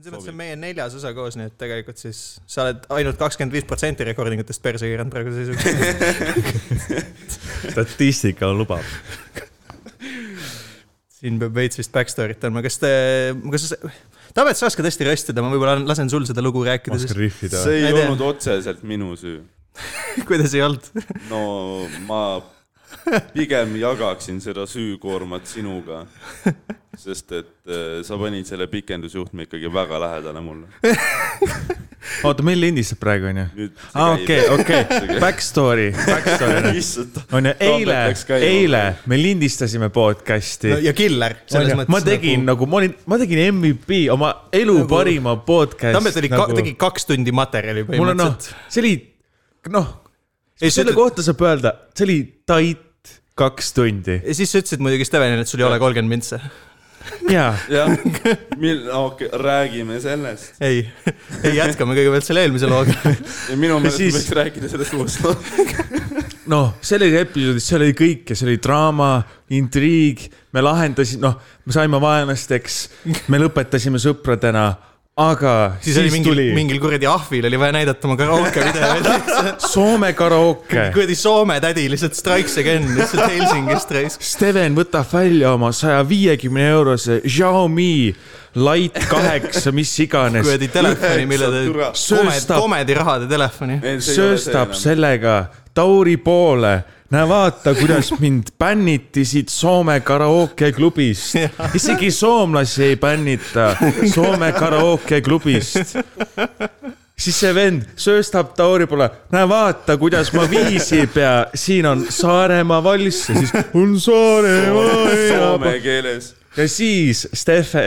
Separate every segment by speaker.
Speaker 1: selles mõttes on meie neljas osa koos , nii et tegelikult siis sa oled ainult kakskümmend viis protsenti recordingutest perse keeranud praeguse seisuga .
Speaker 2: statistika lubab .
Speaker 1: siin peab veits vist backstory't andma , kas te , kas sa , Taavet , sa oskad hästi röstida , ma võib-olla lasen sul seda lugu rääkida ,
Speaker 2: oskan
Speaker 1: siis
Speaker 2: rihvida .
Speaker 3: see
Speaker 1: Ma
Speaker 3: ei
Speaker 1: ei tea.
Speaker 3: olnud otseselt minu süü .
Speaker 1: kuidas ei olnud .
Speaker 3: no ma pigem jagaksin seda süükoormat sinuga , sest et eh, sa panid selle pikendusjuhtme ikkagi väga lähedale mulle .
Speaker 2: oota , meil lindistab praegu onju ?
Speaker 3: Nüüd see
Speaker 2: aa ,
Speaker 3: käib.
Speaker 2: Ah, okei , okei , backstory , backstory .
Speaker 3: issand ,
Speaker 2: onju , eile
Speaker 3: Toompea läks , käima.
Speaker 2: eile me lindistasime podcast'i
Speaker 1: ja killer , selles mõttes .
Speaker 2: ma tegin . nagu , ma olin , ma tegin MVP , oma elu
Speaker 1: Nagu-
Speaker 2: nagu... parima podcast .
Speaker 1: Tambet oli nagu... , tegi kaks tundi materjali
Speaker 2: mul on noh
Speaker 1: põhimõtteliselt .,
Speaker 2: see oli , noh ,
Speaker 1: ja
Speaker 2: selle
Speaker 1: siis
Speaker 2: kohta saab öelda , see oli tait kaks tundi .
Speaker 1: sa ütlesid muidugi Stevenile , et sul ei ole kolmkümmend mintse .
Speaker 2: jaa ,
Speaker 3: jah , mil- , okei okay, , räägime sellest .
Speaker 1: ei , ei jätkame kõigepealt selle eelmise looga .
Speaker 3: minu meelest
Speaker 2: siis-
Speaker 3: siis... võiks rääkida sellest uuesti .
Speaker 2: noh , selles episoodis , seal oli kõike , seal oli draama , intriig , me lahendasime , noh , me saime vaenlasteks , me lõpetasime sõpradena , aga
Speaker 1: siis oli mingil , mingil kuradi ahvil oli vaja näidata oma karaoke videoid .
Speaker 2: Soome karooke .
Speaker 1: kuradi Soome tädi lihtsalt Strikes Again lihtsalt Helsingist raisk .
Speaker 2: Steven võtab välja oma saja viiekümne eurose Xiaomi Lite kaheksa , mis iganes ,
Speaker 1: kuradi telefoni , mille ta
Speaker 3: Üheksa ,
Speaker 2: Sööstab.
Speaker 1: komedirahade telefoni .
Speaker 2: sööstab . sellega Tauri poole . näe , vaata , kuidas mind bänniti siit Soome karaokeklubist . isegi soomlasi ei bännita Soome karaokeklubist . siis see vend sööstab Tauri poole , näe , vaata , kuidas ma viisi ei pea , siin on Saaremaa valss ja siis on Saaremaa ja
Speaker 3: soome keeles .
Speaker 2: ja siis Stefe ,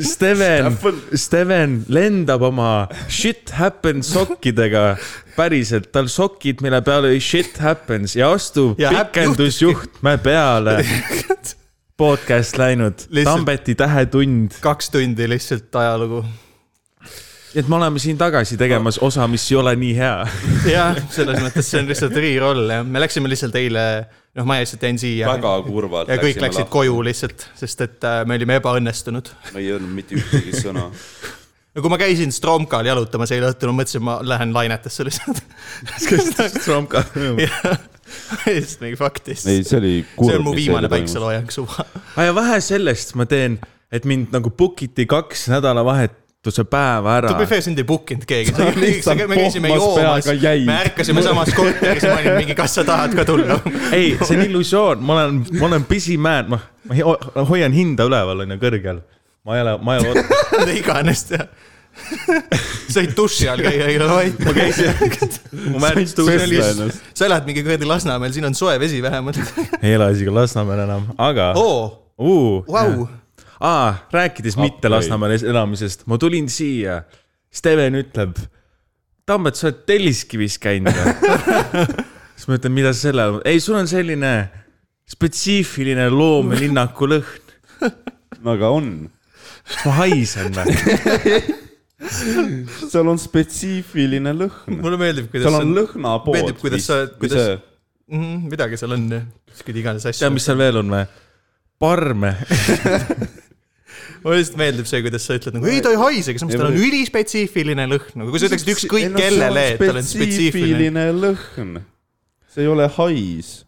Speaker 2: Steven , Steven lendab oma shit happens sokkidega päriselt , tal sokid , mille peal oli shit happens ja astub
Speaker 1: Ja
Speaker 2: ja
Speaker 1: häpp-
Speaker 2: pikendusjuhtme peale . podcast läinud ,
Speaker 1: Lihtsalt-
Speaker 2: Tambeti tähetund ,
Speaker 1: kaks tundi lihtsalt ajalugu .
Speaker 2: et me oleme siin tagasi tegemas osa , mis ei ole nii hea .
Speaker 1: jah , selles mõttes see on lihtsalt re-roll jah , me läksime lihtsalt eile , noh , ma lihtsalt jäin siia .
Speaker 3: väga kurvalt
Speaker 1: ja kõik läksid . koju lihtsalt , sest et äh, me olime ebaõnnestunud .
Speaker 3: ma ei öelnud mitte ühtegi sõna .
Speaker 1: no kui ma käisin Stromkal jalutamas eile õhtul , ma mõtlesin , ma lähen lainetesse lihtsalt .
Speaker 2: Tromka .
Speaker 1: lihtsalt mingi faktis .
Speaker 3: ei ,
Speaker 1: see
Speaker 3: see oli
Speaker 1: on mu viimane . päikseloojang suva .
Speaker 2: ja vähe sellest ma teen , et mind nagu book iti kaks nädalavahetuse päeva ära
Speaker 1: To be fair , sind ei book inud keegi .
Speaker 4: Ta lihtsalt
Speaker 1: me käisime
Speaker 4: pohmas
Speaker 1: joomas
Speaker 4: peaga jäi. ,
Speaker 1: me ärkasime samas korteris , ma olin mingi , kas sa tahad ka tulla ?
Speaker 2: ei , see on illusioon , ma olen , ma olen busy man , ma , ma ho- hoian hinda üleval , onju , kõrgel . ma ei ole , ma ei ole ,
Speaker 1: mida iganes teha . sa ei duši all käia eile , vaid
Speaker 2: ma käisin , ma märtsin ,
Speaker 1: sa elad mingi kuradi Lasnamäel , siin on soe vesi vähemalt .
Speaker 2: ei ela isegi Lasnamäel enam , aga
Speaker 1: oo ,
Speaker 2: uh,
Speaker 1: vau ,
Speaker 2: aa , rääkides
Speaker 4: Appi.
Speaker 2: mitte Lasnamäel es- elamisest , ma tulin siia , Steven ütleb , Tambet , sa oled Telliskivis käinud või ? siis ma ütlen , mida sa selle all , ei , sul on selline spetsiifiline loomelinnaku lõhn ,
Speaker 3: aga on ,
Speaker 2: kas ma haisen või ?
Speaker 3: seal on spetsiifiline lõhn .
Speaker 1: mulle meeldib , kuidas
Speaker 3: seal
Speaker 1: see
Speaker 3: on
Speaker 1: on ,
Speaker 3: lõhnapood .
Speaker 1: meeldib, kuidas sa- kuidas- midagi seal on , kuskil iganes asju
Speaker 2: tead ,. mis seal veel on või ? parme
Speaker 1: mulle lihtsalt meeldib see , kuidas sa ütled nagu ei ta ei haisegi , samas tal on ülispetsiifiline lõhn , nagu kui sa ütleksid ükskõik kellele , et tal on spetsiifiline .
Speaker 3: lõhn . see ei ole hais .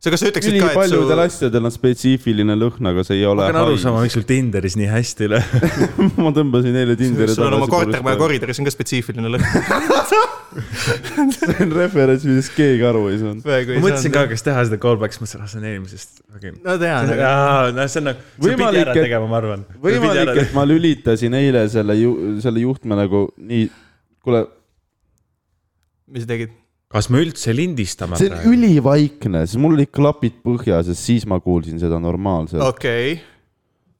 Speaker 1: sa , kas sa ütleksid ka , et su
Speaker 3: ülipaljudel asjadel on spetsiifiline lõhn , aga see ei ole
Speaker 2: ma pean aru
Speaker 3: hais .
Speaker 2: saama , miks sul Tinderis nii hästi ei lähe .
Speaker 3: ma tõmbasin eile Tinderi
Speaker 1: sul on oma kortermaja . koridoris on ka spetsiifiline lõhn .
Speaker 3: see on referents , millest keegi aru ei saanud .
Speaker 2: ma mõtlesin ka , kas teha seda callback'i , siis mõtlesin , ah see on eelmisest .
Speaker 1: no tean , aga
Speaker 2: jaa , no see on nagu , sa pidi
Speaker 3: Võimalik,
Speaker 2: ära
Speaker 3: et-
Speaker 2: tegema , ma arvan .
Speaker 3: võimalik , et ma lülitasin eile selle ju- , selle juhtme nagu nii , kuule ,
Speaker 1: mis sa tegid ?
Speaker 2: kas me üldse lindistame
Speaker 3: see on ? ülivaikne , siis mul olid klapid põhjas ja siis ma kuulsin seda normaalselt .
Speaker 1: okei okay. ,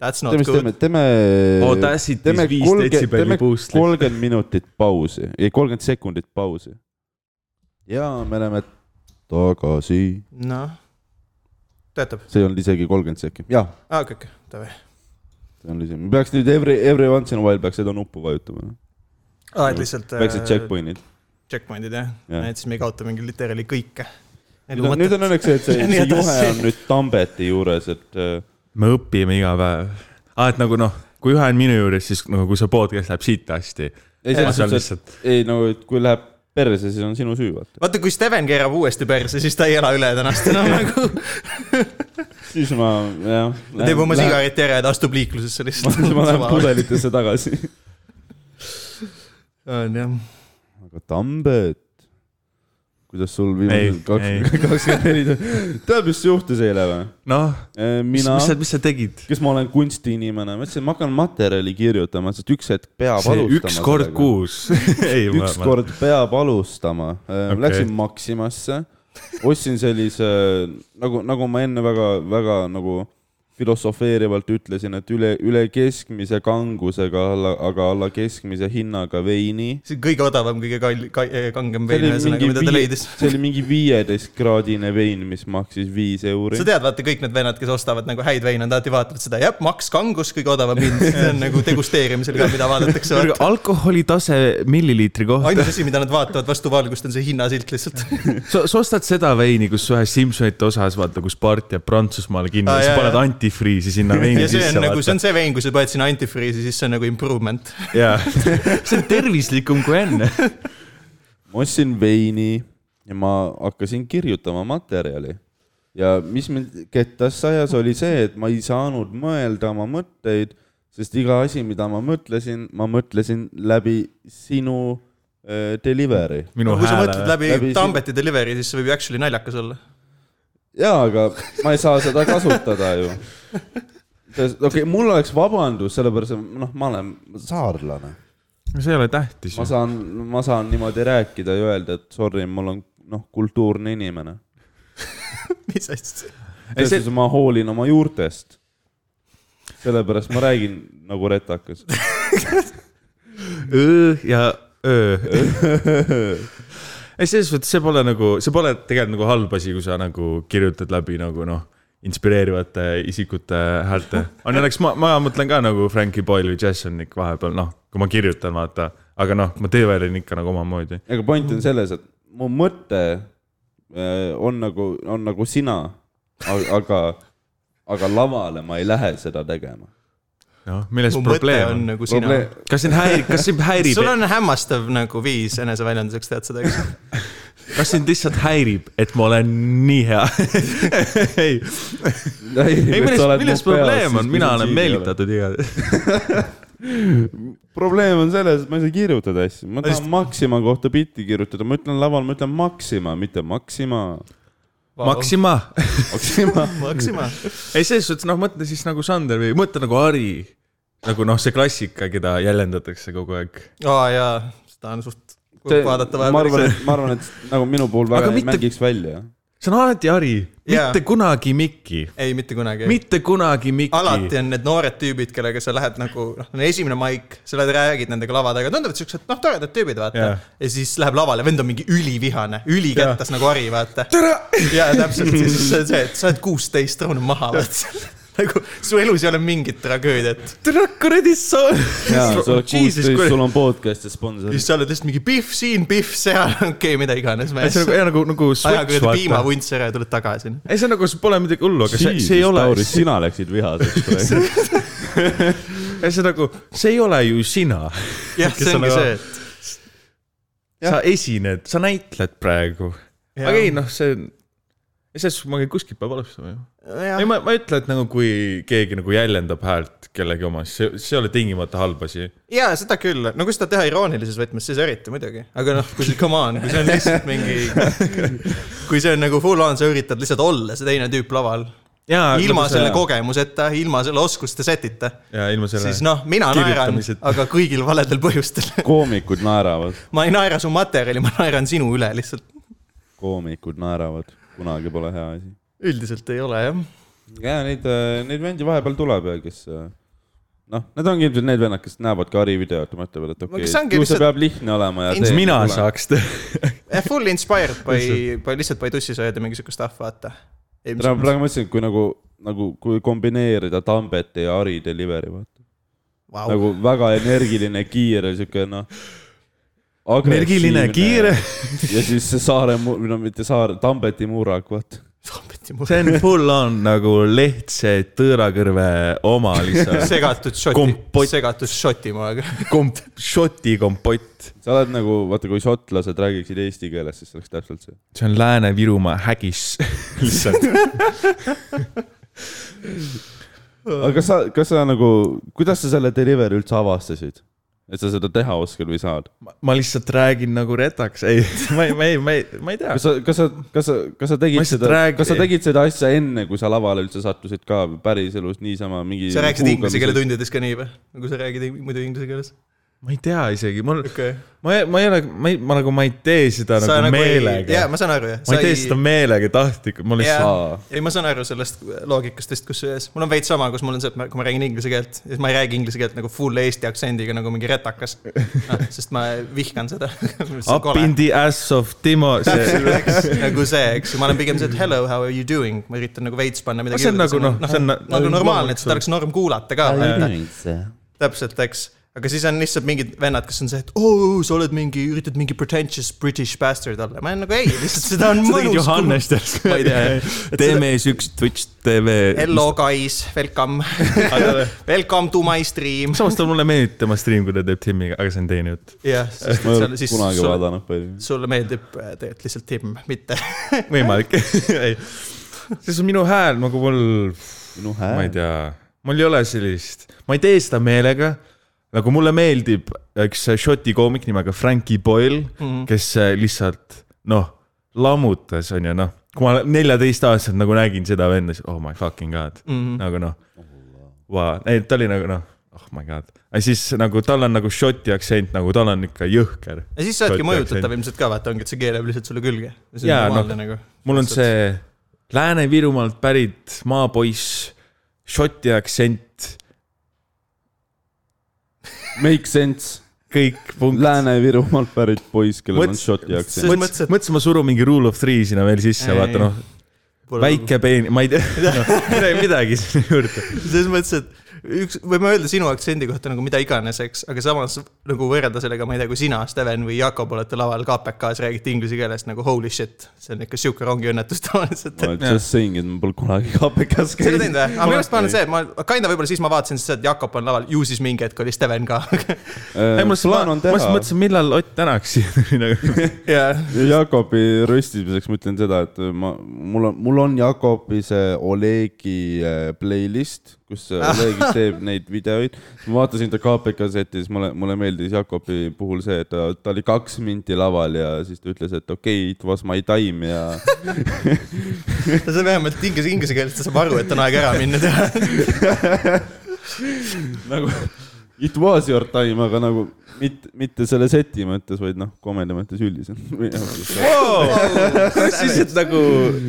Speaker 1: that's not
Speaker 3: teeme ,
Speaker 1: good .
Speaker 3: teeme , teeme .
Speaker 2: Audacity's viis detsibelli boost'i.
Speaker 3: kolmkümmend minutit pausi , ei kolmkümmend sekundit pausi . ja me oleme tagasi ,
Speaker 1: noh , töötab ,
Speaker 3: see ei olnud isegi kolmkümmend sekki , jah ,
Speaker 1: aa okei , okei , davai .
Speaker 3: see on isegi , me peaks nüüd every , every once in a while peaks seda nuppu vajutama ,
Speaker 1: aa , et lihtsalt .
Speaker 3: väiksed . checkpoint'id .
Speaker 1: Checkpoint'id jah
Speaker 3: Jah.
Speaker 1: ja. , et siis me ei kaota mingi literaali kõike . Nagu
Speaker 3: nüüd on- nüüd on õnneks see , et see,
Speaker 1: Ja nii
Speaker 3: see juhe
Speaker 1: edasi.
Speaker 3: on nüüd Tambeti juures , et äh,
Speaker 2: me õpime iga päev . aa , et nagu noh , kui ühe on minu juures , siis nagu kui see podcast läheb siit hästi .
Speaker 3: ei , selles
Speaker 2: seal
Speaker 3: suhtes ,
Speaker 2: lihtsalt ,
Speaker 3: et ei no , et kui läheb perse , siis on sinu süü , vaata .
Speaker 1: vaata , kui Steven keerab uuesti perse , siis ta ei ela üle tänast enam nagu .
Speaker 3: siis ma , jah .
Speaker 1: ta teeb oma . sigareti ära ja ta astub liiklusesse lihtsalt .
Speaker 3: siis ma lähen . pudelitesse tagasi .
Speaker 1: on jah .
Speaker 3: aga Tambet , kuidas sul
Speaker 2: Ei,
Speaker 3: viimased kaks , kakskümmend neli , tead , mis juhtus eile või ?
Speaker 2: noh , mis ,
Speaker 3: mina
Speaker 2: mis , sa , mis sa tegid ?
Speaker 3: kes ma olen kunstiinimene , ma ütlesin , ma hakkan materjali kirjutama , sest üks hetk peab
Speaker 2: see
Speaker 3: alustama .
Speaker 2: üks kord . kuus . ei , ma ,
Speaker 3: üks
Speaker 2: ma ,
Speaker 3: kord peab alustama okay. .
Speaker 2: Okei.
Speaker 3: Läksin Maximasse , ostsin sellise nagu , nagu ma enne väga-väga nagu filosofeerivalt ütlesin , et üle , üle keskmise kangusega , aga alla keskmise hinnaga veini .
Speaker 1: see on kõige odavam , kõige kall- , kangem
Speaker 3: see
Speaker 1: vein ,
Speaker 3: oli
Speaker 1: ühesõnaga , mida
Speaker 3: mingi
Speaker 1: ta
Speaker 3: vii-
Speaker 1: leidis .
Speaker 3: see oli mingi viieteistkraadine vein , mis maksis viis euri
Speaker 1: sa . tead , vaata kõik need vennad , kes ostavad nagu häid veine , nad alati vaatavad seda , jah , Max Kangus , kõige odavam hind , see on nagu degusteerimisel ka , mida vaadatakse .
Speaker 2: alkoholitase milliliitri kohta .
Speaker 1: ainus asi , mida nad vaatavad vastu valgust , on see hinnasilt lihtsalt .
Speaker 2: sa , sa ostad seda veini , kus ühes Simsonite osas vaata , kus part jääb Prantsusmaale kinni
Speaker 1: Aa,
Speaker 2: ja siis
Speaker 1: jaa,
Speaker 2: paned
Speaker 1: jaa.
Speaker 2: antifriisi sinna veini
Speaker 1: ja see on
Speaker 2: sisse
Speaker 1: nagu , see
Speaker 2: vaata .
Speaker 1: on see vein , kui sa paned sinna antifriisi , siis see on nagu improvement .
Speaker 2: jaa , see on tervislikum kui enne .
Speaker 3: ma ostsin veini ja ma hakkasin kirjutama materjali . ja mis mind kettas sajas , oli see , et ma ei saanud mõelda oma mõtteid , sest iga asi , mida ma mõtlesin , ma mõtlesin läbi sinu äh, delivery .
Speaker 2: minu
Speaker 1: no kui sa mõtled
Speaker 2: hääle .
Speaker 1: läbi,
Speaker 3: Läbi
Speaker 1: läbi
Speaker 3: siin-
Speaker 1: Tambeti delivery , siis see võib ju actually naljakas olla .
Speaker 3: jaa , aga ma ei saa seda kasutada ju . okei okay, , mul oleks vabandus , sellepärast et noh , ma olen saarlane .
Speaker 2: see ei ole tähtis
Speaker 3: ma
Speaker 2: ju .
Speaker 3: saan , ma saan niimoodi rääkida ja öelda , et sorry , mul on noh , kultuurne inimene .
Speaker 1: mis asja ?
Speaker 2: Ei, see-
Speaker 3: selles suhtes ma hoolin oma juurtest . sellepärast ma räägin nagu retakas .
Speaker 2: Õ ja öö . ei , selles mõttes see pole nagu , see pole tegelikult nagu halb asi , kui sa nagu kirjutad läbi nagu noh , inspireerivate isikute häälte . aga õnneks ma , ma mõtlen ka nagu Frankie Boyle või Jasonik vahepeal , noh , kui ma kirjutan , vaata . aga noh , ma tööväljun ikka nagu omamoodi .
Speaker 3: aga point on selles , et mu mõte äh, on nagu , on nagu sina , aga , aga lavale ma ei lähe seda tegema .
Speaker 2: noh , milles
Speaker 1: mu mõte
Speaker 2: probleem
Speaker 1: on
Speaker 2: on ?
Speaker 1: nagu sina .
Speaker 2: kas sind häirib , kas sind häirib
Speaker 1: sul , on hämmastav nagu viis eneseväljenduseks , tead seda , eks ?
Speaker 2: kas sind lihtsalt häirib , et ma olen nii hea ? ei , ei milles , milles probleem on , mina olen . meelitatud igatahes .
Speaker 3: probleem on selles , et ma ei saa kirjutada asju , ma tahan
Speaker 1: Just-
Speaker 3: Maxima kohta bitti kirjutada , ma ütlen laval , ma ütlen Maxima , mitte Maxima .
Speaker 2: Maxima
Speaker 3: Maxima ,
Speaker 1: Maxima .
Speaker 2: ei , selles suhtes noh , mõtle siis nagu Sander või mõtle nagu Ari . nagu noh , see klassika , keda jäljendatakse kogu aeg .
Speaker 1: aa jaa , seda on suht
Speaker 3: See-
Speaker 1: kurb vaadata
Speaker 3: ma arvan ,
Speaker 1: vahepeal .
Speaker 3: et , ma arvan , et nagu minu puhul väga
Speaker 2: Aga
Speaker 3: ei
Speaker 2: mitte-
Speaker 3: mängiks välja .
Speaker 2: see on alati Ari ,
Speaker 1: Jaa.
Speaker 2: mitte kunagi Mikki ,
Speaker 1: ei , mitte kunagi .
Speaker 2: mitte kunagi
Speaker 1: alati
Speaker 2: Mikki .
Speaker 1: on need noored tüübid , kellega sa lähed nagu , noh , esimene maik , sa lähed räägid nendega lava taga , tunduvad siuksed , noh , toredad tüübid , vaata
Speaker 2: Jah.
Speaker 1: yeah. . ja siis läheb lavale , vend on mingi ülivihane , ülikätas yeah. nagu hari , vaata . ja täpselt , siis see on see , et sa oled kuusteist , rahune maha , vaata . nagu su elus ei ole mingit tragöödiat .
Speaker 2: tere , kuradi sa .
Speaker 3: jaa , sa oled kuusteist , sul on podcast ja sponsor .
Speaker 1: siis sa oled lihtsalt mingi pihv siin , pihv seal , okei okay, , mida iganes .
Speaker 2: see on
Speaker 1: ajaga
Speaker 2: nagu , nagu , nagu switch
Speaker 1: jääd
Speaker 2: vaata .
Speaker 1: piimavuntsi ära ja tuled tagasi .
Speaker 2: ei , see on nagu , pole midagi hullu , aga see , see ei ole ,
Speaker 3: Tauris , sina läksid vihaseks praegu .
Speaker 2: see nagu , see ei ole ju sina .
Speaker 1: jah ,
Speaker 2: Kes
Speaker 1: see
Speaker 2: on
Speaker 1: ongi
Speaker 2: nagu-
Speaker 1: see , et
Speaker 2: sa esined , sa näitled praegu .
Speaker 1: Jaa.
Speaker 2: aga ei , noh , see , selles suhtes ma käin kuskilt peab alustama ju
Speaker 1: jah
Speaker 2: ei , ma , ma ei ütle , et nagu kui keegi nagu jäljendab häält kellegi oma , see , see ei ole tingimata halb asi .
Speaker 1: jaa , seda küll , no kui seda teha iroonilises võtmes , siis eriti muidugi , aga noh , kui see , come on , kui see on lihtsalt mingi , kui see on nagu full on , sa üritad lihtsalt olla see teine tüüp laval .
Speaker 2: nagu
Speaker 1: ilma selle . kogemuseta , ilma selle oskuste setita ,
Speaker 2: ja ilma selle .
Speaker 1: siis noh , mina naeran ,
Speaker 2: Kirjutamised.
Speaker 1: aga kõigil valedel põhjustel .
Speaker 3: koomikud naeravad ,
Speaker 1: ma ei naera su materjali , ma naeran sinu üle lihtsalt .
Speaker 3: koomikud naeravad , kunagi pole hea asi .
Speaker 1: üldiselt ei ole jah .
Speaker 3: ja neid , neid vendi vahepeal tuleb ja kes äh, noh , need ongi ilmselt need vennad , kes näevad ka Ari videot ja mõtlevad , et
Speaker 1: No
Speaker 3: okei
Speaker 1: kes ongi
Speaker 3: okay, , ju see
Speaker 1: lihtsalt-
Speaker 3: peab lihtne olema ja
Speaker 1: Ins-
Speaker 3: teed
Speaker 2: mina
Speaker 3: tule.
Speaker 2: saaks teha .
Speaker 1: Eh, Full inspired by , by lihtsalt by tussisööd ja mingi sihuke stuff , vaata .
Speaker 3: praegu , praegu ma ütlesin , et kui nagu , nagu , kui kombineerida Tambet ja Ari delivery , vaata .
Speaker 1: Vau ,
Speaker 3: nagu väga energiline , kiire , sihuke noh .
Speaker 2: energiline , kiire .
Speaker 3: ja siis see Saare , või no mitte Saare , Tambeti murrak , vaata .
Speaker 1: Vampeti mul
Speaker 2: see on full on nagu lehtse tõõrakõrve oma lihtsalt .
Speaker 1: segatud šoti
Speaker 2: Kompott. ,
Speaker 1: segatud šotimaaga .
Speaker 2: komp- , šoti kompott .
Speaker 3: sa oled nagu , vaata , kui šotlased räägiksid eesti keeles , siis oleks täpselt see .
Speaker 2: see on Lääne-Virumaa hägis lihtsalt .
Speaker 3: aga kas sa , kas sa nagu , kuidas sa selle delivery üldse avastasid ? et sa seda teha oskad või saad ?
Speaker 2: ma lihtsalt räägin nagu retaks , ei , ma ei , ma ei , ma ei , ma ei tea
Speaker 3: kas . sa , kas sa , kas sa , kas sa tegid
Speaker 2: Ma lihtsalt
Speaker 3: seda
Speaker 2: räägin- ,
Speaker 3: kas sa tegid seda asja enne , kui sa lavale üldse sattusid ka või päriselus niisama mingi .
Speaker 1: sa rääkisid inglise keele . tundides ka nii või ? kui sa räägid ing- muidu inglise keeles ?
Speaker 2: ma ei tea isegi , mul ,
Speaker 1: okei .
Speaker 2: ma , ma ei ole , ma ei , ma nagu , ma ei tee seda sa nagu meelega
Speaker 1: jaa ,. ma saan aru jah .
Speaker 2: ma ei tee seda meelega tahtlikult , ma lihtsalt .
Speaker 3: Aa.
Speaker 1: ei , ma saan aru sellest loogikast vist , kusjuures mul on veits sama , kus mul on see , et ma- kui ma räägin inglise keelt , siis ma ei räägi inglise keelt nagu full eesti aktsendiga nagu mingi retakas no, . sest ma vihkan seda .
Speaker 2: Up in the ass of Timo , see ,
Speaker 1: nagu see , eks ju , ma olen pigem see , et hello , how are you doing , ma üritan nagu veits panna midagi .
Speaker 2: see on nagu noh , see on
Speaker 1: nagu normaalne , et seda oleks norm kuulata ka . täpselt , eks . aga siis on lihtsalt mingid vennad , kes on see , et oo , sa oled mingi , üritad mingi pretentious british bastard olla . ma olen nagu ei , lihtsalt seda on
Speaker 2: sa tegid
Speaker 1: mõnus .
Speaker 2: Johannest järsku , ma ei tea . TV-s üks Twitch TV .
Speaker 1: Hello guys , welcome , welcome to my stream .
Speaker 2: samas ta mulle meeldib tema stream , kui ta teeb Timiga , aga see on teine jutt .
Speaker 1: jah , sest et
Speaker 3: ma ei
Speaker 1: seal
Speaker 3: ole
Speaker 1: siis
Speaker 3: kunagi
Speaker 1: sulle-
Speaker 3: vaadanud palju .
Speaker 1: sulle meeldib äh, tegelikult lihtsalt Tim , mitte .
Speaker 2: võimalik , ei . see on minu hääl nagu mul ,
Speaker 3: minu
Speaker 2: ma ei
Speaker 3: hääl .
Speaker 2: tea , mul ei ole sellist , ma ei tee seda meelega . nagu mulle meeldib üks šoti koomik nimega Frankie Boyle mm , -hmm. kes lihtsalt noh , lammutas onju noh , kui ma neljateistaastaselt nagu nägin seda venda , siis oh my fucking god mm , -hmm. nagu noh wow. , ei ta oli nagu noh , oh my god , aga siis nagu tal on nagu šoti aktsent , nagu tal on ikka jõhker .
Speaker 1: ja siis sa oledki mõjutatav . ilmselt ka , vaata , ongi , et see keel jääb lihtsalt sulle külge .
Speaker 2: Jaa, noh,
Speaker 1: nagu.
Speaker 2: mul on see Lääne-Virumaalt pärit maapoiss , šoti aktsent ,
Speaker 3: Make sense .
Speaker 2: kõik punkt .
Speaker 3: Lääne-Virumaalt pärit poiss , kellel on
Speaker 2: Mõts-
Speaker 3: šoti
Speaker 1: Mõts-
Speaker 3: aktsent .
Speaker 1: selles mõttes,
Speaker 2: mõtlesin ,
Speaker 1: et-
Speaker 2: mõtlesin , ma surun mingi rule of three sinna veel sisse ,
Speaker 1: Ei,
Speaker 2: vaata noh , väike peen , ma ei tea no, , midagi, midagi sinna juurde .
Speaker 1: selles mõttes , et üks , võime öelda sinu aktsendi kohta nagu mida iganes , eks , aga samas nagu võrrelda sellega , ma ei tea , kui sina , Steven või Jakob olete laval KPK-s , räägite inglise keeles nagu holy shit , see on ikka sihuke rongiõnnetus tavaliselt .
Speaker 3: ma olen just saying , et ma pole kunagi KPK-s
Speaker 1: sa ei ole teinud
Speaker 3: käinud .
Speaker 1: või ? aga minu arust ma olen see , ma , kinda võib-olla siis ma vaatasin seda , et Jakob on laval , ju siis mingi hetk oli Steven ka .
Speaker 2: ei , ma lihtsalt , ma lihtsalt . mõtlesin , millal Ott Tänak siia tuli nagu .
Speaker 1: jaa
Speaker 3: Jakobi röstimiseks ma ütlen seda , et ma , mul on , mul on Jakobi see Olegi eh, playlist , kus see Oleg teeb neid videoid . ma vaatasin ta KPK setis , mulle , mulle meeldis Jakobi puhul see , et ta, ta oli kaks minti laval ja siis ta ütles , et okei okay, , it was my time ja
Speaker 1: no see on vähemalt inglise , inglise keeles ta saab aru , et on aeg ära minna teha .
Speaker 3: nagu it was your time , aga nagu mitte , mitte selle seti mõttes , vaid noh , komedi mõttes noh, üldiselt .
Speaker 2: kas siis , et nagu ,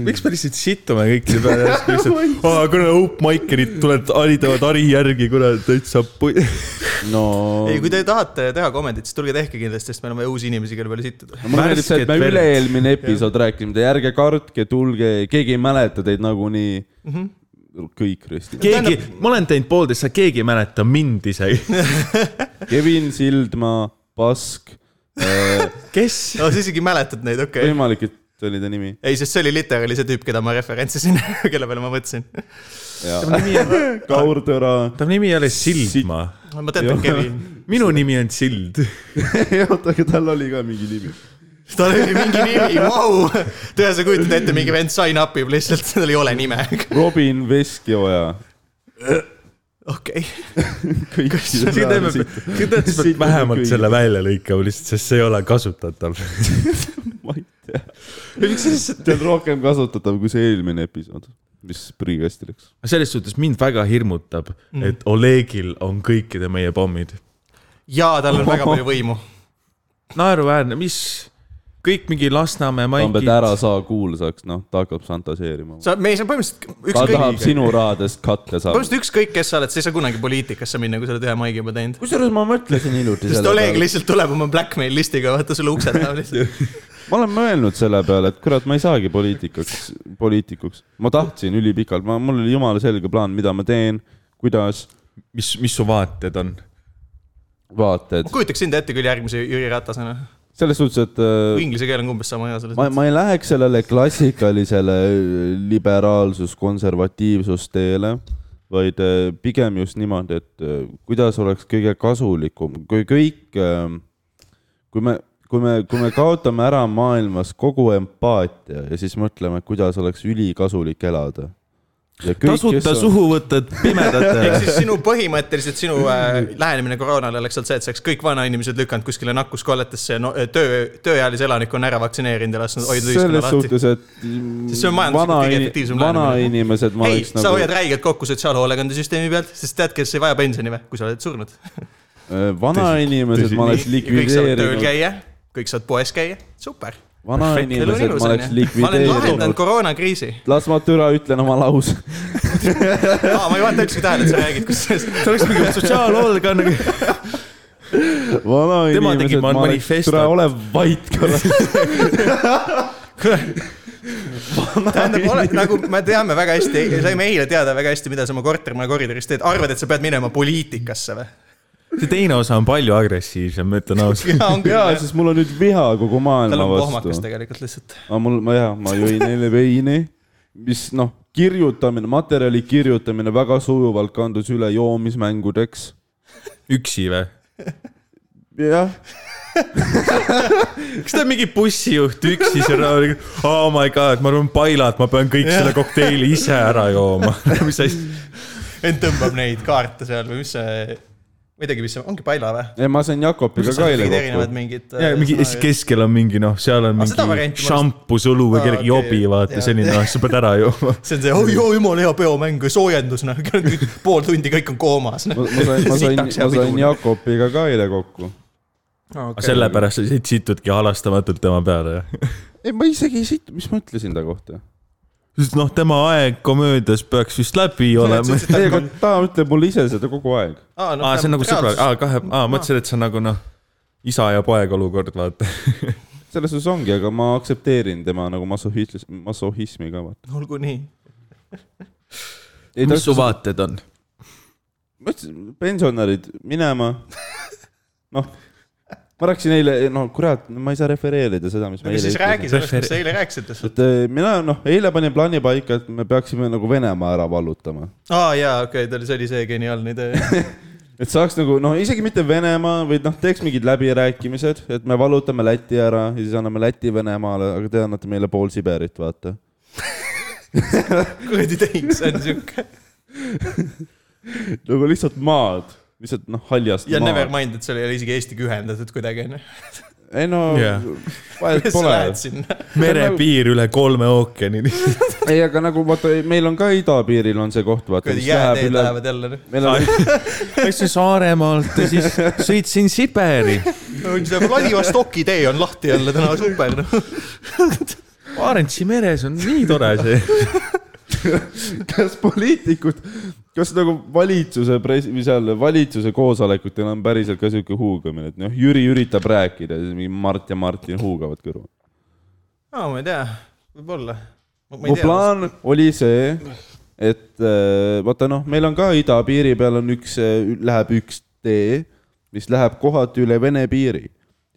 Speaker 2: miks me lihtsalt situme kõikide peale järsku lihtsalt , aa , kuule , open-mikerid tulevad , haridavad hari järgi , kurat , täitsa pu- .
Speaker 3: no .
Speaker 1: ei , kui te tahate teha komedit , siis tulge tehke kindlasti , sest meil on vaja uusi inimesi , kelle peale sittuda .
Speaker 3: mulle meeldib see , et
Speaker 2: Värsket
Speaker 3: me
Speaker 2: verd.
Speaker 3: üle-eelmine episood rääkisime , et ärge kartke , tulge , keegi ei mäleta teid nagunii mm . -hmm. kõik röstid .
Speaker 2: keegi , ma olen teinud poolteist , sa keegi ei mäleta mind isegi .
Speaker 3: Kevin Sildmaa , Pask ,
Speaker 2: kes ?
Speaker 1: no sa isegi mäletad neid , okei okay. .
Speaker 3: võimalik , et see oli ta nimi .
Speaker 1: ei , sest see oli literaali see tüüp , keda ma referentsisin , kelle peale ma mõtlesin .
Speaker 3: Kaur-Tõra .
Speaker 2: ta nimi ei ole Sildma .
Speaker 1: ma tean , et Kevin ,
Speaker 2: minu nimi on Sild .
Speaker 3: oota , aga tal oli ka mingi nimi .
Speaker 1: tal oli mingi nimi , vau . tead , sa kujutad ette , mingi vend sign up ib lihtsalt , tal ei ole nime .
Speaker 3: Robin Veskioja .
Speaker 1: okei ,
Speaker 3: kõik .
Speaker 2: siin teeme , siin teeme vähemalt selle . välja lõikama lihtsalt , sest see ei ole kasutatav .
Speaker 3: ma ei tea ,
Speaker 2: miks lihtsalt ?
Speaker 3: see on rohkem kasutatav kui see eelmine episood , mis prügikasti läks .
Speaker 2: selles suhtes mind väga hirmutab mm. , et Olegil on kõikide meie pommid
Speaker 1: ja tal on väga palju võimu .
Speaker 2: naeruväärne , mis , kõik mingi Lasnamäe
Speaker 3: Tambet
Speaker 2: maikid ,
Speaker 3: ära saa kuulsaks , noh , ta hakkab fantaseerima .
Speaker 1: sa , me ei saa põhimõtteliselt
Speaker 3: ta tahab
Speaker 1: ükskõik ,
Speaker 3: sinu rahadest katte saada .
Speaker 1: põhimõtteliselt ükskõik , kes sa oled , sa ei saa kunagi poliitikasse minna , kui sa oled ühe maigi juba teinud .
Speaker 3: kusjuures ma mõtlesin hiljuti
Speaker 1: sest
Speaker 3: selle
Speaker 1: Oleg
Speaker 3: peale ,
Speaker 1: lihtsalt tuleb oma blackmail listiga , vaata sulle ukse taha lihtsalt .
Speaker 3: ma olen mõelnud selle peale , et kurat , ma ei saagi poliitikaks , poliitikuks . ma tahtsin ülipikalt , ma , mul oli jumala selge plaan , mida ma teen , kuidas ,
Speaker 2: mis , mis su vaated on ?
Speaker 3: vaated
Speaker 1: ma , kujutaks sind ette küll järgmise Jüri Ratasena .
Speaker 3: selles suhtes , et äh,
Speaker 1: inglise keel on umbes sama hea selles
Speaker 3: ma , ma ei läheks sellele klassikalisele äh, liberaalsus-konservatiivsusteele , vaid äh, pigem just niimoodi , et äh, kuidas oleks kõige kasulikum , kui kõik , kui me , kui me , kui me kaotame ära maailmas kogu empaatia ja siis mõtleme , kuidas oleks ülikasulik elada .
Speaker 2: tasuta suhuvõtted
Speaker 1: ehk
Speaker 2: pimedatele .
Speaker 1: siis sinu põhimõtteliselt sinu äh, lähenemine koroonale oleks olnud see , et sa oleks kõik vanainimesed lükanud kuskile nakkuskolletesse ja no, töö , tööealise elanikkonna ära vaktsineerinud ja lasknud hoida ühiskonna
Speaker 3: selles
Speaker 1: lahti .
Speaker 3: suhtes , et
Speaker 1: Siis see on majanduslikult
Speaker 3: vana-
Speaker 1: kõige efektiivsem lähenemine.
Speaker 3: vanainimesed , ma
Speaker 1: ei ,
Speaker 3: oleks nagu-
Speaker 1: sa hoiad räigelt kokku sotsiaalhoolekandesüsteemi pealt , sest tead , kes ei vaja pensioni või , kui sa oled surnud .
Speaker 3: Äh, vanainimesed ma oleks
Speaker 1: kõik saavad tööl
Speaker 3: likvideerinud .
Speaker 1: käia , kõik saavad poes käia , super . elu on
Speaker 3: vanainimesed
Speaker 1: ilus ,
Speaker 3: ma oleks
Speaker 1: onju . ma olen lahendanud
Speaker 3: likvideerinud .
Speaker 1: koroonakriisi .
Speaker 3: las ma türa ütlen oma lause .
Speaker 1: aa , ma ei vaata ükski tähele , et sa räägid , kus see
Speaker 2: see oleks mingi sotsiaalhoolekanne . Tema tegi
Speaker 3: vanainimesed , ma
Speaker 2: ma-
Speaker 3: oleks ,
Speaker 2: manifesto.
Speaker 3: türa ole vait korra .
Speaker 1: tähendab , oled nagu me teame väga hästi , saime eile teada väga hästi , mida sa oma kortermaja koridoris teed , arvad , et sa pead minema poliitikasse või ?
Speaker 2: see teine osa on palju agressiivsem , ma ütlen ausalt .
Speaker 1: jaa , on
Speaker 3: jaa ,
Speaker 1: küll ,
Speaker 3: siis mul on nüüd viha kogu
Speaker 1: tal
Speaker 3: maailma
Speaker 1: on pohmakas
Speaker 3: vastu .
Speaker 1: tegelikult lihtsalt .
Speaker 3: aga mul , ma jah , ma jõin eile veini , mis noh , kirjutamine , materjali kirjutamine väga sujuvalt kandus üle joomismängudeks .
Speaker 2: üksi või ?
Speaker 3: jah ,
Speaker 2: kas ta on mingi bussijuht üksi seal , oh my god , ma arvan , pailad , ma pean kõik selle kokteili ise ära jooma . mis asja ,
Speaker 1: ent tõmbab neid kaarte seal või mis see , ma ei teagi , mis see , ongi Paila või ?
Speaker 3: ei ma sain Jakobiga ka eile
Speaker 1: erinevad
Speaker 3: kokku .
Speaker 1: mingid . äh,
Speaker 2: mingi , siis keskel on mingi noh , seal on
Speaker 1: Aa, seda
Speaker 2: mingi
Speaker 1: varianti ma
Speaker 2: šampus õlu või
Speaker 1: Aa,
Speaker 2: kellegi
Speaker 1: okei,
Speaker 2: jobi , vaata
Speaker 1: jaa.
Speaker 2: selline , noh , sa pead ära jooma .
Speaker 1: see on see , oi , oi , jumala hea peomäng , soojendus , noh , pool tundi kõik on koomas ,
Speaker 3: ma
Speaker 1: noh .
Speaker 3: ma sain , ma sain ,
Speaker 1: Sitaks hea
Speaker 3: ma sain
Speaker 1: pidu.
Speaker 3: Jakobiga ka eile kokku .
Speaker 2: sellepärast sa siit situdki halastamatult tema peale , jah ?
Speaker 3: ei , ma isegi ei siit , mis ma ütlesin ta kohta ?
Speaker 2: sest noh , tema aeg komöödias peaks vist läbi olema .
Speaker 3: ei , aga ta ütleb mulle ise seda kogu aeg .
Speaker 2: aa , see on nagu sõbra , aa , kahe , aa , mõtlesin , et see on nagu noh , isa ja poeg olukord , vaata .
Speaker 3: selles suhtes ongi , aga ma aktsepteerin tema nagu masohhismi , masohhismi ka vaata .
Speaker 1: olgu nii .
Speaker 3: ei , ta ütles ,
Speaker 2: vaated on ?
Speaker 3: ma ütlesin , pensionärid minema . noh , ma rääkisin eile , no kurat , ma ei saa refereerida seda , mis ma
Speaker 1: aga
Speaker 3: eile
Speaker 1: siis räägi
Speaker 3: ütlesin .
Speaker 1: sellest , mis sa eile rääkisid .
Speaker 3: et eh, mina noh , eile panin plaani paika , et me peaksime nagu Venemaa ära vallutama .
Speaker 1: aa jaa , okei okay, , see oli see geniaalne idee .
Speaker 3: et saaks nagu noh , isegi mitte Venemaa , vaid noh , teeks mingid läbirääkimised , et me vallutame Läti ära ja siis anname Läti Venemaale , aga te annate meile pool Siberit , vaata .
Speaker 1: kuradi tehing , see on siuke .
Speaker 3: nagu lihtsalt maad , lihtsalt noh , haljast
Speaker 1: ja never
Speaker 3: maad .
Speaker 1: mind , et seal ei ole isegi Eestiga ühendatud kuidagi onju .
Speaker 3: ei no
Speaker 2: Jah.
Speaker 3: yeah. , vahet
Speaker 1: sa
Speaker 3: pole
Speaker 1: lähed . sinna . Nagu-
Speaker 2: merepiir üle kolme ookeani .
Speaker 3: ei , aga nagu vaata , meil on ka idapiiril on see koht , vaata ,
Speaker 1: kuradi
Speaker 3: mis läheb
Speaker 1: jääteed
Speaker 3: üle ,
Speaker 1: lähevad jälle . noh.
Speaker 3: meil on ,
Speaker 2: läksin Saaremaalt ja siis sõitsin Siberi .
Speaker 1: see Vladivostoki tee on lahti jälle täna , super noh .
Speaker 2: Barentsi meres on nii tore see .
Speaker 3: kas poliitikud , kas nagu valitsuse pres- , või seal valitsuse koosolekutel on päriselt ka sihuke huugamine , et noh , Jüri üritab rääkida ja siis mingi Mart ja Martin huugavad kõrval .
Speaker 1: aa , ma ei tea , võib-olla . ma
Speaker 3: mu
Speaker 1: ei tea ,
Speaker 3: plaan oli see , et äh, vaata noh , meil on ka idapiiri peal on üks , läheb üks tee , mis läheb kohati üle Vene piiri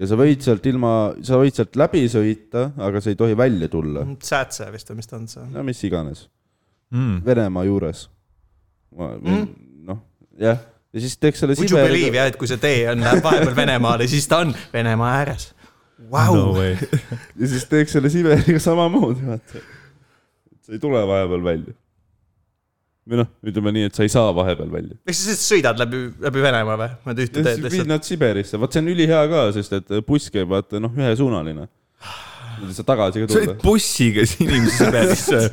Speaker 3: ja sa võid sealt ilma , sa võid sealt läbi sõita , aga sa ei tohi välja tulla ,
Speaker 1: Säätse vist või mis ta on see ?
Speaker 3: no mis iganes ,
Speaker 2: Mm.
Speaker 3: Venemaa juures .
Speaker 1: Mm.
Speaker 3: noh , jah , ja siis teeks selle
Speaker 1: Would you believe
Speaker 3: Siberiga ,
Speaker 1: jah , et kui see tee on , läheb vahepeal Venemaale , siis ta on Venemaa ääres .
Speaker 2: no
Speaker 1: Vau ,
Speaker 2: way .
Speaker 3: ja siis teeks selle Siberiga samamoodi , vaata . et sa ei tule vahepeal välja . või noh , ütleme nii , et sa ei saa vahepeal välja .
Speaker 1: ehk siis lihtsalt sõidad läbi , läbi Venemaa või ? Nad ühte teed
Speaker 3: ja siis viid
Speaker 1: lihtsalt .
Speaker 3: nad Siberisse , vot see on ülihea ka , sest et buss käib vaata noh , ühesuunaline . sa tagasi ka
Speaker 2: sa olid
Speaker 3: tulla .
Speaker 2: bussiga sinimese Siberisse .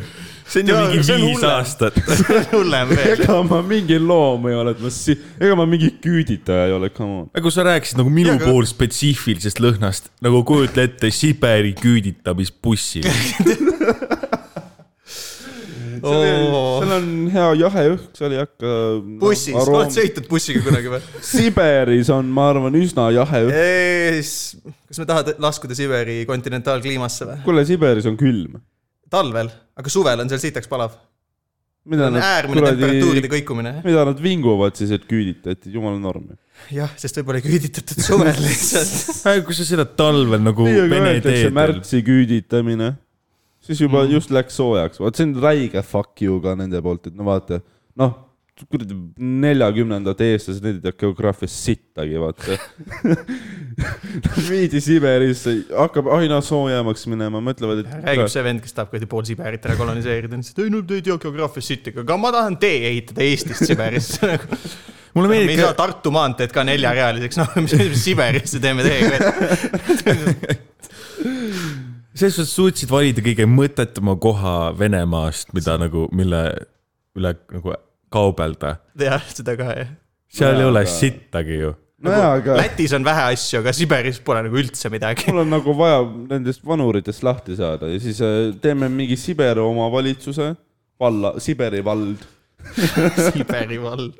Speaker 2: see on ju
Speaker 1: Jaa,
Speaker 2: äh, mingi
Speaker 1: see on
Speaker 2: viis
Speaker 1: hullem.
Speaker 2: aastat .
Speaker 1: hullem veel .
Speaker 3: ega ma mingi loom ei ole , et ma si- , ega ma mingi küüditaja ei ole , come on .
Speaker 2: aga kui sa rääkisid nagu minu
Speaker 1: Jaa, aga-
Speaker 2: puhul spetsiifilisest lõhnast , nagu kujutle ette Siberi küüditamisbussi .
Speaker 3: seal on hea jahe õhk , seal ei hakka .
Speaker 1: bussis , oled ? sõitnud bussiga kunagi või ?
Speaker 3: Siberis on , ma arvan , üsna jahe õhk .
Speaker 1: kas me tahame laskuda Siberi kontinentaalkliimasse või ?
Speaker 3: kuule , Siberis on külm .
Speaker 1: talvel , aga suvel on seal sitaks palav .
Speaker 3: mida nad
Speaker 1: äärmine temperatuuride
Speaker 3: kuradi ,
Speaker 1: kõikumine .
Speaker 3: mida nad vinguvad siis , et küüditati , jumala norm .
Speaker 1: jah , sest võib-olla ei küüditatud suvel lihtsalt .
Speaker 2: Äh, kui sa seda talvel nagu
Speaker 3: meiega
Speaker 2: vene
Speaker 3: öeldakse
Speaker 2: teedel ,
Speaker 3: märtsi küüditamine , siis juba mm. just läks soojaks , vot see on räige fuck you ka nende poolt , et no vaata , noh , kuradi neljakümnendad eestlased , need ei tea geograafiast sittagi , vaata . viidi Siberisse , hakkab aina soojemaks minema , mõtlevad ,
Speaker 1: räägib
Speaker 3: et
Speaker 1: see vend , kes tahab kuidagi pool Siberit ära koloniseerida , ütles , et ei no te ei tea geograafiast siit , aga ma tahan tee ehitada Eestist Siberisse .
Speaker 2: mulle
Speaker 1: me ei
Speaker 2: meeldib
Speaker 1: saa , Tartu maanteed ka neljarealiseks , noh , mis mis Siberisse teeme teega .
Speaker 2: selles suhtes suutsid valida kõige mõttetuma koha Venemaast , mida nagu , mille üle nagu kaubelda .
Speaker 1: jah , seda ka jah .
Speaker 2: seal ei ole
Speaker 3: Aga-
Speaker 2: sittagi ju .
Speaker 3: nojaa , aga
Speaker 1: Lätis on vähe asju , aga Siberis pole nagu üldse midagi .
Speaker 3: mul on nagu vaja nendest vanuritest lahti saada ja siis äh, teeme mingi Siberi omavalitsuse , valla , Siberi vald
Speaker 1: Siberi vald .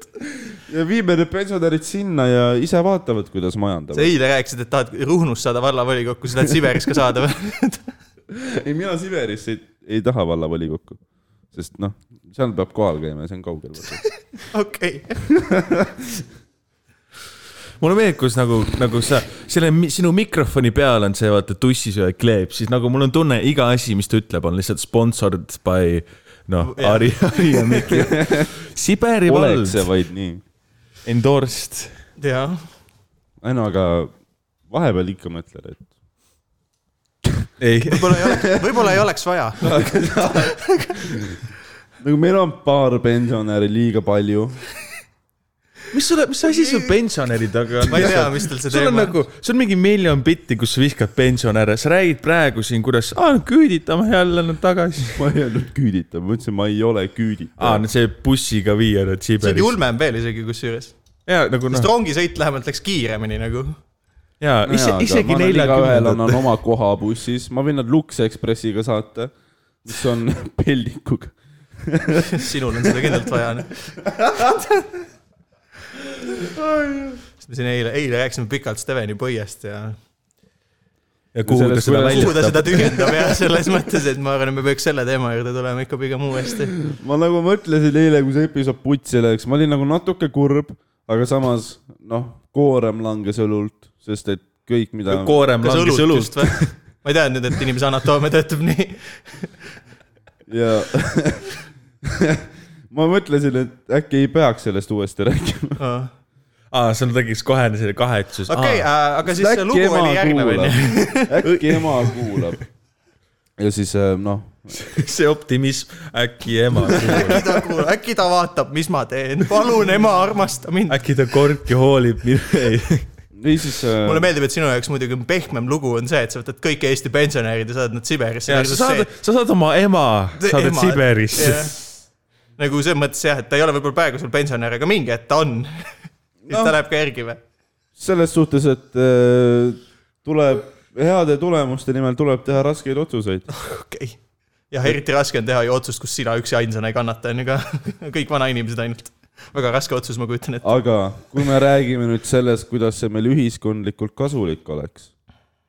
Speaker 3: ja viime need pensionärid sinna ja ise vaatavad , kuidas majandavad
Speaker 1: sa . eile rääkisid , et tahad Ruhnust saada vallavolikokku , sa tahad Siberis ka saada või ?
Speaker 3: ei , mina Siberisse ei, ei taha vallavolikokku , sest noh , seal peab kohal käima ja see on kaugel .
Speaker 1: okei .
Speaker 2: mulle meeldib , kus nagu , nagu sa , selle , sinu mikrofoni peal on see vaata tussisöö kleeps , siis nagu mul on tunne , iga asi , mis ta ütleb , on lihtsalt sponsored by noh ,
Speaker 1: Jah.
Speaker 2: Ari , Ari ja Miki . Siberi
Speaker 3: oleks
Speaker 2: vald
Speaker 3: see , vaid nii .
Speaker 2: endorsed .
Speaker 1: jah ,
Speaker 3: ei no aga vahepeal ikka mõtled , et
Speaker 2: ei ,
Speaker 1: võib-olla ei oleks , võib-olla ei oleks vaja .
Speaker 3: nagu meil on paar pensionäri liiga palju .
Speaker 2: mis sulle , mis asi sul pensionäridega on ?
Speaker 1: ma ei tea , mis tal see
Speaker 2: sul on
Speaker 1: teema on .
Speaker 2: nagu , sul on mingi miljon bitti , kus sa vihkad pensionäre , sa räägid praegu siin , kuidas "Aa, küüditame jälle nad tagasi .
Speaker 3: ma ei öelnud küüditav , ma ütlesin , ma ei ole
Speaker 2: aa ,
Speaker 3: küüditav .
Speaker 2: no see bussiga viia nad
Speaker 1: see on
Speaker 2: Siberisse .
Speaker 1: julmem veel isegi kusjuures ,
Speaker 2: ja nagu
Speaker 1: sest
Speaker 2: noh ,
Speaker 1: rongisõit lähemalt läks kiiremini nagu .
Speaker 2: ja ise , isegi
Speaker 3: ühel on
Speaker 2: neljakümnendatel .
Speaker 3: oma koha bussis , ma võin nad Lux Expressiga saata , mis on peldikuga .
Speaker 1: sinul on seda kindlalt vaja . me siin eile , eile rääkisime pikalt Steveni põiest ja
Speaker 2: ja kuhu ta
Speaker 3: Sellest
Speaker 2: seda
Speaker 3: kuidas-
Speaker 2: välja
Speaker 1: kuhu ta seda tühjendab ja selles mõttes , et ma arvan , et me peaks selle teema juurde tulema ikka pigem uuesti .
Speaker 3: ma nagu mõtlesin eile , kui see episood putsi läks , ma olin nagu natuke kurb , aga samas noh , koorem langes õlult , sest et kõik , mida
Speaker 2: koorem
Speaker 1: kas
Speaker 2: langes
Speaker 1: õlut just
Speaker 2: õlust .
Speaker 1: või ? ma ei teadnud , et inimese anatoomia töötab nii .
Speaker 3: ja ma mõtlesin , et äkki ei peaks sellest uuesti rääkima .
Speaker 1: okei ,
Speaker 2: aa , sul tekkis kohe selle kahetsus .
Speaker 1: äh, aga siis see lugu oli järgnev onju .
Speaker 3: äkki ema kuulab . ja siis äh, noh ,
Speaker 2: see optimism , äkki ema ,
Speaker 1: äkki ta kuulab , äkki ta vaatab , mis ma teen , palun ema , armasta mind .
Speaker 2: äkki ta kordki hoolib mind .
Speaker 3: ei siis äh,
Speaker 1: mulle meeldib , et sinu jaoks muidugi on pehmem lugu on see , et sa võtad kõik Eesti pensionärid ja saad nad Siberisse .
Speaker 2: sa saad , sa saad oma ema , saadad Siberisse .
Speaker 1: nagu selles mõttes jah , et ta ei ole võib-olla praegu sul pensionär , aga mingi hetk ta on . siis ta läheb ka järgi või ?
Speaker 3: selles suhtes , et äh, tuleb heade tulemuste nimel tuleb teha raskeid otsuseid .
Speaker 1: okei okay. . jah , eriti raske on teha ju otsust , kus sina üksi ainsana ei kannata , on ju ka . kõik vanainimesed ainult . väga raske otsus , ma kujutan ette .
Speaker 3: aga kui me räägime nüüd sellest , kuidas see meil ühiskondlikult kasulik oleks ,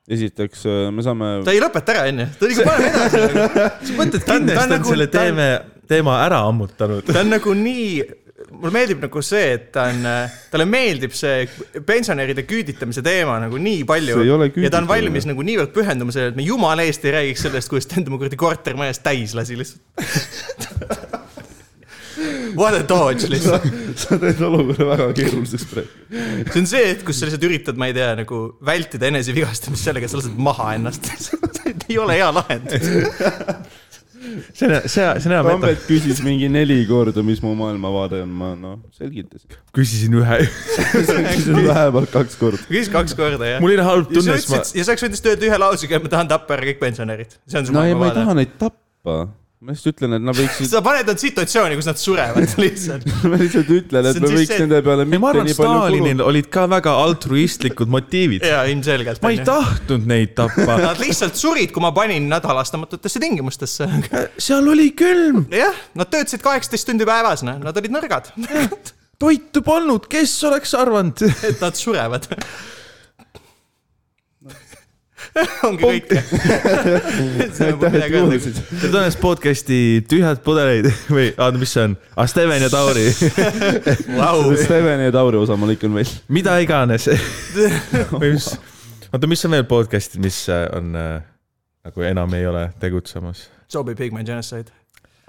Speaker 3: esiteks äh, me saame ,
Speaker 1: ta ei lõpeta ära , on ju . ta liigub parem edasi . sa mõtled ,
Speaker 2: kindlasti on selle teeme , teema ära ammutanud .
Speaker 1: ta on nagu nii , mulle meeldib nagu see , et ta on , talle meeldib see pensionäride küüditamise teema nagu nii palju
Speaker 3: See ei ole .
Speaker 1: ja ta on
Speaker 3: küüditamine.
Speaker 1: valmis nagu niivõrd pühenduma sellele , et me jumala eest ei räägiks sellest , kuidas ta enda kuradi kortermajas täis lasi lihtsalt . What a dodge lihtsalt .
Speaker 3: sa teed olukorra väga keeruliseks praegu .
Speaker 1: see on see hetk , kus sa lihtsalt üritad , ma ei tea , nagu vältida enesevigastamist sellega , et sa lased maha ennast . see ei ole hea lahendus .
Speaker 2: see on , see , see on hea metafoor .
Speaker 3: Tambet küsis mingi neli korda , mis mu maailmavaade on , ma noh , selgitasin .
Speaker 2: küsisin ühe ,
Speaker 3: vähemalt kaks korda .
Speaker 1: küsis kaks korda , jah .
Speaker 2: mul oli halb
Speaker 1: ja sa
Speaker 2: tunne , siis ma
Speaker 1: ütlesid , ja sa oleks võinud lihtsalt öelda ühe lausega , et ma tahan tappa ära kõik pensionärid . see on su
Speaker 3: no ei , ma ei
Speaker 1: maailmavaade .
Speaker 3: taha neid tappa . ma lihtsalt ütlen , et nad võiksid ,
Speaker 1: sa paned nad situatsiooni , kus nad surevad lihtsalt .
Speaker 3: ma lihtsalt ütlen ,
Speaker 1: See
Speaker 3: et
Speaker 1: on
Speaker 3: me
Speaker 1: siis
Speaker 3: võiks
Speaker 1: see-
Speaker 3: nende peale
Speaker 2: ei , ma
Speaker 3: mitte
Speaker 2: arvan ,
Speaker 3: nii palju
Speaker 2: Stalinil olid ka väga altruistlikud motiivid .
Speaker 1: jaa , ilmselgelt .
Speaker 2: ma ei . tahtnud neid tappa ,
Speaker 1: Nad lihtsalt surid , kui ma panin nad halastamatutesse tingimustesse .
Speaker 2: seal oli külm ,
Speaker 1: jah , nad töötasid kaheksateist tundi päevas , noh , nad olid nõrgad .
Speaker 2: toitu polnud , kes oleks arvanud ?
Speaker 1: et nad surevad . ongi kõik .
Speaker 3: aitäh , et kuulasid .
Speaker 2: Need on siis podcast'i tühjad pudeleid või , oota , mis see on ? ah , Steven ja Tauri ,
Speaker 1: Vau ,
Speaker 3: Steveni ja Tauri osa ma lõikan välja .
Speaker 2: mida iganes . või mis , oota , mis on veel podcast'id , mis äh, on äh, nagu enam ei ole tegutsemas ?
Speaker 1: Zombie Pigman Genocide .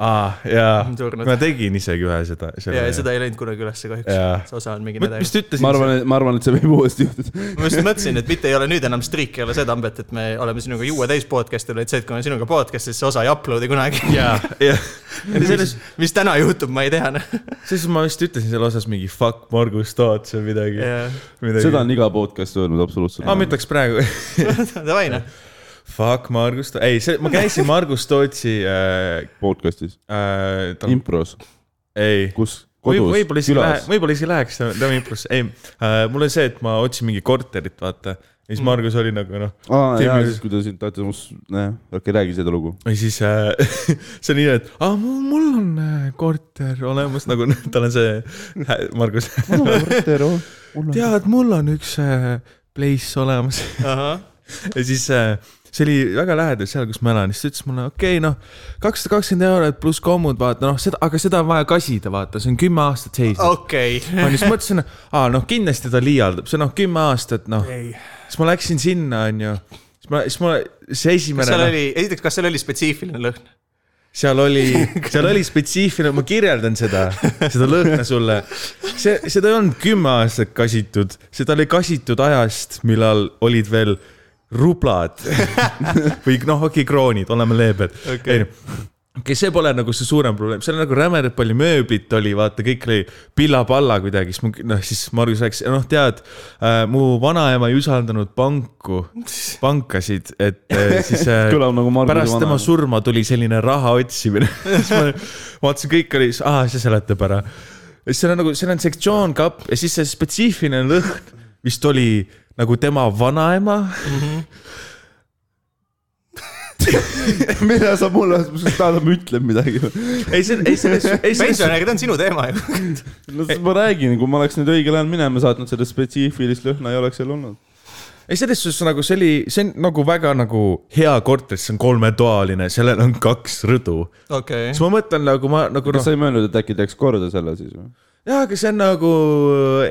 Speaker 2: aa , jaa ,
Speaker 1: On surnud.
Speaker 2: ma tegin isegi ühe seda .
Speaker 1: ja , ja seda ei läinud kunagi ülesse kahjuks .
Speaker 2: jaa .
Speaker 1: see osa on mingi nädal .
Speaker 2: mis ta ütles ?
Speaker 3: ma arvan , ma arvan , et see võib uuesti juhtuda .
Speaker 1: ma just mõtlesin , et mitte ei ole nüüd enam striik , ei ole see tambet , et me oleme sinuga juue täis podcast'il , vaid see , et kui me sinuga podcast'is , see osa ei upload'i kunagi .
Speaker 2: jaa , jah . selles ,
Speaker 1: mis täna juhtub , ma ei tea . noh.
Speaker 2: selles ma vist ütlesin selle osas mingi fuck Margus Toots või midagi .
Speaker 3: seda on iga podcast öelnud absoluutselt .
Speaker 2: aa , ma ütleks praegu
Speaker 1: Davai noh ,
Speaker 2: fuck Margus , ei , see , ma käisin Margus Tootsi äh, ,
Speaker 3: podcast'is ,
Speaker 2: äh, tal-
Speaker 3: impros ,
Speaker 2: ei .
Speaker 3: kus
Speaker 2: võib ,
Speaker 3: kodus ,
Speaker 2: võib-olla isegi lähe- ,
Speaker 3: külas .
Speaker 2: võib-olla isegi läheks tema- tema improsse , ei äh, , mul oli see , et ma otsin mingi korterit , vaata . ja
Speaker 3: Mm.
Speaker 2: siis Margus oli nagu noh ,
Speaker 3: aa ,
Speaker 2: Teeme
Speaker 3: jaa ,
Speaker 2: ühes-
Speaker 3: siis kui ta sind tahtis , ma ütlesin , nojah , okei , räägi seda lugu .
Speaker 2: või siis äh, see on nii , et aa , mul on äh, korter olemas , nagu tal on see hä, Margus , tead , mul on üks äh, place olemas
Speaker 1: ahah ,
Speaker 2: ja siis äh, see oli väga lähedal seal , kus ma elan , siis ta ütles mulle , okei okay, , noh , kakssada kakskümmend eurot pluss kommud , vaata noh , seda , aga seda on vaja kasida , vaata , see on kümme aastat seisnud oh. .
Speaker 1: okei .
Speaker 2: ma siis mõtlesin , aa noh , kindlasti ta liialdab , see noh , kümme aastat noh , siis ma läksin sinna , onju , siis ma , siis ma , see esimene ,
Speaker 1: seal
Speaker 2: noh ,
Speaker 1: oli , esiteks , kas seal oli spetsiifiline lõhn ?
Speaker 2: seal oli , seal oli spetsiifiline , ma kirjeldan seda , seda lõhna sulle . see , seda ei olnud kümme aastat kasitud , seda oli kasitud ajast , millal olid veel rublad või noh , okei , kroonid , oleme leebed
Speaker 1: Okei.
Speaker 2: okay. . okei , see pole nagu see suurem probleem , seal on nagu rämedalt palju mööblit oli , vaata , kõik oli pilla-palla kuidagi , siis ma , noh , siis Margus rääkis , noh , tead äh, , mu vanaema ei usaldanud panku , pankasid , et äh, siis äh,
Speaker 3: kõlab nagu Margus
Speaker 2: pärast tema surma tuli selline raha otsimine . siis ma vaatasin , kõik oli , aa , see seletab ära . seal on nagu , seal on sektsioon kapp ja siis see spetsiifiline lõhn vist oli nagu tema vanaema .
Speaker 3: mida sa mulle , tahad , et ma ütlen midagi või ?
Speaker 2: ei , see , ei , see , ei , see ,
Speaker 1: pensionärid on sinu teema ju .
Speaker 3: no siis ma räägin , kui ma oleks nüüd õigel ajal minema saatnud , seda spetsiifilist lõhna ei oleks seal olnud .
Speaker 2: ei selles suhtes nagu see oli , see on nagu väga nagu hea korter , see on kolmetoaline , sellel on kaks rõdu .
Speaker 1: okei
Speaker 2: siis ma mõtlen nagu ma nagu
Speaker 3: kas
Speaker 2: noh ,
Speaker 3: sa ei mõelnud , et äkki teeks korda selle siis või ?
Speaker 2: jaa , aga see on nagu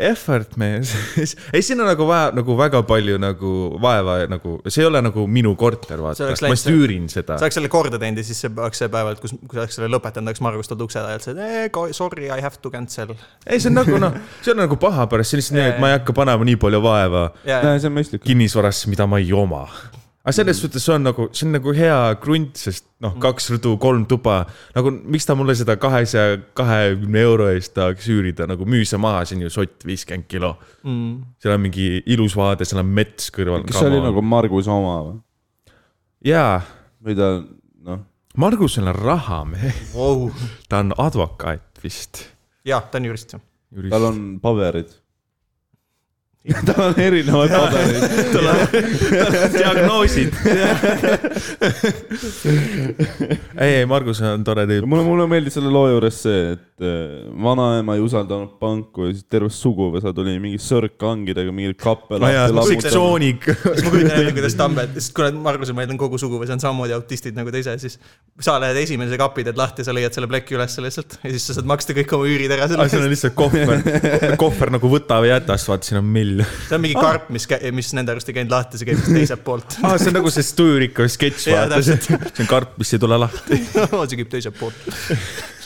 Speaker 2: effort mees . ei , siin on nagu vaja nagu väga palju nagu vaeva ja nagu , see ei ole nagu minu korter ,
Speaker 1: See
Speaker 2: vaata
Speaker 1: oleks ,
Speaker 2: ma
Speaker 1: läinud
Speaker 2: just üürin seda
Speaker 1: sa . oleks selle korda teinud ja siis see oleks see päev , et kus , kui sa oleks selle lõpetanud , oleks Margus tulnud ukse taha ja ütles , et eh, ko- sorry , I have to cancel .
Speaker 2: ei , see on nagu noh , see on nagu paha pärast , see on lihtsalt nii , et ma ei hakka panema nii palju vaeva
Speaker 1: ja ,
Speaker 3: see on mõistlik .
Speaker 2: kinnisvarasse , mida ma ei oma . aga
Speaker 3: Mm.
Speaker 2: selles suhtes see on nagu , see on nagu hea krunt , sest noh , kaks rõdu , kolm tuba , nagu miks ta mulle seda kahesaja kahekümne euro eest tahaks üürida , nagu müü see maha , see on ju sott viiskümmend kilo mm. . seal on mingi ilus vaade , seal on mets kõrval .
Speaker 3: kas see oli nagu Margus oma või ?
Speaker 2: jaa ,
Speaker 3: või ta , noh ,
Speaker 2: Margusel on raha , mees .
Speaker 1: vau ,
Speaker 2: ta on advokaat vist .
Speaker 1: ja ta on jurist ju .
Speaker 3: tal on paberid . tal on erinevad paberid .
Speaker 2: diagnoosid . ei , ei , Margus on tore tüüp .
Speaker 3: mulle , mulle meeldis selle loo juures see , et äh, vanaema ei usaldanud panku ja siis terve suguvõsa tuli mingi sõrkkangidega mingil kappe lahti .
Speaker 2: sektsiooniga .
Speaker 1: siis ma kujutan ette , kuidas Tambet , sest kuna Margusel , ma eeldan , kogu suguvõsa on samamoodi autistid nagu ta ise , siis sa lähed esimese kapi teed lahti , sa leiad selle pleki ülesse lihtsalt ja siis sa saad maksta kõik oma üürid ära selle
Speaker 2: aga seal on
Speaker 1: eest .
Speaker 2: lihtsalt kohver , kohver nagu võta või jäta , siis vaata , siin on mill .
Speaker 1: see on mingi karp , mis , mis nende arust ei käinud lahti , see käib vist teiselt poolt .
Speaker 2: aa , see on nagu see Sturika sketš ,
Speaker 1: Jaa,
Speaker 2: vaata , see on karp , mis ei tule lahti .
Speaker 1: see käib teiselt poolt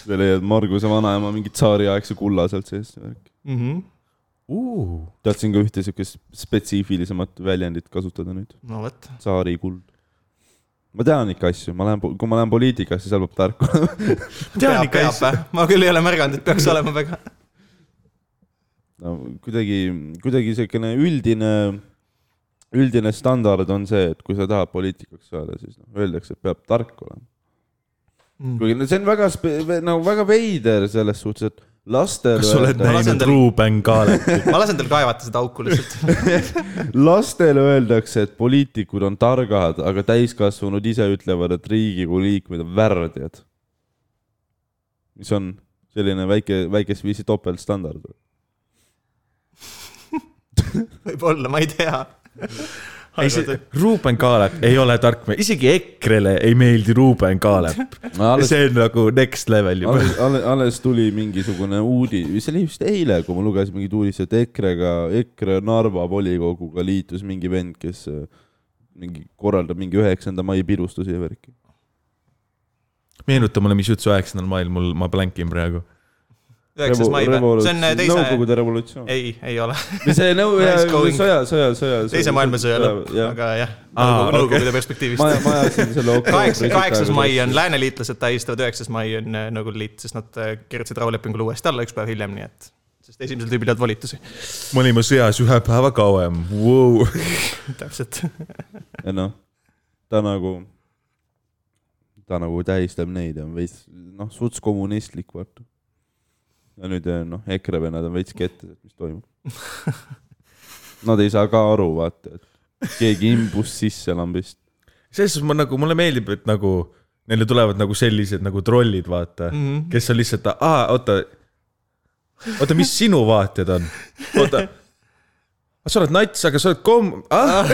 Speaker 3: sa leiad Marguse vanaema mingi tsaariaegse kulla sealt seest .
Speaker 1: mm . -hmm.
Speaker 3: tahtsin ka ühte siukest spetsiifilisemat väljendit kasutada nüüd .
Speaker 1: no vot ,
Speaker 3: tsaari kuld . ma tean ikka asju , ma lähen , kui ma lähen poliitikasse , seal peab tark olema .
Speaker 1: peab ,
Speaker 2: tean ikka
Speaker 1: peab
Speaker 2: asju .
Speaker 1: vä ? ma küll ei ole märganud , et peaks olema väga .
Speaker 3: no kuidagi , kuidagi siukene üldine , üldine standard on see , et kui sa tahad poliitikaks saada , siis noh , öeldakse , et peab tark olema .
Speaker 2: Mm.
Speaker 3: kuigi no see on väga , nagu väga veider selles suhtes , et lastel
Speaker 2: kas sa oled
Speaker 1: Ma lasen
Speaker 2: näinud
Speaker 1: teile-
Speaker 2: Ruuben Kaalet ?
Speaker 1: ma lasen teil kaevata seda auku lihtsalt .
Speaker 3: lastele öeldakse , et poliitikud on targad , aga täiskasvanud ise ütlevad , et Riigikogu liikmed on värdjad . mis on selline väike , väikest viisi topeltstandard .
Speaker 1: võib-olla , ma ei tea .
Speaker 2: ei , see Ruuben Kaalep ei ole tark mees , isegi E- EKRE-le ei meeldi Ruuben Kaalep .
Speaker 3: alles ,
Speaker 2: see on nagu next level juba .
Speaker 3: alles, alles , alles tuli mingisugune uudis , see oli vist eile , kui ma lugesin mingit uudist , et EKRE-ga , EKRE Narva volikoguga liitus mingi vend , kes äh, mingi korraldab mingi üheksanda mai pidustusi ja värki .
Speaker 2: meenuta mulle , mis jutt su üheksandal mail mul , ma blankin praegu .
Speaker 1: üheksas mai või ? see on eh, äh, teise ,
Speaker 3: Nõukogude revolutsioon .
Speaker 1: ei , ei ole ,
Speaker 3: või see nõu- ,
Speaker 1: Nice going.
Speaker 3: sõja , sõja , sõja .
Speaker 1: teise maailmasõja lõpp , aga jah , Nõukogude
Speaker 3: ma
Speaker 1: perspektiivist .
Speaker 3: ma ajasin selle
Speaker 1: kaheksa , kaheksas mai on , lääneliitlased tähistavad üheksas mai on äh, Nõukogude Liit , sest nad äh, kirjutasid rahulepingule uuesti alla üks päev hiljem , nii et sest esimesel tüübil ei olnud volitusi ,
Speaker 2: me olime sõjas ühe päeva kauem wow. .
Speaker 1: täpselt .
Speaker 3: noh , ta nagu , ta nagu tähistab neid ja on veits , noh , suts kommunistlik , vaata . ja nüüd eh, noh , EKRE vennad on veits kettas , et mis toimub . Nad ei saa ka aru , vaata , et keegi imbus sisse lambist .
Speaker 2: selles suhtes ma nagu , mulle meeldib , et nagu neile tulevad nagu sellised nagu trollid , vaata mm , -hmm. kes on lihtsalt , aa , oota . oota , mis sinu vaated on ? oota , sa oled nats , aga sa oled kom- , ah .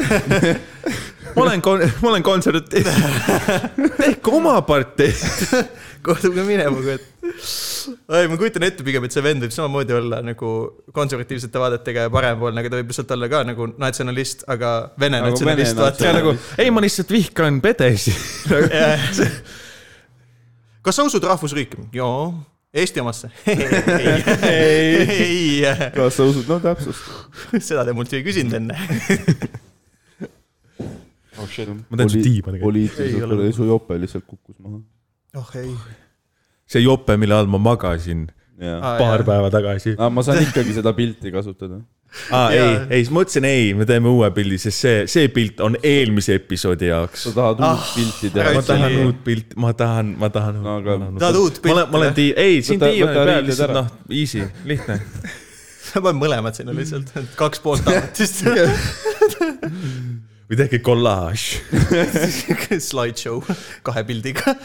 Speaker 2: ma olen kon- , ma olen konservatiiv . tehke oma partei .
Speaker 1: kohtume minema , kui et . ei , ma kujutan ette pigem , et see vend võib samamoodi olla nagu konservatiivsete vaadetega ja parempoolne , aga ta võib lihtsalt olla ka nagu natsionalist , aga vene
Speaker 3: Nagu
Speaker 1: natsionalist ,
Speaker 3: vene
Speaker 1: vaata
Speaker 2: ja . nagu , ei , ma lihtsalt vihkan pedesi .
Speaker 1: kas sa usud rahvusriiki ? joo . Eesti omasse ? ei ,
Speaker 3: kas sa usud , no täpsust .
Speaker 1: seda te mult ju ei küsinud enne .
Speaker 2: Ma teen su tiiba tegelikult.
Speaker 1: Ei ole
Speaker 3: poliitiliselt , su jope lihtsalt kukkus maha .
Speaker 1: oh ei .
Speaker 2: see jope , mille all ma magasin
Speaker 3: jaa ,
Speaker 1: Ah,
Speaker 2: paar päeva tagasi .
Speaker 3: aga ma saan ikkagi seda pilti kasutada .
Speaker 2: aa ,
Speaker 1: Jaa.
Speaker 2: Ah, ei , ei , siis ma mõtlesin , ei , me teeme uue pildi , sest see , see pilt on eelmise episoodi jaoks
Speaker 3: sa . tahad uut pilti
Speaker 1: ära
Speaker 2: Ah. ma
Speaker 3: teha
Speaker 1: ütle. ?
Speaker 2: tahan
Speaker 1: nii.
Speaker 2: uut pilti , ma tahan , ma tahan
Speaker 3: No aga- .
Speaker 1: tahad uut
Speaker 2: ma olen , ma olen
Speaker 1: pilti ?
Speaker 2: tii- , ei , siin
Speaker 3: Võta-
Speaker 2: diivani
Speaker 3: võta
Speaker 2: peal
Speaker 3: riided
Speaker 2: lihtsalt
Speaker 3: ära.
Speaker 2: noh , easy , lihtne .
Speaker 1: ma panen mõlemad sinna lihtsalt , kaks poolt arvutist .
Speaker 2: või tehke kollaaž .
Speaker 1: Slideshow kahe pildiga .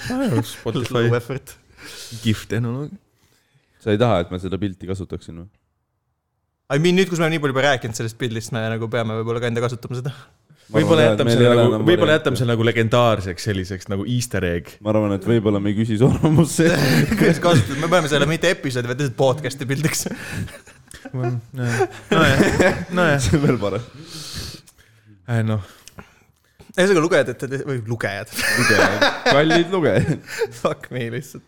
Speaker 2: Spotify
Speaker 1: Low effort .
Speaker 2: kihv tehnoloogia .
Speaker 3: sa ei taha , et ma seda pilti kasutaksin või ?
Speaker 1: I mean nüüd , kus me oleme nii palju juba rääkinud sellest pildist , me nagu peame võib-olla ka enda kasutama seda .
Speaker 2: võib-olla jätame selle nagu , võib-olla . jätame selle nagu legendaarseks selliseks nagu easter egg .
Speaker 3: ma arvan , et võib-olla me ei küsi su arvamust see .
Speaker 1: kuidas kasutada , me peame selle mitte episoodi , vaid lihtsalt podcast'i pildiks .
Speaker 2: nojah , nojah ,
Speaker 3: see on veel parem .
Speaker 2: noh ,
Speaker 1: ühesõnaga lugejad , et te , või lugejad ,
Speaker 3: kallid lugejad .
Speaker 1: fuck me lihtsalt .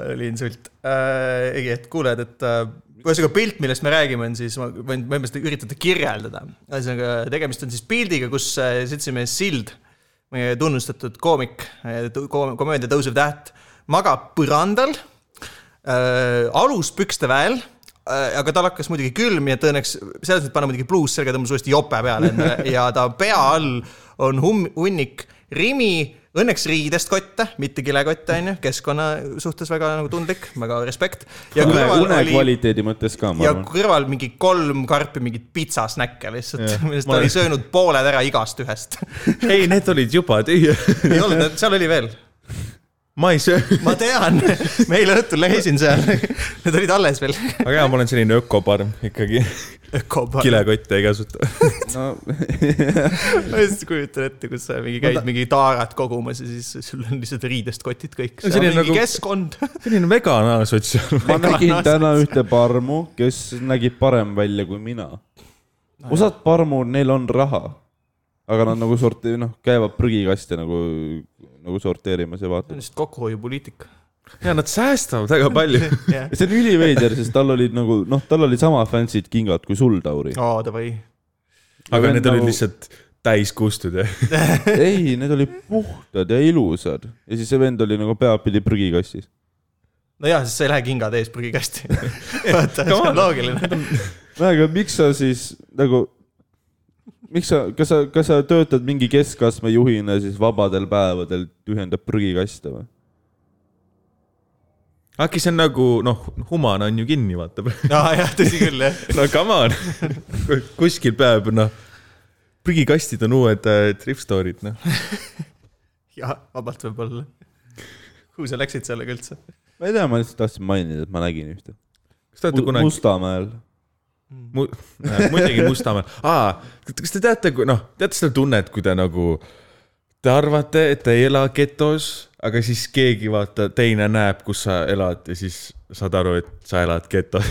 Speaker 1: oli insult äh, . ei , et kuulajad , et äh, ühesõnaga pilt , millest me räägime , on siis , ma võin põhimõtteliselt üritada kirjeldada . ühesõnaga tegemist on siis pildiga , kus äh, seltsimees Sild , meie tunnustatud koomik , komöödia Tõusev täht , magab põrandal äh, aluspükste väel äh, , aga tal hakkas muidugi külm ja tõenäoliselt selles mõttes paneb muidugi pluus selga , tõmbas uuesti jope peale endale ja ta pea all on hum- , hunnik Rimi , õnneks riidest kotte , mitte kilekotte onju , keskkonna suhtes väga nagu tundlik , väga respekt . ja
Speaker 3: une ,
Speaker 1: kõrval
Speaker 3: une
Speaker 1: oli ,
Speaker 3: kvaliteedi mõttes ka , ma
Speaker 1: ja
Speaker 3: arvan .
Speaker 1: kõrval mingi kolm karpi mingit pitsasnäkke lihtsalt
Speaker 2: Jah, ,
Speaker 1: millest
Speaker 2: ma
Speaker 1: ta oli
Speaker 2: olen-
Speaker 1: söönud pooled ära igast ühest .
Speaker 2: ei , need olid juba tühjad .
Speaker 1: ei olnud , seal oli veel
Speaker 2: ma ei söö ,
Speaker 1: ma tean , ma eile õhtul lehisin seal , need olid alles veel .
Speaker 2: aga jaa , ma olen selline ökoparm ikkagi . kilekotte ei kasuta .
Speaker 3: no
Speaker 1: ma just kujutan ette , kus sa mingi käid mingi taarat kogumas ja siis sul on lihtsalt riidest kotid kõik .
Speaker 2: No selline
Speaker 1: mingi nagu...
Speaker 2: nagu-
Speaker 1: keskkond .
Speaker 2: selline veganaalsotsiaalne .
Speaker 3: ma nägin täna ühte parmu , kes nägi parem välja kui mina . osad parmud , neil on raha , aga nad nagu sorti- , noh , käivad prügikaste nagu , nagu sorteerimas ja vaatamas .
Speaker 1: lihtsalt kokkuhoiupoliitika .
Speaker 2: ja nad säästavad väga palju .
Speaker 1: jah ,
Speaker 3: see on üliveider , sest tal olid nagu noh , tal olid sama fancy'd kingad kui sul , Tauri .
Speaker 1: aa davai .
Speaker 2: aga need olid
Speaker 3: Nagu-
Speaker 2: lihtsalt täis kustud ja
Speaker 3: ei , need olid puhtad ja ilusad ja siis see vend oli nagu peapidi prügikastis .
Speaker 1: nojah , sest sa ei lähe kingad ees prügikasti . vaata , see on loogiline .
Speaker 3: no aga miks sa siis nagu , miks sa , kas sa , kas sa töötad mingi keskastme juhina ja siis vabadel päevadel tühjendad prügikaste või ?
Speaker 2: äkki see on nagu noh , human on ju kinni , vaata .
Speaker 1: aa jah , tõsi küll jah .
Speaker 2: no come on , kuskil peab noh , prügikastid on uued äh, thrift store'id noh .
Speaker 1: jah , vabalt võib-olla . kuhu sa läksid sellega üldse ?
Speaker 3: ma ei tea , ma lihtsalt tahtsin mainida , et ma nägin ühte .
Speaker 2: kas te olete kunagi ,
Speaker 3: Mustamäel .
Speaker 2: mu- , muidugi Mustamäel , aa , kas te teate , kui noh , teate seda tunnet , kui te nagu , te arvate , et te ei ela getos , aga siis keegi vaata , teine näeb , kus sa elad ja siis saad aru , et sa elad getos .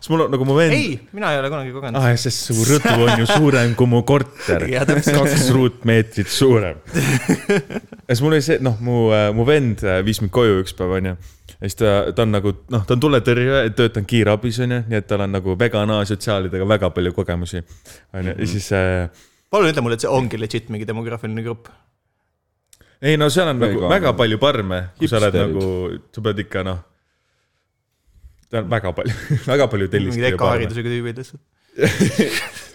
Speaker 2: siis mul on nagu mu vend .
Speaker 1: ei , mina ei ole kunagi kogenud .
Speaker 2: aa , Ah, ja sest su rõdu on ju suurem kui mu korter .
Speaker 1: Jaa, täpselt.
Speaker 2: kaks ruutmeetrit suurem . ja siis mul oli see , noh , mu , mu vend äh, viis mind koju üks päev , onju . ja siis ta , ta on nagu , noh , ta on tuletõrjuja , töötanud kiirabis , onju , nii et tal on nagu väga naasotsiaalidega väga palju kogemusi . onju ,
Speaker 1: Mhm.
Speaker 2: ja siis äh,
Speaker 1: palun ütle mulle , et see ongi legit mingi demograafiline grupp .
Speaker 2: ei no seal on nagu
Speaker 3: Vegan.
Speaker 2: väga palju parme , kui sa oled
Speaker 3: Hipsterid.
Speaker 2: nagu , sa pead ikka noh , seal on väga palju , väga palju
Speaker 1: mingid EK
Speaker 2: telliskivi .
Speaker 1: haridusega tüübid lihtsalt .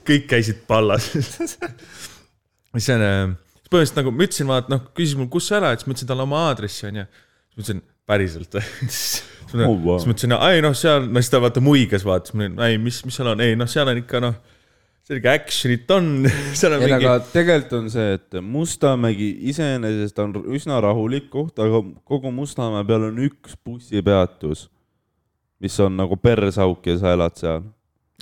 Speaker 2: kõik käisid pallas . see on , siis põhimõtteliselt nagu ma ütlesin , vaata noh , küsis mul , kus sa elad , siis ma ütlesin talle oma aadressi onju . siis ma ütlesin , päriselt või ? siis ma
Speaker 3: Oh, wow.
Speaker 2: siis ma ütlesin , ei noh , seal , no siis ta vaata muigas vaatas , ma olin , ei mis , mis seal on , ei noh , seal on ikka noh , selge action'it on , seal on
Speaker 3: ei , nagu-
Speaker 2: mingi
Speaker 3: aga tegelikult on see , et Mustamägi iseenesest on üsna rahulik koht , aga kogu Mustamäe peal on üks bussipeatus , mis on nagu persauk ja sa elad seal .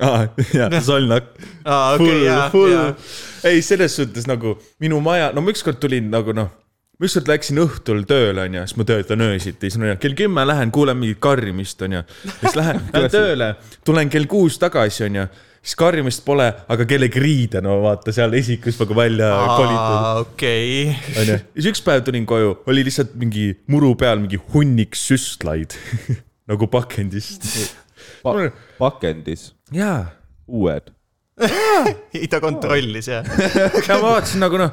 Speaker 2: ah, , jaa , solnak .
Speaker 1: aa ,
Speaker 2: full
Speaker 1: okei ,, jaa , jaa
Speaker 2: full ., ei , selles suhtes nagu minu maja , no ma ükskord tulin nagu noh , ma ükskord läksin õhtul tööle , onju , siis ma töötan öösiti , siis ma olin, kell kümme lähen , kuulen mingit karjumist , onju . siis lähen , lähen tööle , tulen kell kuus tagasi , onju , siis karjumist pole , aga kellegi riided , no vaata seal esikus nagu välja kolitud .
Speaker 1: aa , okei .
Speaker 2: onju , siis üks päev tulin koju , oli lihtsalt mingi muru peal mingi hunnik süstlaid nagu pakendist .
Speaker 3: pakendis ,
Speaker 2: jaa
Speaker 3: uued .
Speaker 1: ei , ta kontrollis jah .
Speaker 2: ja ma vaatasin nagu noh ,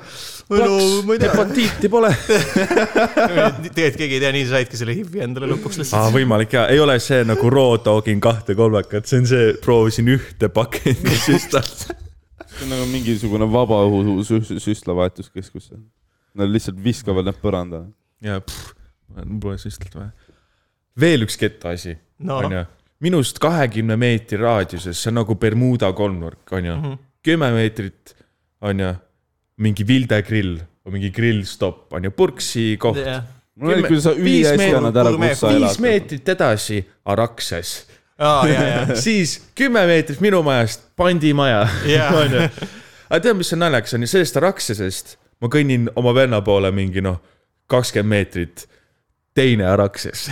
Speaker 1: no ma ei tea ,
Speaker 2: hepatiiti pole .
Speaker 1: tegelikult keegi ei tea , nii sa saidki selle HIV-i endale lõpuks
Speaker 2: ah, .
Speaker 1: lihtsalt .
Speaker 2: võimalik ja ei ole see nagu raw dog'in kahte kolmekat , see on see , proovisin ühte pakendi süstalt .
Speaker 3: see on nagu mingisugune vabaõhu sü- sü- süstlavahetuskeskus . Nad lihtsalt viskavad need põranda .
Speaker 2: ja pff, mul pole süstalt vaja . veel üks kett asi ,
Speaker 1: no ,
Speaker 2: onju . minust kahekümne meetri raadiuses , see on nagu Bermuda kolmnurk , onju . kümme meetrit , onju , mingi vildegrill , mingi grillstopp , onju , purksi koht .
Speaker 1: jah .
Speaker 3: mul oli
Speaker 2: Kümme-
Speaker 3: küll , sa
Speaker 2: viis
Speaker 3: üli hästi
Speaker 2: meetrit-
Speaker 3: annad ära , kus sa
Speaker 2: viis
Speaker 3: elad .
Speaker 2: meetrit edasi , Araxes
Speaker 1: aa , jaa , jaa .
Speaker 2: siis kümme meetrit minu majast pandimaja
Speaker 1: Jaa.
Speaker 2: onju . aga tead , mis on naljakas , on ju sellest Araksesest ma kõnnin oma venna poole mingi noh , kakskümmend meetrit , teine Arakses .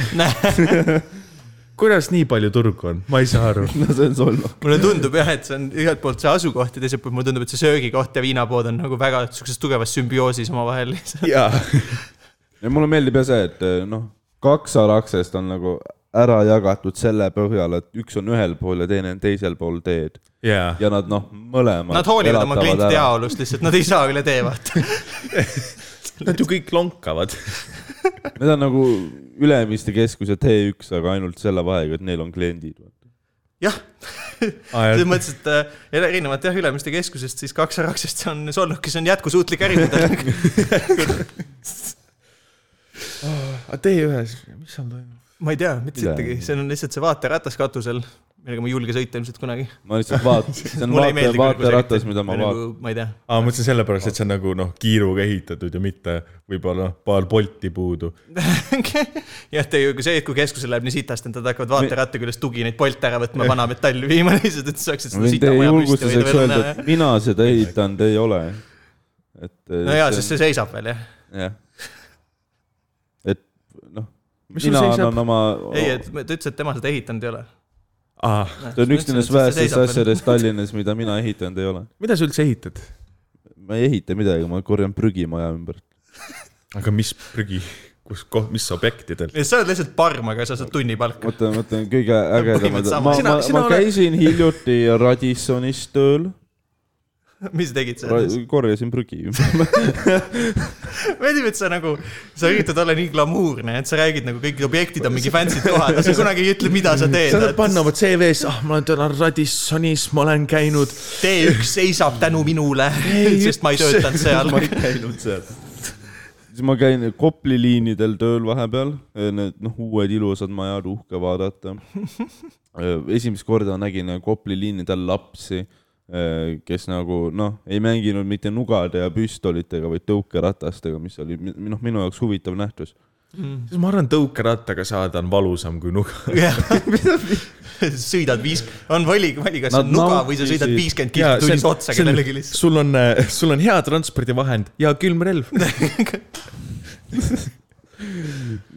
Speaker 2: kuidas nii palju turgu on , ma ei saa aru .
Speaker 3: no see on solvav .
Speaker 1: mulle tundub jah , et see on ühelt poolt see asukoht ja teiselt poolt mulle tundub , et see söögikoht ja viinapood on nagu väga siukses tugevas sümbioosis omavahel lihtsalt .
Speaker 2: jaa ,
Speaker 3: ja mulle meeldib jah see , et noh , kaks araksest on nagu ära jagatud selle põhjal , et üks on ühel pool ja teine on teisel pool teed
Speaker 2: jaa .
Speaker 3: ja nad noh , mõlemad .
Speaker 1: Nad hoolivad oma klientide . heaolust lihtsalt , nad ei saa üle tee vaata .
Speaker 2: Nad ju kõik lonkavad .
Speaker 3: Need on nagu Ülemiste keskuse T1 , aga ainult selle vahega , et neil on kliendid .
Speaker 1: jah , selles mõttes , et äh, erinevalt jah , Ülemiste keskusest siis kaks äraksest on solnukis on jätkusuutlik ärimudel .
Speaker 2: aga teie ühes , mis seal toimub ?
Speaker 1: ma ei tea mitte sittagi , see on lihtsalt see vaateratas katusel , millega ma ei julge sõita ilmselt kunagi .
Speaker 3: ma lihtsalt vaatan , see on vaate , vaateratas , mida ma vaatan ..
Speaker 1: nagu, ma ei tea ,
Speaker 2: aa , ma mõtlesin sellepärast , et see on nagu noh , kiiruga ehitatud ja mitte võib-olla noh, paar polti puudu .
Speaker 1: jah , te ju , kui see , kui keskusel läheb nii sitast , et nad hakkavad vaateratta küljest tugi neid polte ära võtma , vana metalli viima lihtsalt , et saaksid seda
Speaker 3: ma võin
Speaker 1: sita
Speaker 3: teie
Speaker 1: maja püsti
Speaker 3: julgustuseks
Speaker 1: hoida
Speaker 3: öelda , et . mina seda ehitanud ei ole . et .
Speaker 1: no jaa , sest see seisab veel jah .
Speaker 3: jah . et noh ,
Speaker 2: Mis sul
Speaker 3: mina
Speaker 2: seisab?
Speaker 3: annan oma .
Speaker 1: ei , et ta ütles , et tema seda ehitanud ei ole . Noh,
Speaker 2: aa ,
Speaker 3: see on üks nendest vähestest . asjadest Tallinnas , mida mina ehitanud ei ole .
Speaker 2: mida sa üldse ehitad ?
Speaker 3: ma ei ehita midagi , ma korjan prügi maja ümbert .
Speaker 2: aga mis prügi , kus , mis objektidel ?
Speaker 1: sa oled lihtsalt parm , aga sa saad tunnipalka .
Speaker 3: mõtlen , mõtlen kõige ägedamad ,
Speaker 1: põhimõtteliselt sama.
Speaker 3: ma , ma
Speaker 2: Sina- , sina
Speaker 3: ma
Speaker 2: oled-
Speaker 3: käisin hiljuti Radissonis tööl ,
Speaker 1: mis sa tegid seal ?
Speaker 3: korjasin prügi ümber .
Speaker 1: meeldib , et sa nagu , sa üritad olla nii glamuurne , et sa räägid nagu kõik objektid on mingi fancy'd kohad , aga sa kunagi ei ütle , mida sa teed .
Speaker 2: sa saad panna oma CV-s , ah , ma olen tööl Radissonis , ma olen käinud .
Speaker 1: T1 seisab tänu minule , sest ma ei töötanud seal .
Speaker 3: ma ei käinud seal . siis ma käin Kopli liinidel tööl vahepeal , need noh , uued ilusad majad , uhke vaadata . esimest korda nägin eh, Kopli liinidel lapsi , kes nagu noh , ei mänginud mitte nugade ja püstolitega , vaid tõukeratastega , mis oli mi- noh , minu jaoks huvitav nähtus .
Speaker 2: siis ma arvan , tõukerattaga saada on valusam kui nuga .
Speaker 1: sõidad viis , on vali , vali , kas see on
Speaker 3: Nad
Speaker 1: nuga või sa sõidad
Speaker 3: nautisid-
Speaker 1: viiskümmend kilti tunnis otsa kellelegi lihtsalt .
Speaker 2: sul on , sul on hea transpordivahend ja külm relv .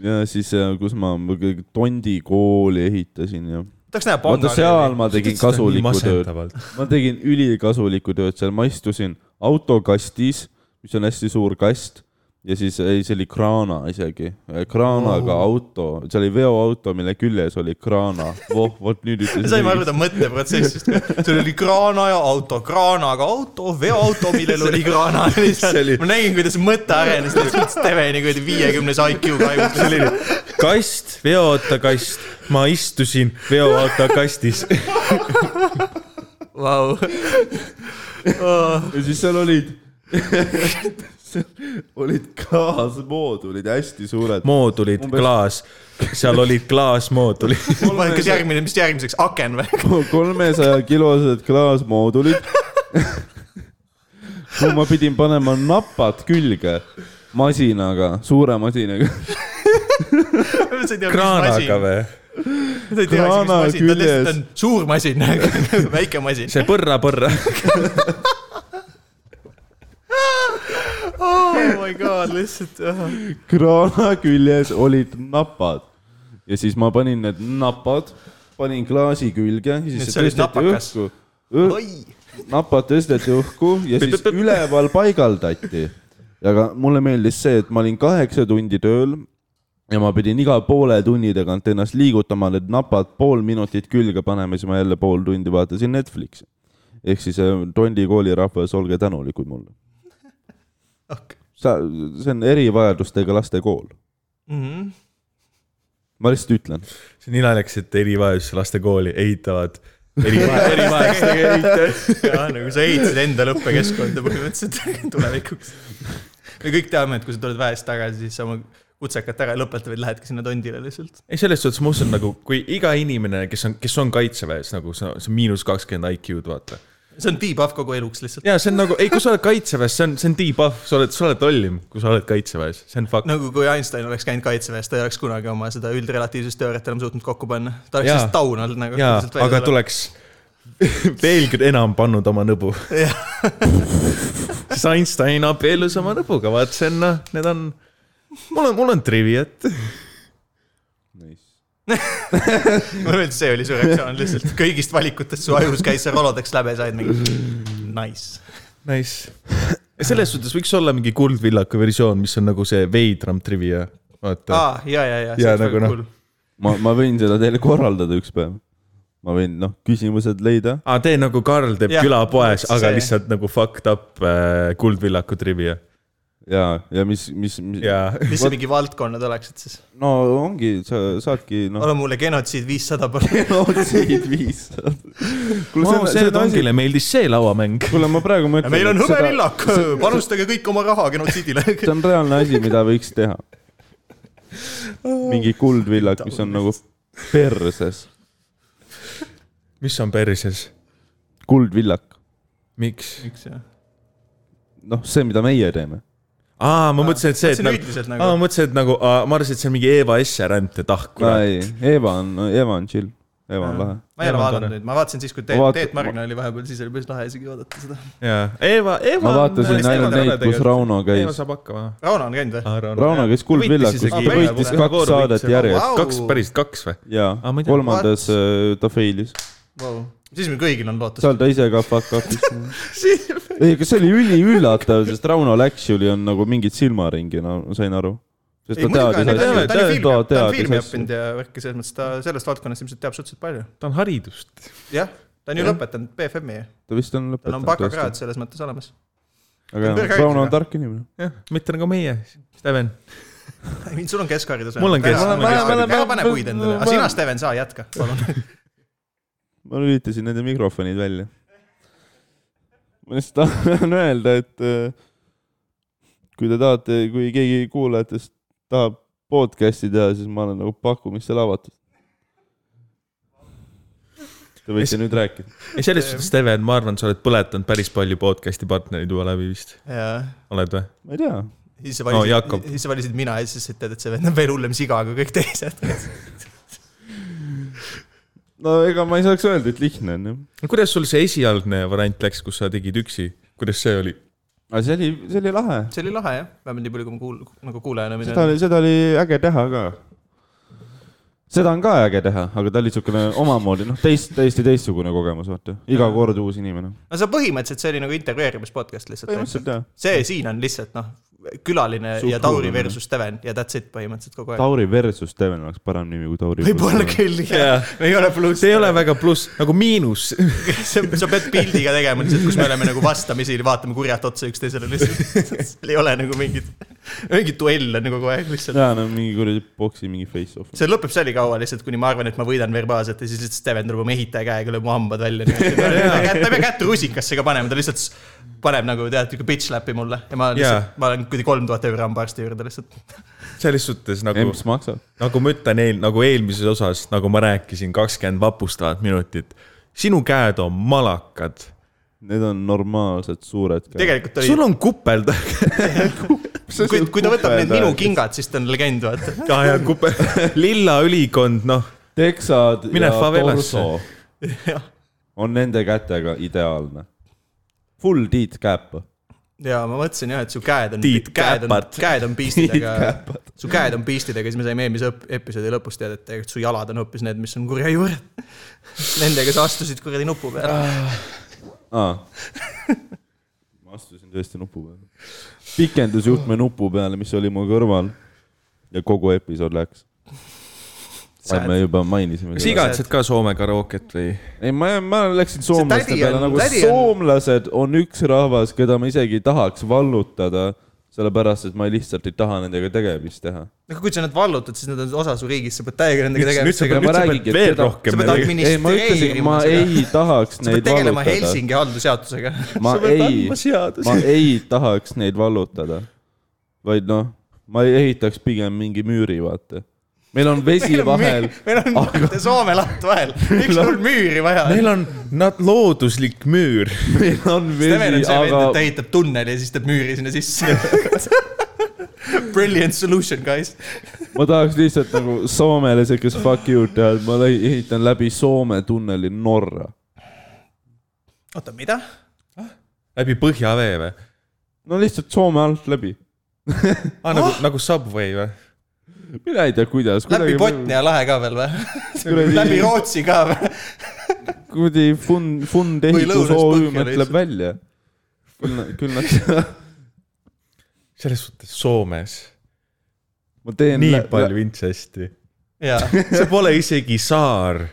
Speaker 3: ja siis , kus ma kõige Tondi kooli ehitasin ja
Speaker 1: tahaks näha
Speaker 3: vaata seal
Speaker 1: panga .
Speaker 3: ma tegin kasulikku tööd , ma tegin ülikasulikku tööd seal , ma istusin autokastis , mis on hästi suur kast ja siis , ei , see oli kraana isegi , kraanaga oh. auto , see oli veoauto , mille küljes oli kraana , voh , vot nüüd ütlesin .
Speaker 1: saime aru ta mõtteprotsessist . sul oli kraana ja auto , kraanaga auto , veoauto , millel oli kraana lihtsalt .
Speaker 2: oli-
Speaker 1: ma nägin , kuidas mõte arenes lihtsalt Steveni kuradi viiekümnes IQ kaevus .
Speaker 2: kast , veoautokast , ma istusin veoautokastis .
Speaker 1: Vau .
Speaker 3: ja siis seal olid , olid klaasmoodulid hästi suured .
Speaker 2: moodulid ,
Speaker 3: Umbes-
Speaker 2: klaas , seal olid klaasmoodulid .
Speaker 1: kas järgmine , mis järgmiseks , aken või ?
Speaker 3: kolmesaja kilosed klaasmoodulid . kuhu ma pidin panema napad külge masinaga , suure masinaga .
Speaker 2: kraanaga või ?
Speaker 1: kraana
Speaker 3: Kraana
Speaker 1: küljes .
Speaker 3: küljes.
Speaker 1: ta on suur masin , väike masin .
Speaker 2: see põrra , põrra .
Speaker 1: oh my god , lihtsalt ah.
Speaker 3: kraana küljes olid napad ja siis ma panin need napad , panin klaasi külge ,
Speaker 1: Nii et
Speaker 3: siis
Speaker 1: see
Speaker 3: see
Speaker 1: oli
Speaker 3: tõsteti
Speaker 1: napakas.
Speaker 3: õhku .
Speaker 1: oi ,
Speaker 3: napad tõsteti õhku ja siis üleval paigaldati . aga mulle meeldis see , et ma olin kaheksa tundi tööl ja ma pidin iga poole tunni tagant ennast liigutama , need napad pool minutit külge panema , siis ma jälle pool tundi vaatasin Netflixi . ehk siis äh, Tondi koolirahvas , olge tänulikud mulle .
Speaker 1: okei .
Speaker 3: sa , see on erivajadustega laste kool ,
Speaker 1: Mhm.
Speaker 3: ma lihtsalt ütlen .
Speaker 2: see on naljakas , et erivajaduse laste kooli ehitavad erivaja- , erivajadustega ehitajad .
Speaker 1: jah , nagu sa ehitasid endale õppekeskkonda põhimõtteliselt tulevikuks . me kõik teame , et kui sa tuled väest tagasi , siis sa oma kutsekat ära ei lõpeta , vaid lähedki sinna tondile lihtsalt .
Speaker 2: ei , selles suhtes ma usun nagu , kui iga inimene , kes on , kes on kaitseväes nagu see on see on miinus kakskümmend IQ-d , vaata .
Speaker 1: see on debuff kogu eluks lihtsalt .
Speaker 2: ja see on nagu , ei , kui sa oled kaitseväes , see on , see on debuff , sa oled , sa oled lollim , kui sa oled kaitseväes , see on fakt .
Speaker 1: nagu kui Einstein oleks käinud kaitseväes , ta ei oleks kunagi oma seda üldrelatiivsusteooriat enam suutnud kokku panna . ta oleks
Speaker 2: Jaa.
Speaker 1: lihtsalt taun olnud nagu .
Speaker 2: jaa , aga . tuleks veelgi enam pannud oma nõbu . siis Einstein abiellus oma nõbuga , vaat see on noh , need on , mul on , mul on triviat .
Speaker 1: mulle meeldis , see oli su reaktsioon lihtsalt . kõigist valikutest su ajus käis see rolodeks läbi , said mingi nice .
Speaker 2: Nice . selles suhtes võiks olla mingi kuldvillaku versioon , mis on nagu see veidram trivia , vaata ah, .
Speaker 1: aa , ja , ja , ja .
Speaker 2: Jaa, nagu noh. .
Speaker 3: ma , ma võin seda teile korraldada üks päev . ma võin , noh , küsimused leida .
Speaker 2: aa , tee nagu Karl teeb
Speaker 1: Jah,
Speaker 2: külapoes , aga
Speaker 1: see-
Speaker 2: lihtsalt nagu fucked up äh, kuldvillaku trivia .
Speaker 3: ja , ja mis , mis, mis... ,
Speaker 2: jaa .
Speaker 1: mis see mingi valdkonnad oleksid siis ?
Speaker 3: no ongi , sa saadki , noh ,
Speaker 1: ole mulle genotsiid viissada palun .
Speaker 3: otsid viissada .
Speaker 2: Vau , see tongile meeldis see lauamäng .
Speaker 3: kuule , ma praegu mõtlen .
Speaker 1: meil on hõbevillak , panustage kõik oma raha genotsiidile .
Speaker 3: see on reaalne asi , mida võiks teha . mingi kuldvillak , mis on nagu perses .
Speaker 2: mis on perses ?
Speaker 3: kuldvillak ,
Speaker 2: miks ?
Speaker 1: miks jah ?
Speaker 3: noh , see , mida meie teeme .
Speaker 2: aa , ma mõtlesin , et see , et
Speaker 1: mõtlesin
Speaker 2: nagu ,
Speaker 1: üldiselt
Speaker 2: aa , ma
Speaker 1: nagu .
Speaker 2: mõtlesin , et nagu , ma arvasin , et see on mingi Eva Esserant ja tahk , kurat .
Speaker 3: ei , Eva on , Eva on chill , Eva on lahe .
Speaker 1: ma ei ole
Speaker 2: Jaa,
Speaker 1: vaadanud
Speaker 2: tore.
Speaker 1: neid , ma vaatasin siis , kui Teet ,
Speaker 3: vaat-
Speaker 1: Teet Margna oli vahepeal , siis oli päris lahe isegi vaadata seda .
Speaker 2: jaa , Eva , Eva .
Speaker 3: ma vaatasin ainult neid , kus . Rauno
Speaker 2: Eva
Speaker 3: käis .
Speaker 2: saab hakkama .
Speaker 1: Rauno on käinud või ?
Speaker 3: Rauno käis kuldvillakus , ta
Speaker 1: isegi-
Speaker 3: võitis
Speaker 1: Aa,
Speaker 3: kaks saadet järjest
Speaker 1: Vau.
Speaker 2: kaks , päriselt kaks või ?
Speaker 3: ja
Speaker 2: Aa, Ah, ma ei tea.
Speaker 3: kolmandas äh, ta fail'is .
Speaker 1: Vau. siis meil kõigil on lootus .
Speaker 3: seal ta ise ka fuck up'is . ei , kas see oli üliüllatav , sest Rauno Läksjuli on nagu mingid silmaringi , no ma sain aru . sest
Speaker 1: ei
Speaker 3: ta
Speaker 1: muidugi on ,
Speaker 3: teadis
Speaker 1: ta
Speaker 2: teadis
Speaker 1: on-
Speaker 3: asju .
Speaker 1: ta on filmi , ta on filmi
Speaker 3: teadis asju .
Speaker 1: õppinud ja värki selles mõttes ta sellest valdkonnast ilmselt teab suhteliselt palju .
Speaker 2: ta on haridust .
Speaker 1: jah , ta on ju lõpetanud BFM-i ,
Speaker 3: ta vist on
Speaker 1: tal on
Speaker 3: lõpetanud
Speaker 1: bakakraad . selles mõttes olemas .
Speaker 3: aga jah,
Speaker 1: kõrgharidusega.
Speaker 3: Rauno on tark inimene .
Speaker 2: jah , mitte nagu meie , Steven .
Speaker 1: sul on keskharidus .
Speaker 2: Mul on kesk- mul on
Speaker 1: keskharidus .
Speaker 3: keskharidus.
Speaker 1: ära pane puid endale , aga sina , Steven , sa jätka , palun .
Speaker 3: ma lülitasin nende mikrofonid välja . ma lihtsalt tahan öelda , et äh, kui te tahate , kui keegi kuulajatest tahab podcast'i teha , siis ma olen nagu pakkumisel avatud . Te võite nüüd rääkida .
Speaker 2: ei , selles suhtes , Steven , ma arvan , sa oled põletanud päris palju podcast'i partnereid juba läbi vist .
Speaker 1: jaa ,
Speaker 2: oled või ?
Speaker 3: ma ei tea
Speaker 1: siis sa
Speaker 2: No,
Speaker 1: valisid
Speaker 2: Jakob.
Speaker 1: siis sa valisid mina ja siis ütled , et see vend on veel hullem siga kui kõik teised .
Speaker 3: no ega ma ei saaks öelda , et lihtne on ju .
Speaker 2: no kuidas sul see esialgne variant läks , kus sa tegid üksi , kuidas see oli ?
Speaker 3: aga see oli , see oli lahe ,
Speaker 1: see oli lahe jah , vähemalt nii palju , kui ma kuul- , nagu kuulajana
Speaker 3: seda
Speaker 1: mina .
Speaker 3: oli , seda oli äge teha ka . seda on ka äge teha , aga ta oli niisugune omamoodi , noh , teist , täiesti teistsugune kogemus , vaata , iga kord uus inimene .
Speaker 1: no see põhimõtteliselt , see oli nagu intervjueerimispodcast lihtsalt .
Speaker 3: põhimõtteliselt jah .
Speaker 1: see siin on lihtsalt noh , külaline ja Tauri
Speaker 3: Suhtlemine.
Speaker 1: versus Steven ja that's it põhimõtteliselt kogu aeg .
Speaker 3: Tauri versus Steven oleks parem nimi kui Tauri .
Speaker 1: võib-olla . küll jah , ei ole pluss .
Speaker 2: see ei ole väga pluss , nagu miinus .
Speaker 1: sa , sa pead pildiga tegema lihtsalt , kus me oleme nagu vastamisi , vaatame kurjalt otsa üksteisele lihtsalt . seal ei ole nagu mingit , mingit duell on nagu kogu aeg lihtsalt .
Speaker 3: jaa , no mingi kuradi boksi mingi face-off .
Speaker 1: see lõpeb selikaua lihtsalt , kuni ma arvan , et ma võidan verbaalselt ja siis lihtsalt Steven tuleb oma ehitaja käega , lööb mu hambad välja . ta ei pea kätt rusikasse ka panema , ta lihtsalt s- paneb nagu tead , niisugune bitch slap'i mulle ja ma lihtsalt yeah. , ma olen kuidagi kolm tuhat euri hambaarsti juurde lihtsalt .
Speaker 2: selles suhtes nagu ,
Speaker 3: emps maksab .
Speaker 2: nagu ma ütlen eel, , nagu eelmises osas , nagu ma rääkisin , kakskümmend vapustavat minutit . sinu käed on malakad .
Speaker 3: Need on normaalsed suured .
Speaker 1: tegelikult oli ,
Speaker 2: sul on kupelda .
Speaker 1: kui , kui ta võtab need minu . kingad , siis ta on legend , vaata .
Speaker 2: ja , ja kupel , lilla ülikond , noh ,
Speaker 3: teksad
Speaker 2: Mine
Speaker 3: ja
Speaker 2: favelasse.
Speaker 3: torso on nende kätega ideaalne . Full tiit käpp .
Speaker 1: ja ma mõtlesin jah , et su käed on
Speaker 2: Tiit ,
Speaker 1: käed on ,
Speaker 2: Käpard.
Speaker 1: käed on piistidega , su käed on piistidega , siis me saime eelmise õp- episoodi lõpus teada , et tegelikult su jalad on hoopis need , mis on kurja juured . Nendega sa astusid kuradi nupu peale .
Speaker 3: ma astusin tõesti nupu peale . pikendusjuhtme nupu peale , mis oli mu kõrval ja kogu episood läks . me juba mainisime .
Speaker 2: kas igatsed ka Soome karaoket või ?
Speaker 3: ei , ma , ma läksin soomlaste
Speaker 1: tädi
Speaker 3: peale
Speaker 1: on-
Speaker 3: nagu
Speaker 1: tädi on-
Speaker 3: soomlased on üks rahvas , keda ma isegi ei tahaks vallutada , sellepärast et ma lihtsalt ei taha nendega tegemist teha .
Speaker 1: no kui sa nad vallutad , siis nad on osa su riigist , sa pead täiega nendega
Speaker 2: Nüüd- nüüd sa
Speaker 1: tegema .
Speaker 2: pead- sa pead veel
Speaker 1: sa
Speaker 2: rohkem
Speaker 1: pead
Speaker 2: nendega-
Speaker 3: ei , ma ütlesin ,
Speaker 1: administreerima
Speaker 3: ma
Speaker 1: seda .
Speaker 3: ei tahaks
Speaker 1: sa pead
Speaker 3: neid
Speaker 1: tegelema
Speaker 3: vallutada .
Speaker 1: Helsingi haldusjaotusega .
Speaker 3: ma ei ,
Speaker 2: seadus
Speaker 3: ma ei tahaks neid vallutada , vaid noh , ma ei ehitaks pigem mingi müüri , vaata . meil on vesi vahel ,
Speaker 1: meil on
Speaker 3: Aga-
Speaker 1: Soome laht vahel , miks sul müüri vaja on ?
Speaker 2: Neil on nad looduslik müür .
Speaker 3: meil on
Speaker 1: Steven on see
Speaker 3: vesi ,
Speaker 1: vend , et ta
Speaker 3: aga
Speaker 1: ehitab tunneli ja siis teeb müüri sinna sisse . Brilliant solution , guys .
Speaker 3: ma tahaks lihtsalt nagu Soomele siukest fuck you'd teha , et ma lei- ehitan läbi Soome tunneli Norra .
Speaker 1: oota , mida ?
Speaker 2: läbi põhjavee või ?
Speaker 3: no lihtsalt Soome alt läbi .
Speaker 2: aa ,
Speaker 1: Ah!
Speaker 2: nagu , nagu Subway või ?
Speaker 3: mina ei tea , kuidas .
Speaker 1: läbi Botnia lahe ka veel või ?
Speaker 3: Kuradi-
Speaker 1: läbi Rootsi ka või ?
Speaker 3: kuidagi fund , fund
Speaker 1: Või
Speaker 3: ehitus
Speaker 1: lõunast
Speaker 3: OÜ
Speaker 1: põhja
Speaker 3: mõtleb
Speaker 1: lihtsalt.
Speaker 3: välja . küll , küll nad ,
Speaker 2: selles suhtes Soomes .
Speaker 3: ma teen .
Speaker 2: nii palju . intsesti .
Speaker 1: jaa ,
Speaker 2: see pole isegi saar .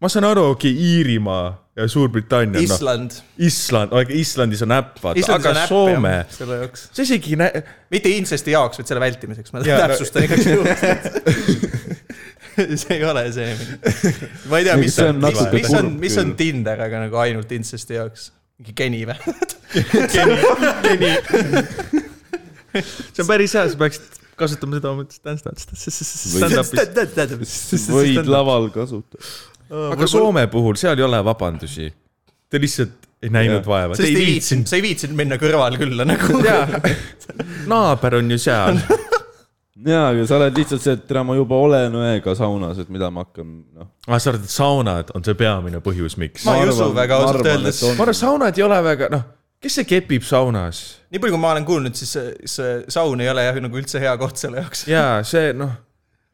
Speaker 2: ma saan aru , okei , Iirimaa ja Suurbritannia , noh ,
Speaker 1: Island .
Speaker 2: Island , Islandis on äpp , vaata ,
Speaker 1: Islandis on
Speaker 2: aga
Speaker 1: äpp,
Speaker 2: Soome ,
Speaker 1: jah, selle jaoks .
Speaker 2: see isegi nä- ,
Speaker 1: mitte intsesti jaoks , vaid selle vältimiseks , ma
Speaker 2: Jaa, no-
Speaker 1: täpsustan igaks juhuks . see ei ole see . ma ei tea , mis
Speaker 3: See on
Speaker 1: on , mis
Speaker 3: natuke ,
Speaker 1: mis on
Speaker 3: kurb ,
Speaker 1: mis on
Speaker 3: küll.
Speaker 1: Tinder , aga nagu ainult intsesti jaoks . mingi geni või ?
Speaker 2: see on päris hea , sa peaksid kasutama seda oma stand-up'is .
Speaker 3: võid laval kasutada .
Speaker 2: aga Soome puhul , seal ei ole vabandusi . Te lihtsalt ei näinud
Speaker 3: Jah.
Speaker 2: vaeva ,
Speaker 1: sa
Speaker 2: te ei
Speaker 1: ei
Speaker 2: viitsinud .
Speaker 1: viitsinud , sa ei viitsinud minna kõrval külla nagu .
Speaker 2: naaber on ju seal .
Speaker 3: jaa , aga sa oled lihtsalt see , et täna ma juba olen õega saunas , et mida ma hakkan , noh .
Speaker 2: aa , Ah, sa arvad , et saunad on see peamine põhjus , miks ?
Speaker 1: Ma ei usu väga ausalt öeldes.
Speaker 2: ma arvan , saunad ei ole väga , noh , kes see kepib saunas ?
Speaker 1: nii palju , kui ma olen kuulnud , siis see, see saun ei ole jah nagu üldse hea koht selle jaoks .
Speaker 2: jaa , see noh ,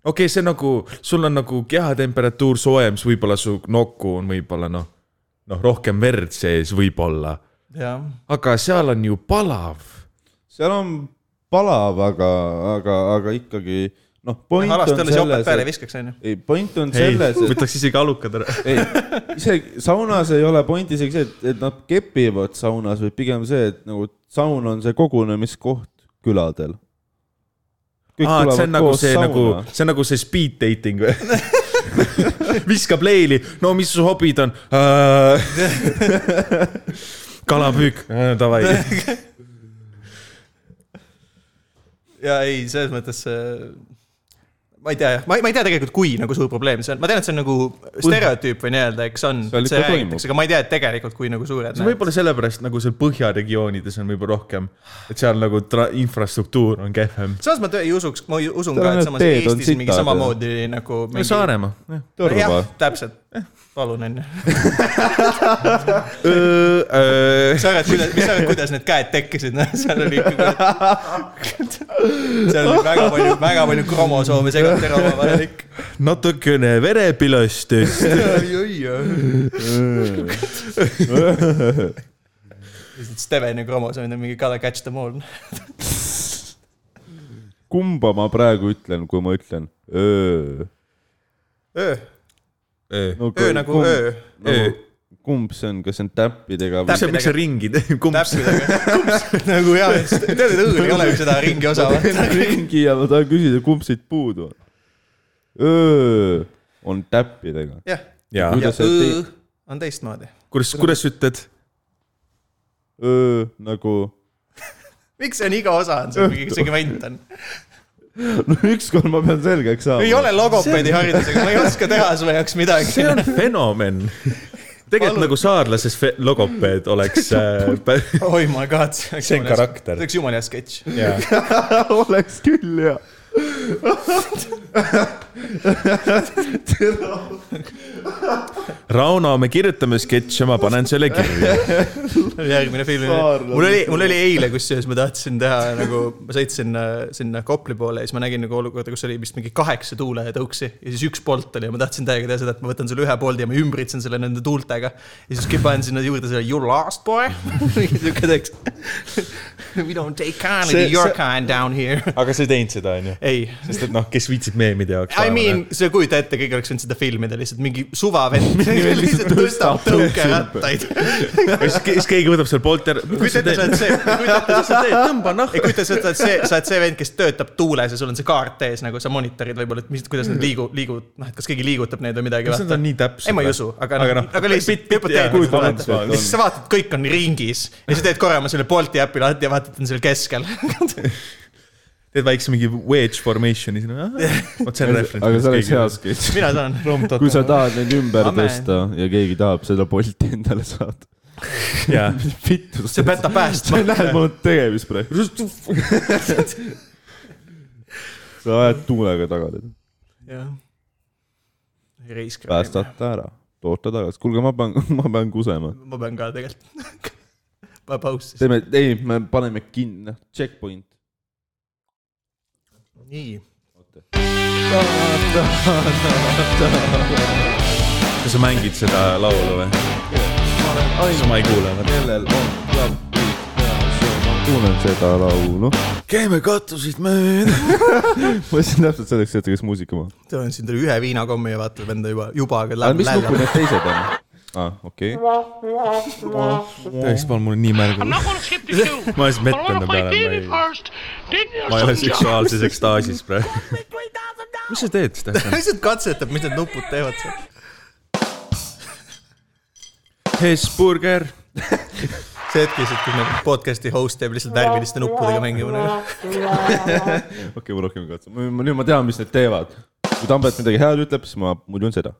Speaker 2: okei okay, , see nagu , sul on nagu kehatemperatuur soojem , siis võib-olla su nokku on võib-olla noh , noh , rohkem verd sees võib-olla ,
Speaker 1: jah ,
Speaker 2: aga seal on ju palav .
Speaker 3: seal on palav , aga , aga , aga ikkagi , noh , point
Speaker 1: halast
Speaker 3: on
Speaker 1: alles joped
Speaker 3: selles ,
Speaker 1: peale ei
Speaker 3: et ,
Speaker 1: viskaks , onju .
Speaker 3: ei , point on
Speaker 2: ei ,
Speaker 3: selles , et
Speaker 2: võtaks isegi alukad ära .
Speaker 3: ei , isegi saunas ei ole point isegi see , et , et nad kepivad saunas , vaid pigem see , et nagu saun on see kogunemiskoht küladel .
Speaker 2: aa , et see on nagu see sauna. nagu , see on nagu see speed dating või ? viskab leili , no mis su hobid on äh, ? kalapüük äh, , davai .
Speaker 1: ja ei , selles mõttes see , äh, ma ei tea jah , ma ei , ma ei tea tegelikult , kui nagu suur probleem see on , ma tean , et see on nagu stereotüüp või nii-öelda , eks on ,
Speaker 3: seal
Speaker 1: see
Speaker 3: ikka
Speaker 1: räägitakse , aga ma ei tea , et tegelikult kui nagu suured .
Speaker 2: see on võib-olla sellepärast nagu seal põhjaregioonides on võib-olla rohkem , et seal nagu tra- infrastruktuur on kehvem .
Speaker 1: samas ma tõ- ei usuks , ma ju- usun
Speaker 3: Tal
Speaker 1: ka ,
Speaker 3: on
Speaker 1: et
Speaker 3: need
Speaker 1: samas
Speaker 3: teed on
Speaker 1: Eestis on mingi
Speaker 3: sitad,
Speaker 1: samamoodi nagu mingi... .
Speaker 2: Saaremaa , jah .
Speaker 1: jah
Speaker 3: Tõrva .,
Speaker 1: täpselt ,
Speaker 3: Eh.
Speaker 1: palun onju .
Speaker 2: Öö,
Speaker 1: sa arvad , kuidas , mis sa arvad , kuidas need käed tekkisid , noh , seal oli ikkagi , seal oli väga palju , väga palju kromosoome segati ära omavahel ikka .
Speaker 2: natukene verepilastest .
Speaker 1: lihtsalt Steveni kromosoomid on mingi gotta catch them all .
Speaker 3: kumba ma praegu ütlen , kui ma ütlen öö ?
Speaker 1: öö ,
Speaker 2: miks
Speaker 1: öö nagu öö .
Speaker 3: öö . kumb see on , kas see on täppidega või
Speaker 1: Täpp-
Speaker 2: sa , miks sa ringi teed , kumb
Speaker 1: täpselt , aga nagu jaa , Nagu tead , et õõl ei ole ju seda ringi osa .
Speaker 3: ringi ja ma tahan küsida , kumb siit puudu on ? öö on täppidega .
Speaker 1: jah ,
Speaker 2: ja
Speaker 1: ja
Speaker 3: kuidas sa
Speaker 1: õõ
Speaker 3: teed ?
Speaker 1: on teistmoodi .
Speaker 2: kuidas , kuidas ütled ?
Speaker 3: öö nagu ,
Speaker 1: miks see on iga osa on seal mingi segment on ?
Speaker 3: no ükskord ma pean selgeks saama .
Speaker 1: ei ole logopeedi haridusega , ma ei oska teha su jaoks midagi
Speaker 2: see . on fenomen . tegelikult nagu saarlases fe- logopeed oleks äh, pä-
Speaker 1: oi my god , see oleks
Speaker 2: See on
Speaker 1: jumala-
Speaker 2: karakter.
Speaker 1: see oleks jumala hea sketš .
Speaker 2: jaa.
Speaker 3: oleks küll ja .
Speaker 2: Rauno , me kirjutame sketši , ma panen selle kirja .
Speaker 1: järgmine film .
Speaker 3: Saarlased.
Speaker 1: mul oli , mul oli eile kusjuures , ma tahtsin teha nagu , ma sõitsin äh, sinna Kopli poole ja siis ma nägin nagu olukorda , kus oli vist mingi kaheksa tuuletõuksi ja siis üks Bolt oli ja ma tahtsin täiega teha seda , et ma võtan selle ühe Bolti ja ma ümbritsen selle nende tuultega . ja siis panen sinna juurde selle you lost boy . sihuke teeks . We don't take kindly
Speaker 2: See-
Speaker 1: to your
Speaker 2: see-
Speaker 1: kind down here .
Speaker 2: aga sa ei teinud seda , onju ?
Speaker 1: ei
Speaker 2: sest et noh , kes viitsib meemide jaoks
Speaker 1: I mean , sa kujuta ette , kõik oleks võinud seda filmida lihtsalt mingi suvavend . lihtsalt tõstab tõukerattaid .
Speaker 2: ja siis ke- siis noh. keegi võtab selle poolt ära .
Speaker 1: kujuta ette , sa oled see , kujuta ette , sa oled see
Speaker 2: tõmba
Speaker 1: ei
Speaker 2: nahka .
Speaker 1: kujuta ette , sa oled see , sa oled see vend , kes töötab tuules ja sul on see kaart ees nagu sa monitorid võib-olla , et mis , kuidas nad liigu- , liigu- , noh , et kas keegi liigutab neid või midagi .
Speaker 2: Mm. kas nad on nii täpsed ?
Speaker 1: ei , ma ei usu , aga ,
Speaker 2: Aga
Speaker 1: aga,
Speaker 2: noh,
Speaker 1: aga lihtsalt
Speaker 2: pitt- jaa,
Speaker 1: hüpoteetiliselt vaata .
Speaker 3: kujutame ette, et
Speaker 1: ja siis sa vaatad , kõik on ringis ja sa teed korra oma selle Bolti äpi lahti ja vaatad , et on seal keskel .
Speaker 2: teed väikse mingi wedge formation'i sinna . vot see on reference .
Speaker 3: aga see oleks hea . sketš .
Speaker 1: mina saan .
Speaker 3: kui sa tahad neid ümber
Speaker 1: Amen.
Speaker 3: tõsta ja keegi tahab seda Bolti endale saada .
Speaker 2: jaa .
Speaker 3: vittu .
Speaker 1: see petab päästma
Speaker 3: sa . näed , mul on tegemist praegu . sa ajad tuulega taga teda .
Speaker 1: reisk . ma
Speaker 3: päästad ta ära , tood ta tagasi . kuulge , ma pean , ma pean kusema .
Speaker 1: pean ka tegelikult . ma paus siis .
Speaker 3: teeme , ei , me paneme kinni , checkpoint .
Speaker 1: nii .
Speaker 2: kas sa mängid seda laulu või ? siis ma ei kuule .
Speaker 3: kellel on klapid peas , ma kuulen seda laulu .
Speaker 2: käime katuseid mööda .
Speaker 3: ma ütlesin täpselt selleks hetkeks muusika maha .
Speaker 1: tulen siin talle ühe viinakommi ja vaatab enda juba , juba aga
Speaker 3: aga
Speaker 1: läheb
Speaker 3: mis nupu
Speaker 1: lääle .
Speaker 3: need teised on ? aa , okei .
Speaker 2: tõesti , palun , mul on nii märg
Speaker 5: I'm . not going to skip the show.
Speaker 2: Ma just
Speaker 5: But
Speaker 2: mett
Speaker 5: I want
Speaker 2: enda
Speaker 5: to play
Speaker 2: peale, ma ei-
Speaker 5: baby first. Then there's
Speaker 2: ma ei ole
Speaker 5: some jobs.
Speaker 2: seksuaalses ekstaasis praegu . mis sa teed siis täpselt ?
Speaker 1: lihtsalt katsetab , mis need nupud teevad seal .
Speaker 2: Hesburger .
Speaker 1: see hetk lihtsalt , kui meil podcast'i host jääb lihtsalt värviliste nuppudega mängima . nagu.
Speaker 3: okei , ma rohkem ei katsu . nüüd ma tean , mis need teevad . kui Tambet midagi head ütleb , siis ma muidu on seda .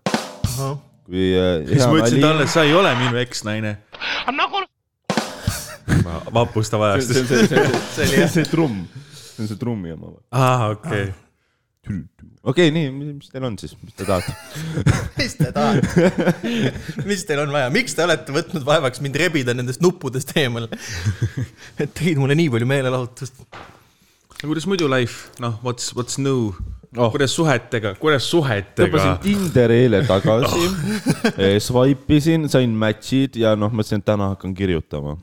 Speaker 3: kui äh,
Speaker 2: siis
Speaker 3: hea
Speaker 2: ma ütlesin
Speaker 3: nali ,
Speaker 2: talle , sa ei ole minu eksnaine .
Speaker 5: I'm not going to.
Speaker 2: ma vapustav
Speaker 3: see on
Speaker 2: ajastus .
Speaker 3: see , see , see , see , see trumm , see on see trummi oma .
Speaker 2: aa , okei .
Speaker 3: okei , nii , mis teil on siis , mis te tahate ?
Speaker 1: mis te tahate ? mis teil on vaja , miks te olete võtnud vaevaks mind rebida nendest nuppudest eemale ? et tegid mulle nii palju meelelahutust .
Speaker 2: no kuidas muidu life , noh , what's , what's new oh. ? kuidas suhetega , kuidas suhetega
Speaker 3: tõmbasin ? Tinderi eile tagasi , Oh. swipe isin , sain match'id ja noh , mõtlesin , et täna hakkan kirjutama .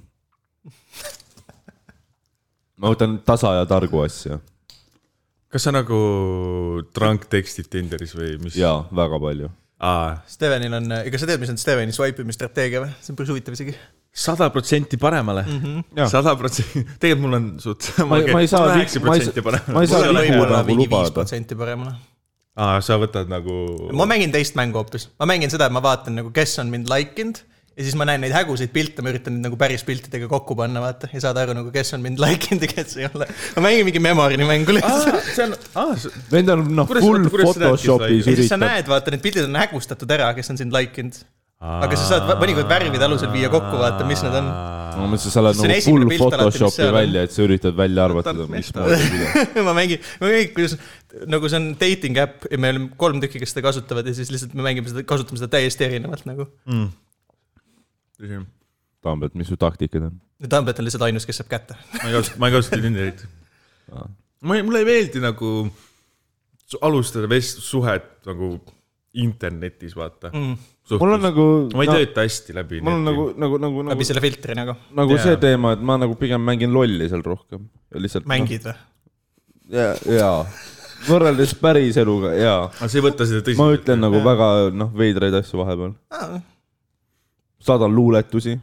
Speaker 3: ma võtan tasa ja targu asja
Speaker 2: kas sa nagu drunk tekstid Tinderis või mis ?
Speaker 3: ja väga palju .
Speaker 2: aa ,
Speaker 1: Stevenil on , kas sa tead , mis on Steveni swipe imisstrateegia või ? see on päris huvitav isegi .
Speaker 2: sada protsenti paremale . sada protsenti , tegelikult mul on suht .
Speaker 3: ma ei- ma ei saa-
Speaker 2: üheksakümmend
Speaker 3: ma ei saa-
Speaker 2: protsenti
Speaker 3: ma
Speaker 2: paremale
Speaker 3: ei . saa vigu nagu
Speaker 1: viis
Speaker 3: lubada .
Speaker 1: protsenti paremale .
Speaker 2: aa , sa võtad nagu .
Speaker 1: ma mängin teist mängu hoopis , ma mängin seda , et ma vaatan nagu , kes on mind like inud ja siis ma näen neid häguseid pilte , ma üritan neid nagu päris piltidega kokku panna , vaata , ja saada aru nagu , kes on mind like inud ja kes ei ole . ma mängin mingi memory'i mängu lihtsalt .
Speaker 2: see on , aa ,
Speaker 3: Need on noh ,
Speaker 2: Kuidas-
Speaker 3: full
Speaker 2: kuidas seda äkki
Speaker 3: Photoshopis
Speaker 1: ja siis sa
Speaker 3: üritab .
Speaker 1: näed , vaata , need pildid on hägustatud ära , kes on sind like inud . aga sa saad va- mõnikord värvide alusel viia kokku , vaata , mis need on .
Speaker 3: ma mõtlesin , sa oled
Speaker 1: See on
Speaker 3: nagu
Speaker 1: esimene
Speaker 3: full
Speaker 1: pilt alati, mis
Speaker 3: Photoshopi
Speaker 1: seal on.
Speaker 3: välja , et sa üritad välja arvatada , mismoodi .
Speaker 1: ma mängin , ma mängin , kuidas nagu see on dating äpp ja meil on kolm tükki , kes seda kasutavad ja siis lihtsalt me mängime seda , kasutame seda täiesti erinevalt nagu .
Speaker 2: tõsi .
Speaker 3: Tambet , mis su taktikad on ?
Speaker 1: Tambet on lihtsalt ainus , kes saab kätte .
Speaker 2: ma ei kasuta , ma ei kasuta Tinderit . ma ei , mulle ei meeldi nagu su- alustada vest- , suhet nagu internetis , vaata mm. .
Speaker 3: mul on nagu ,
Speaker 2: ma ei no, tööta hästi läbi .
Speaker 3: mul on nagu , nagu , nagu ,
Speaker 1: läbi
Speaker 3: nagu ,
Speaker 1: selle filtri nagu .
Speaker 3: nagu
Speaker 2: Jaa.
Speaker 3: see teema , et ma nagu pigem mängin lolli seal rohkem . lihtsalt . noh,
Speaker 1: mängid või ?
Speaker 3: jaa , jaa . võrreldes päris eluga , jaa .
Speaker 2: aga sa ei võta seda
Speaker 3: ma
Speaker 2: tõsiselt .
Speaker 3: ütlen nagu väga noh , veidraid asju vahepeal . saadan luuletusi ,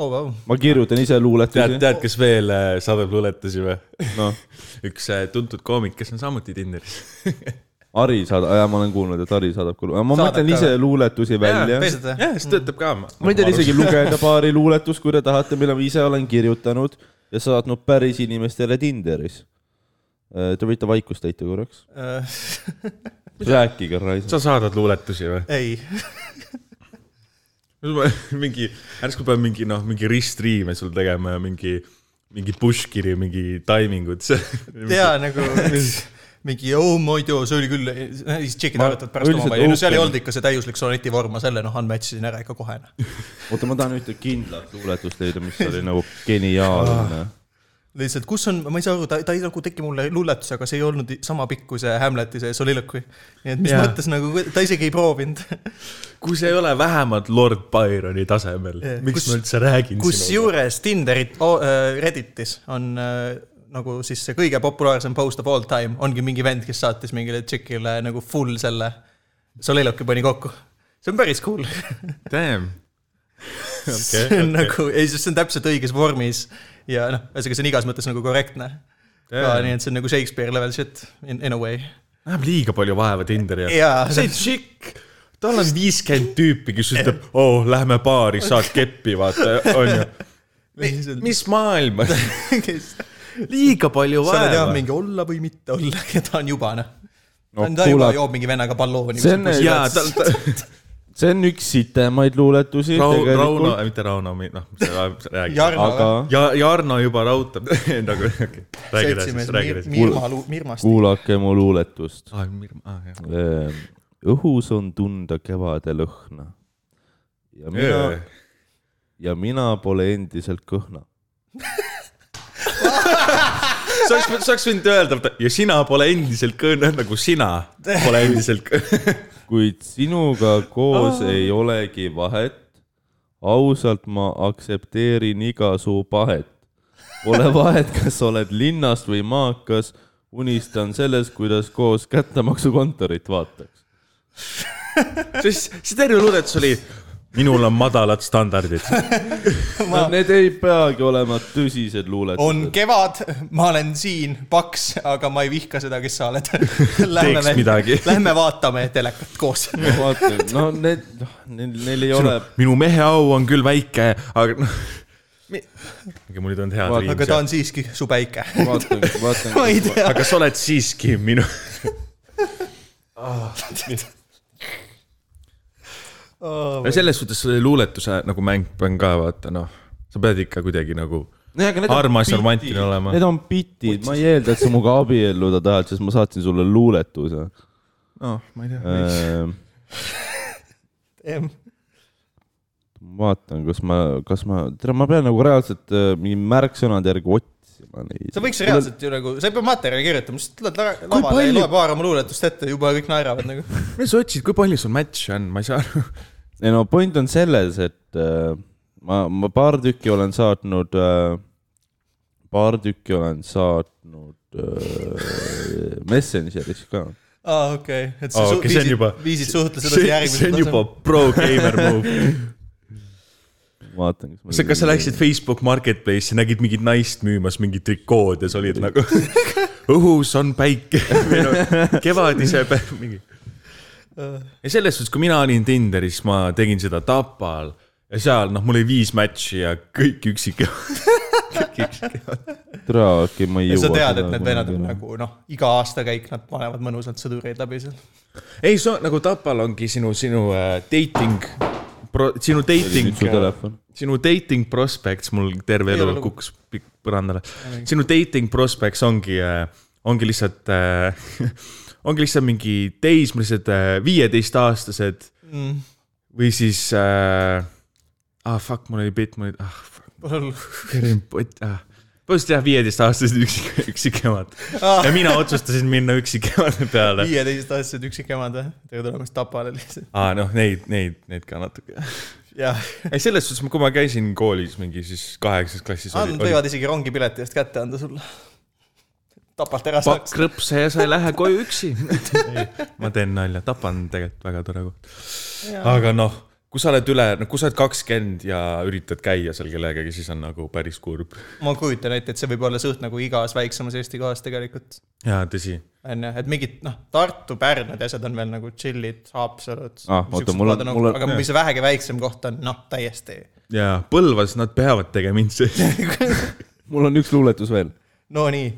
Speaker 1: oo , vau .
Speaker 3: ma kirjutan ise
Speaker 2: tead ,
Speaker 3: luuletusi .
Speaker 2: tead , kes veel äh, saadab luuletusi või ?
Speaker 3: noh ,
Speaker 2: üks äh, tuntud koomik , kes on samuti Tinderis .
Speaker 3: Ari saadab , jaa , ma olen kuulnud , et Ari saadab ka , ma
Speaker 1: Saadab
Speaker 3: mõtlen
Speaker 1: ka
Speaker 3: ise luuletusi välja .
Speaker 1: päriselt või ?
Speaker 2: jah , see töötab ka .
Speaker 3: ma võin teile isegi lugeda paari luuletust , kui te tahate , mille ma ise olen kirjutanud ja saatnud päris inimestele Tinderis . Te võite vaikust täita korraks .
Speaker 1: Äh,
Speaker 3: rääkige , Raiso .
Speaker 2: sa saadad luuletusi või ?
Speaker 1: ei ,
Speaker 2: mingi , järsku peab mingi noh , mingi ristriime sul tegema ja mingi , mingi push-kiri , mingi taimingud .
Speaker 1: tea nagu mingi oo , ma ei tea , see oli küll , siis tšekid
Speaker 3: Ma
Speaker 1: arutavad pärast
Speaker 3: üldiselt
Speaker 1: omavahel , no seal ei
Speaker 3: open-
Speaker 1: olnud ikka see täiuslik soneti vorm , ma selle noh , unmatch isin ära ikka kohe . noh.
Speaker 3: oota , ma tahan ühte kindlat luuletust leida , mis oli nagu geniaalne .
Speaker 1: lihtsalt , kus on , ma ei saa aru , ta , ta ei nagu tegi mulle luuletuse , aga see ei olnud sama pikk kui see Hamleti see soliloquy . nii et mis
Speaker 2: Jaa.
Speaker 1: mõttes nagu , ta isegi ei proovinud .
Speaker 2: kui see ei ole vähemalt Lord Byroni tasemel
Speaker 1: Jah. ,
Speaker 2: miks
Speaker 1: Kus-
Speaker 2: ma üldse räägin sinuga ?
Speaker 1: kusjuures Tinderit oh, , Redditis on äh, nagu siis see kõige populaarsem post of all time ongi mingi vend , kes saatis mingile tšikile nagu full selle soliloquy pani kokku . see on päris cool .
Speaker 2: Damn .
Speaker 1: see on okay. nagu , ei , sest see on täpselt õiges vormis ja noh , ühesõnaga see on igas mõttes nagu korrektne . ka nii , et see on nagu Shakespeare level shit in, in a way .
Speaker 2: näeb liiga palju vaeva Tinderi jaoks .
Speaker 1: jaa ,
Speaker 2: see tšikk , tal on viiskümmend tüüpi , kes ütleb , oo , lähme baari , saad keppi , vaata , onju .
Speaker 1: lihtsalt ,
Speaker 2: mis maailm ,
Speaker 1: kes ,
Speaker 2: liiga palju
Speaker 1: sa oled jah
Speaker 2: vaeva .
Speaker 1: mingi olla või mitte olla ja ta on juba noh
Speaker 3: No
Speaker 1: no, . ta juba
Speaker 3: kuule-
Speaker 1: joob mingi vennaga ballooni .
Speaker 3: See on-
Speaker 2: jaa , ta , ta ,
Speaker 3: see on üks sitemaid luuletusi
Speaker 2: Rauno , Rauno
Speaker 3: tegelikult ,,
Speaker 2: mitte Rauno , noh , räägi .
Speaker 1: Jarno
Speaker 3: aga
Speaker 1: aga...
Speaker 2: ja , Jarno juba raudab , nagu , okei , räägi edasi ,
Speaker 1: seltsimees
Speaker 2: räägi
Speaker 1: Mir-
Speaker 2: edasi .
Speaker 1: Mirma , Mirmast .
Speaker 3: kuulake mu luuletust .
Speaker 2: aa , Mirma , aa , jah .
Speaker 3: õhus on tunda kevade lõhna . ja mina , ja mina pole endiselt kõhna .
Speaker 2: sa oleks , sa oleks võinud öelda , ja sina pole endiselt kõõn- , nagu sina pole endiselt kõõn- .
Speaker 3: kuid sinuga koos ei olegi vahet . ausalt ma aktsepteerin iga su pahet . Pole vahet , kas oled linnast või maakas , unistan sellest , kuidas koos kättemaksukontorit vaataks .
Speaker 2: siis , see terve luuletus oli , minul on madalad standardid .
Speaker 3: no need ei peagi olema tõsised
Speaker 1: on
Speaker 3: luuletused .
Speaker 1: kevad , ma olen siin , paks , aga ma ei vihka seda , kes sa oled .
Speaker 2: Teeks midagi.
Speaker 1: Lähme vaatame telekat koos .
Speaker 3: vaata , no need , neil , neil ei ole ,
Speaker 2: minu mehe au on küll väike , aga noh . okei , mul ei tulnud head
Speaker 3: Vaata,
Speaker 2: riim
Speaker 1: aga ta
Speaker 2: seal .
Speaker 1: on siiski su päike .
Speaker 3: vaatan ,
Speaker 1: ma ei
Speaker 3: vaatan .
Speaker 1: tea ,
Speaker 2: aga sa oled siiski minu . Oh, selles suhtes selle luuletuse nagu mäng on ka vaata noh , sa pead ikka kuidagi nagu armas ja romantiline olema .
Speaker 3: Need on bitid , ma ei eelda , et sa minuga abielluda tahad , sest ma saatsin sulle luuletuse . Ehm.
Speaker 2: noh , ma ei tea .
Speaker 3: ma vaatan , kas ma , kas ma , tere , ma pean nagu reaalselt äh, mingi märksõnade järgi otsima neid .
Speaker 1: sa võiks reaalselt ju nagu , sa ei pea materjali kirjutama , sa tuled la- lavale ja
Speaker 2: palju-
Speaker 1: loe paar oma luuletust ette , juba kõik naeravad nagu .
Speaker 2: mida sa otsid , kui palju sul match'e on , ma ei saa aru .
Speaker 3: ei no point on selles , et äh, ma , ma paar tükki olen saatnud , paar tükki olen saatnud äh, Messengeris ka .
Speaker 1: aa , okei , et sa
Speaker 2: Aa,
Speaker 1: su-
Speaker 2: okei, see on
Speaker 1: viisid
Speaker 2: juba- ,
Speaker 1: viisid suhtlused edasi
Speaker 2: see see
Speaker 1: järgmisele
Speaker 2: on juba pro gamer move .
Speaker 3: vaatan , kas
Speaker 2: sa , kas sa läksid Facebook Marketplace'i , nägid mingit naist müümas mingit trikood ja sa olid nagu õhus on päike Või no, , kevadise päev , mingi . ja selles suhtes , kui mina olin Tinderis , ma tegin seda Tapal ja seal noh , mul oli viis matši ja kõik üksik .
Speaker 3: tere , okei , ma ei
Speaker 1: ja
Speaker 3: jõua .
Speaker 1: sa tead , et need vennad on . nagu noh , iga aastakäik nad panevad mõnusalt sõdureid läbi seal .
Speaker 2: ei , see on nagu Tapal ongi sinu , sinu äh, dating , sinu dating
Speaker 3: su . telefon .
Speaker 2: sinu dating prospects , mul terve elu
Speaker 1: lugu.
Speaker 2: kukkus pikk põrandale . sinu dating prospects ongi , ongi lihtsalt , ongi lihtsalt mingi teismelised äh, viieteistaastased
Speaker 1: Mm.
Speaker 2: või siis äh, . ah fuck , mul oli bitt , mul oli , ah fuck , Karin Pott , ah . põhimõtteliselt jah , viieteistaastased üksik , üksikemad
Speaker 1: Ah.
Speaker 2: ja mina otsustasin minna üksikemade peale .
Speaker 1: viieteistaastased üksikemad või ? tere tulemast Tapale lihtsalt .
Speaker 2: aa ah, , noh , neid , neid , neid ka natuke .
Speaker 1: jah ,
Speaker 2: ei , selles suhtes , kui ma käisin koolis mingi siis kaheksas klassis .
Speaker 1: nad võivad isegi rongipileti eest kätte anda sulle . Tapalt ära
Speaker 2: pakk
Speaker 1: saaks .
Speaker 2: rõpse ja sa ei lähe koju üksi . ma teen nalja , Tapa on tegelikult väga tore koht . aga noh , kui sa oled üle , no kui sa oled kakskümmend ja üritad käia seal kellegagi , siis on nagu päris kurb .
Speaker 1: ma kujutan ette , et see võib olla suht nagu igas väiksemas Eesti kohas tegelikult .
Speaker 2: jaa , tõsi .
Speaker 1: on ju , et mingid noh , Tartu , Pärnu need asjad on veel nagu tšillid , Haapsalud nagu-
Speaker 3: Ah, oota, mul on- mul on-
Speaker 1: aga mis vähegi väiksem koht on , noh , täiesti .
Speaker 2: jaa , Põlvas nad peavad tegema intsi- .
Speaker 3: mul on üks luuletus veel
Speaker 1: Nonii ,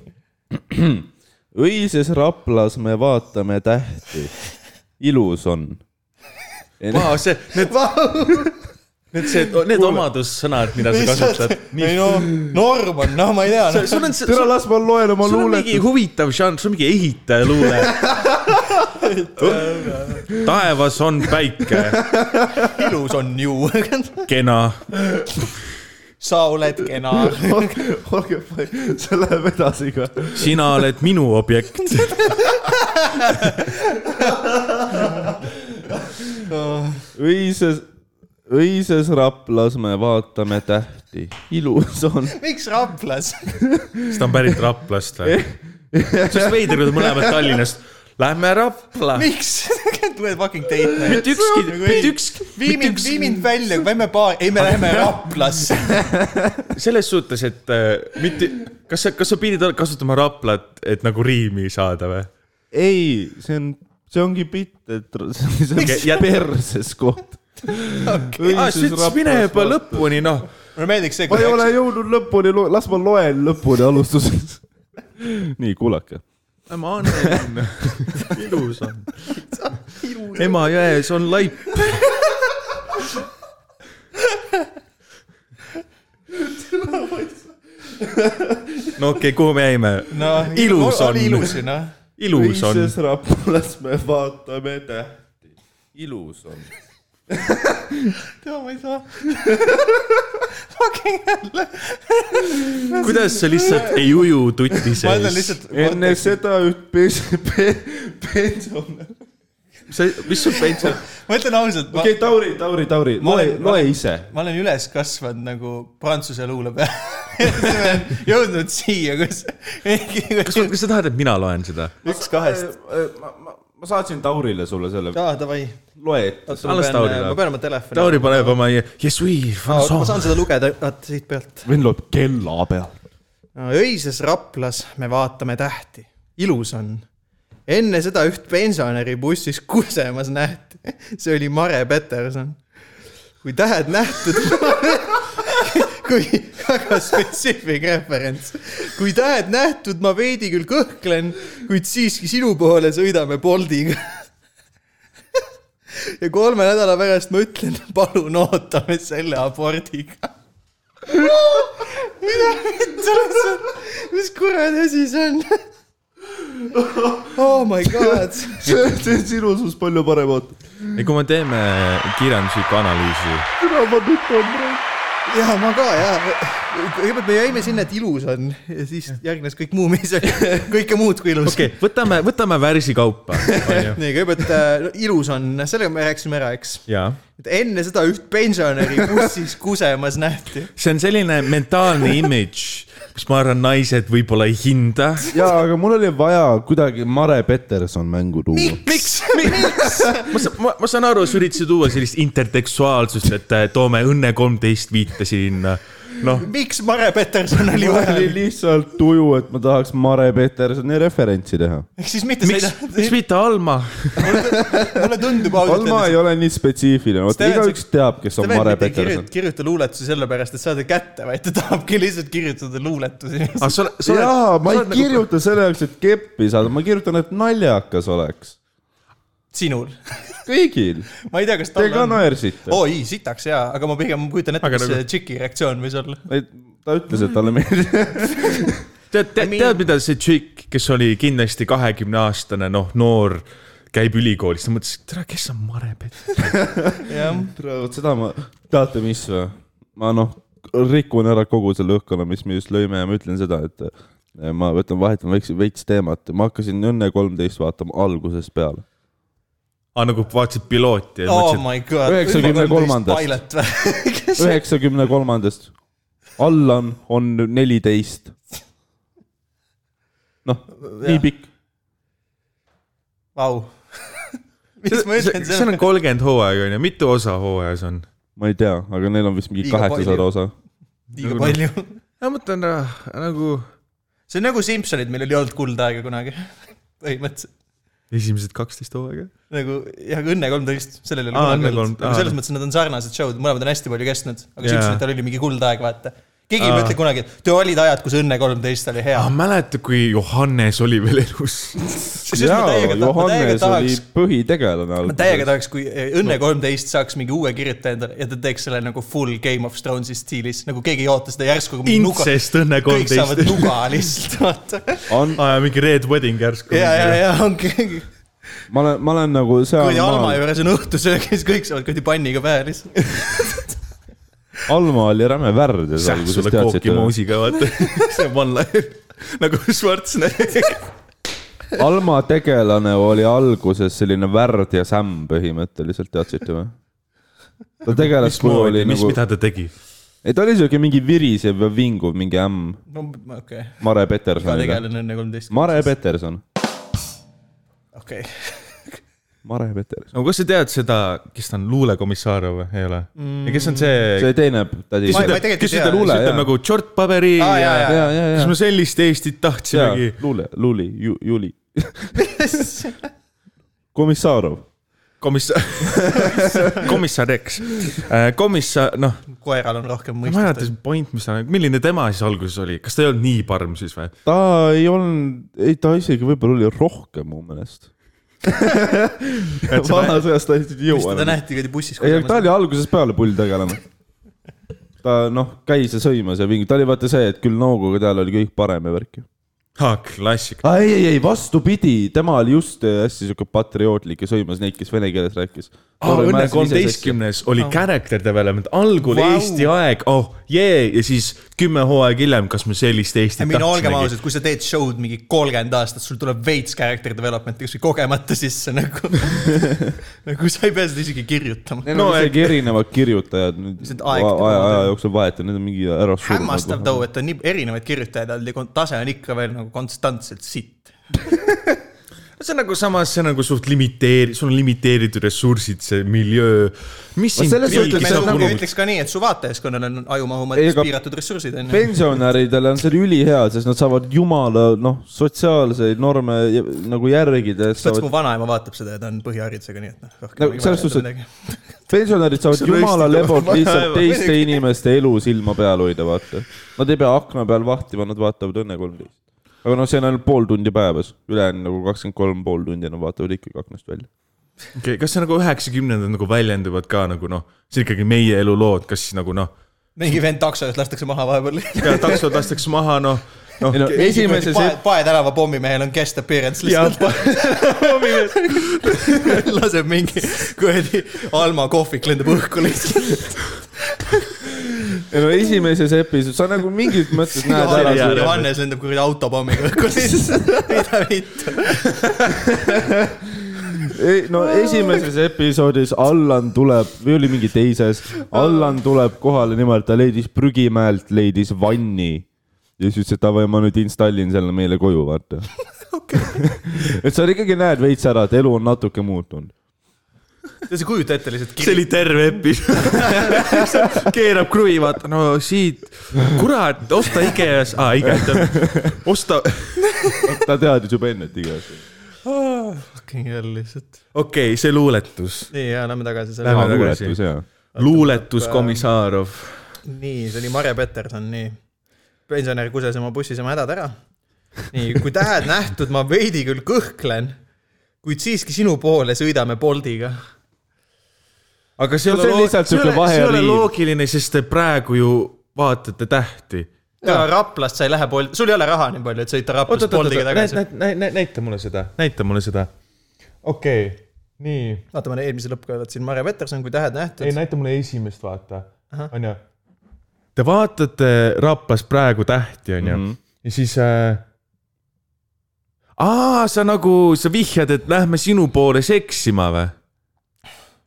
Speaker 3: õises Raplas me vaatame tähti . ilus on . Ah,
Speaker 2: Vau , see , need , need , see , need omadussõnad , mida sa kasutad .
Speaker 1: ei no norm on , noh , ma ei tea ,
Speaker 2: sul on see ,
Speaker 3: tere , las ma loen oma
Speaker 2: sul on mingi
Speaker 3: luuletust .
Speaker 2: huvitav žanr , sul on mingi ehitaja luule . taevas on päike ,
Speaker 1: ilus on ju ,
Speaker 2: kena
Speaker 1: sa oled kena .
Speaker 3: olge , see läheb edasi ka .
Speaker 2: sina oled minu objekt .
Speaker 3: õises , õises Raplas me vaatame tähti . ilus on .
Speaker 1: miks Raplas ?
Speaker 2: siis ta on pärit Raplast või ? siis veider , kui nad mõlemad Tallinnast , lähme Rapla .
Speaker 1: miks ? tuleb fucking date night .
Speaker 2: mitte ükski , mitte ükski ,
Speaker 1: vii mind , vii mind välja , lähme baari , ei me läheme Raplasse .
Speaker 2: selles suhtes , et äh, mitte , kas sa , kas sa pidid kasutama Raplat , et nagu riimi saada või ?
Speaker 3: ei , see on , see ongi pitt , et r- see on
Speaker 2: Miks?
Speaker 3: see perses koht .
Speaker 2: aa , Ah, siis mine juba . lõpuni , noh .
Speaker 1: mulle meeldiks see ,
Speaker 3: ma
Speaker 1: kui
Speaker 3: ei ole jõudnud lõpuni , las ma loen lõpuni alustuseks . nii , kuulake .
Speaker 2: ema on ilus on . Emajões on laip . no okei okay, , kuhu me jäime ?
Speaker 1: no,
Speaker 2: ilus on.
Speaker 1: oli ilus ju noh .
Speaker 2: ilus on .
Speaker 3: teises Rapulas me vaatame tähti . ilus on .
Speaker 1: tead , ma ei saa fucking jälle .
Speaker 2: kuidas sa lihtsalt ei uju tuti
Speaker 1: ma ütlen
Speaker 2: sees ?
Speaker 1: lihtsalt .
Speaker 3: enne seda üht pes- , pe- , pensionär .
Speaker 2: sa , mis sul pension ,
Speaker 1: ma ütlen ausalt , ma
Speaker 3: okei , Tauri , Tauri , Tauri ,
Speaker 1: Ma
Speaker 3: loe ,
Speaker 1: olen- ma-
Speaker 3: loe ise .
Speaker 1: ma olen üles kasvanud nagu prantsuse luule peale . jõudnud siia , kus .
Speaker 2: kas , kas sa tahad , et mina loen seda ?
Speaker 1: üks kahest .
Speaker 3: Äh, ma , ma , ma saatsin Taurile sulle selle ,
Speaker 1: aa , Ah, davai .
Speaker 3: loe ette .
Speaker 2: Alles Tauri läheb.
Speaker 1: ma pean oma telefoni .
Speaker 2: Tauri paneb oma yes we
Speaker 1: ma
Speaker 2: francois
Speaker 1: saan . seda lugeda , vaata siit pealt .
Speaker 3: vend loeb kella pealt .
Speaker 1: öises Raplas me vaatame tähti , ilus on . enne seda üht pensionäri bussis kusemas nähti , see oli Mare Peterson . kui tähed nähtud , kui väga spetsiifiline referents , kui tähed nähtud , ma veidi küll kõhklen , kuid siiski sinu poole sõidame Boldiga . ja kolme nädala pärast ma ütlen , palun ootame selle abordiga . mida vittu , mis kuradi asi see on ? oh my god ,
Speaker 3: see , see on sinu suust palju parem oot .
Speaker 2: ei , kui me teeme kirjanduslikku analüüsi ,
Speaker 3: türa , ma nüüd tunnen .
Speaker 1: ja ma ka ja , kõigepealt me jäime sinna , et ilus on ja siis järgnes kõik muu , mis oli , kõike muud kui ilus .
Speaker 2: okei okay, , võtame , võtame värsi kaupa .
Speaker 1: nii , kõigepealt äh, no, ilus on , sellega me rääkisime ära , eks .
Speaker 2: jaa .
Speaker 1: et enne seda üht pensionäri bussis kusemas nähti .
Speaker 2: see on selline mentaalne image , mis ma arvan , naised võib-olla ei hinda .
Speaker 3: jaa , aga mul oli vaja kuidagi Mare Peterson mängu tuua .
Speaker 1: miks , miks ?
Speaker 2: ma saan , ma, ma saan aru , sa üritasid tuua sellist intertekstuaalsust , et äh, toome Õnne kolmteist viite sinna noh ,
Speaker 1: miks Mare Peterson oli
Speaker 3: mul oli
Speaker 1: vajalik ?
Speaker 3: lihtsalt tuju , et ma tahaks Mare Petersoni referentsi teha .
Speaker 1: ehk siis mitte
Speaker 2: miks , miks
Speaker 1: sõida ,
Speaker 2: mitte Alma ?
Speaker 1: mulle tundub ausalt
Speaker 3: Alma ei
Speaker 1: öeldes ,
Speaker 3: ole nii spetsiifiline , vot
Speaker 1: Steven-
Speaker 3: igaüks teab , kes on
Speaker 1: Steven
Speaker 3: Mare
Speaker 1: mitte ei
Speaker 3: Peterson
Speaker 1: kirjuta ,. kirjuta luuletusi sellepärast , et saada kätte , vaid ta tahabki lihtsalt kirjutada luuletusi .
Speaker 2: aga Ah, sa oled , sa oled ,
Speaker 3: jaa , ma ei kirjuta selle jaoks , et keppi saada , ma kirjutan , et naljakas oleks .
Speaker 1: sinul .
Speaker 3: kõigil ,
Speaker 1: ma ei tea , kas
Speaker 3: te
Speaker 1: tal
Speaker 3: ka
Speaker 1: on . Oh!
Speaker 3: naersite .
Speaker 1: oi , sitaks jaa , aga ma pigem kujutan ette ,
Speaker 2: Aga
Speaker 1: mis
Speaker 2: nagu-
Speaker 1: see tšiki reaktsioon võis olla .
Speaker 3: ta ütles , et talle meeldib .
Speaker 2: tead , tead , mida see tšikk , kes oli kindlasti kahekümne aastane , noh , noor , käib ülikoolis , ta mõtles , et tere , kes on Mare Peterson .
Speaker 1: jah ,
Speaker 3: vot seda ma , teate mis või ? ma noh , rikun ära kogu selle õhkkonna , mis me just lõime ja ma ütlen seda , et eh, ma võtan , vahetan väikse veits teemat , ma hakkasin Õnne kolmteist vaatama algusest peale .
Speaker 2: aa , nagu vaatasid pilooti ja
Speaker 1: oh
Speaker 2: mõtlesid ,
Speaker 1: my god .
Speaker 3: 93. üheksakümne kolmandast . Allan on neliteist . noh , nii pikk .
Speaker 1: Vau . mis ma
Speaker 2: see
Speaker 1: ütlen ,
Speaker 2: see on kolmkümmend hooaega onju , mitu osa hooajas on ?
Speaker 3: ma ei tea , aga neil on vist mingi
Speaker 1: Liiga
Speaker 3: kaheksasada
Speaker 1: palju.
Speaker 3: osa .
Speaker 1: liiga palju .
Speaker 2: ma mõtlen äh, nagu
Speaker 1: see on nagu Simsonid , meil ei olnud kuldaega kunagi . põhimõtteliselt
Speaker 2: esimesed kaksteist hooaega .
Speaker 1: nagu jah , aga Õnne kolmteist , sellel ei
Speaker 2: Aa,
Speaker 1: ole
Speaker 2: Õnne
Speaker 1: kunagi olnud ,
Speaker 2: kolm-
Speaker 1: nagu aga
Speaker 2: aa.
Speaker 1: selles mõttes nad on sarnased show'd , mõlemad on hästi palju kestnud , aga
Speaker 2: Jaa.
Speaker 1: yeah. Simsonitel oli mingi kuldaeg , vaata . keegi ei
Speaker 2: Aa.
Speaker 1: mõtle kunagi , et too olid ajad , kus Õnne kolmteist oli hea
Speaker 2: aga . mäleta , Ah, kui Johannes oli veel elus .
Speaker 3: jaa , Johannes oli
Speaker 1: tahaks ,
Speaker 3: põhitegelane
Speaker 1: ma täiega
Speaker 3: alguses .
Speaker 1: tahaks , kui eh, Õnne kolmteist saaks mingi uue kirjutaja endale ja ta teeks selle nagu full Game of Thrones'i stiilis , nagu keegi ei oota seda järsku .
Speaker 2: Incest Õnne
Speaker 1: kõik saavad
Speaker 2: 13.
Speaker 1: nuga lihtsalt , vaata .
Speaker 2: aa , mingi Red Wedding järsku .
Speaker 1: ja , ja , ja ongi
Speaker 3: ma olen , ma olen nagu seal
Speaker 1: kuradi . Alma juures on õhtusöök ja siis kõik saavad kuradi panniga pähe lihtsalt .
Speaker 3: Alma oli räme värd ja sa
Speaker 2: Sähk
Speaker 3: alguses
Speaker 2: sulle
Speaker 3: teadsid
Speaker 2: kooki . moosiga , vaata . see on one liner . nagu Schwarzenegger .
Speaker 3: Alma tegelane oli alguses selline värd ja sämm põhimõtteliselt , teadsite või ? ta tegeles , kui
Speaker 2: mismoodi ,
Speaker 3: oli
Speaker 2: mis
Speaker 3: nagu
Speaker 2: nagu... ,, mida ta tegi ?
Speaker 3: ei ta oli siuke mingi virisev ja vinguv mingi ämm ,
Speaker 1: no okei okay. ,
Speaker 3: Mare
Speaker 1: iga
Speaker 3: Petersoniga .
Speaker 1: tegelane on enne kolmteist .
Speaker 3: Mare Peterson ,
Speaker 1: okei okay. ,
Speaker 3: Mare Peterson ,
Speaker 2: no kas sa tead seda , kes ta on , luulekomissar või , ei ole mm. ? ja kes on see, see...
Speaker 3: see teine tädi .
Speaker 1: Ma- ma tegelikult ei
Speaker 2: kes
Speaker 1: tea.
Speaker 2: ütleb ,
Speaker 3: Luule,
Speaker 2: ütleb
Speaker 3: jaa.
Speaker 2: nagu tšort paberi
Speaker 1: Aa,
Speaker 2: ah, ja,
Speaker 1: jaa, jaa.
Speaker 2: ja, ja.
Speaker 3: ja , ja ,
Speaker 2: kas
Speaker 3: ja ,
Speaker 2: me sellist Eestit
Speaker 3: ja
Speaker 2: tahtsimegi ,?
Speaker 3: Luule , Luuli , Juli . Komissarov ,
Speaker 2: komissar , komissar X , komissar , noh ,
Speaker 1: koeral on rohkem
Speaker 2: ma ei mäleta
Speaker 1: mõistust .
Speaker 2: see point , mis ta , milline tema siis alguses oli , kas ta ei olnud nii parm siis või ?
Speaker 3: ta ei olnud , ei ta isegi võib-olla oli rohkem mu meelest . vanas ajas ta ei
Speaker 1: siis
Speaker 3: jõua
Speaker 1: teda
Speaker 3: enam .
Speaker 1: nähti kuradi bussis
Speaker 3: ei , aga ta . oli algusest peale pull tegelema . ta noh , käis ja sõimas ja vingu , ta oli vaata see , et küll nooguga tal oli kõik parem ja värk ju .
Speaker 2: aa , klassika .
Speaker 3: ei , ei , ei vastupidi , tema oli just äh, hästi siuke patriootlik ja sõimas neid , kes vene keeles rääkis .
Speaker 1: Ah,
Speaker 2: Õnne kolmeteistkümnes oli character development , algul
Speaker 1: Vau.
Speaker 2: wow. Eesti aeg , oh jee , ja siis kümme hooaega hiljem , kas me sellist Eestit
Speaker 1: ei no olgem
Speaker 2: tahtsimegi .
Speaker 1: ausad , kui sa teed show'd mingi kolmkümmend aastat , sul tuleb veits character development'i kuskil kogemata sisse nagu . nagu sa ei pea seda isegi kirjutama .
Speaker 3: Neil on isegi erinevad kirjutajad nüüd
Speaker 1: Lihtsalt
Speaker 3: aja
Speaker 1: aeg- ,
Speaker 3: aja jooksul vahetunud , need on mingi ära
Speaker 1: hämmastav . too , et on nii erinevaid kirjutajaid olnud ja kon- tase on ikka veel nagu konstantselt sitt .
Speaker 2: see on nagu samas , see on nagu suht limiteeri- , sul on limiteeritud ressursid , see miljöö . mis sind
Speaker 3: selles
Speaker 2: riiki
Speaker 3: suhtes
Speaker 1: me
Speaker 3: see on
Speaker 2: saab
Speaker 1: nagu
Speaker 2: kulutada?
Speaker 1: ütleks ka nii , et su vaatajaskonnal on ajumahu
Speaker 3: Ei,
Speaker 1: mõttes
Speaker 3: aga-
Speaker 1: piiratud ressursid on ju .
Speaker 3: pensionäridele on see ülihea , sest nad saavad jumala noh , sotsiaalseid norme ja- nagu järgida .
Speaker 1: mõttes mu vanaema vaatab seda ja ta on põhiharidusega , nii et noh .
Speaker 3: No selles suhtes, et- pensionärid saavad jumala
Speaker 2: rööstid
Speaker 3: lebot
Speaker 2: oma
Speaker 3: lihtsalt
Speaker 2: vaeva.
Speaker 3: teiste inimeste elu silma peal hoida , vaata . Nad ei pea akna peal vahtima , nad vaatavad Õnne kolmteist . aga noh , see on ainult pool tundi päevas , ülejäänud nagu kakskümmend kolm pool tundi , nad vaatavad ikkagi aknast välja .
Speaker 2: okei okay, , kas see nagu üheksakümnendad nagu väljenduvad ka nagu noh , see on ikkagi meie elulood , kas siis nagu noh ,
Speaker 1: mingi vend taksojuht lastakse maha vahepeal .
Speaker 2: taksod lastakse maha , noh , noh
Speaker 3: ei no esimeses
Speaker 1: Pae , Pae tänava pommimehel on guest appearance lihtsalt . laseb mingi kuradi Alma kohvik lendab õhku lihtsalt .
Speaker 3: ei no esimeses episoodis , sa nagu mingis mõttes näed ära
Speaker 2: jaa,
Speaker 3: selle ,
Speaker 1: Johannes lendab kuradi autopommiga õhku lihtsalt . mida vittu .
Speaker 3: no esimeses episoodis Allan tuleb või oli mingi teises , Allan tuleb kohale , nimelt ta leidis prügimäelt , leidis vanni . ja siis ütles , et davai , ma nüüd installin selle meile koju , vaata . et sa ikkagi näed veits ära , et elu on natuke muutunud .
Speaker 1: sa ei kujuta ette lihtsalt .
Speaker 2: see oli terve episood . keerab kruvi , vaata , no siit , kurat , osta IKEA-s , aa , IKEA , osta ,
Speaker 3: ta teadis juba enne , et igatahes .
Speaker 1: fucking hell lihtsalt .
Speaker 2: okei okay, , see luuletus ,
Speaker 1: nii , ja lähme tagasi selle .
Speaker 2: Lähme
Speaker 3: tema
Speaker 2: tagasi.
Speaker 3: luuletus ja .
Speaker 2: luuletus Komissarov .
Speaker 1: nii , see oli Marje Peterson , nii . pensionär kuses oma bussis oma hädad ära . nii , kui tähed nähtud , ma veidi küll kõhklen , kuid siiski sinu poole sõidame Boltiga .
Speaker 2: aga see,
Speaker 3: No see on lihtsalt
Speaker 2: see ei
Speaker 3: sihuke
Speaker 2: ole- see ei ole
Speaker 3: vaheliin.
Speaker 2: loogiline , sest te praegu ju vaatate tähti .
Speaker 1: ega Raplast sa ei lähe Bolti , sul ei ole raha nii palju , et sõita Raplast Boltiga tagasi .
Speaker 2: näita mulle seda , näita mulle seda . okei okay, , nii ,
Speaker 1: vaata , ma eelmise lõpuga vaatasin Marje Peterson , kui tähed
Speaker 2: ei
Speaker 1: nähtud .
Speaker 2: näita mulle esimest , vaata , onju . Te vaatate Raplas praegu tähti , onju ,
Speaker 3: Mhm.
Speaker 2: ja siis äh, . aa , sa nagu , sa vihjad , et lähme sinu poole seksima või ?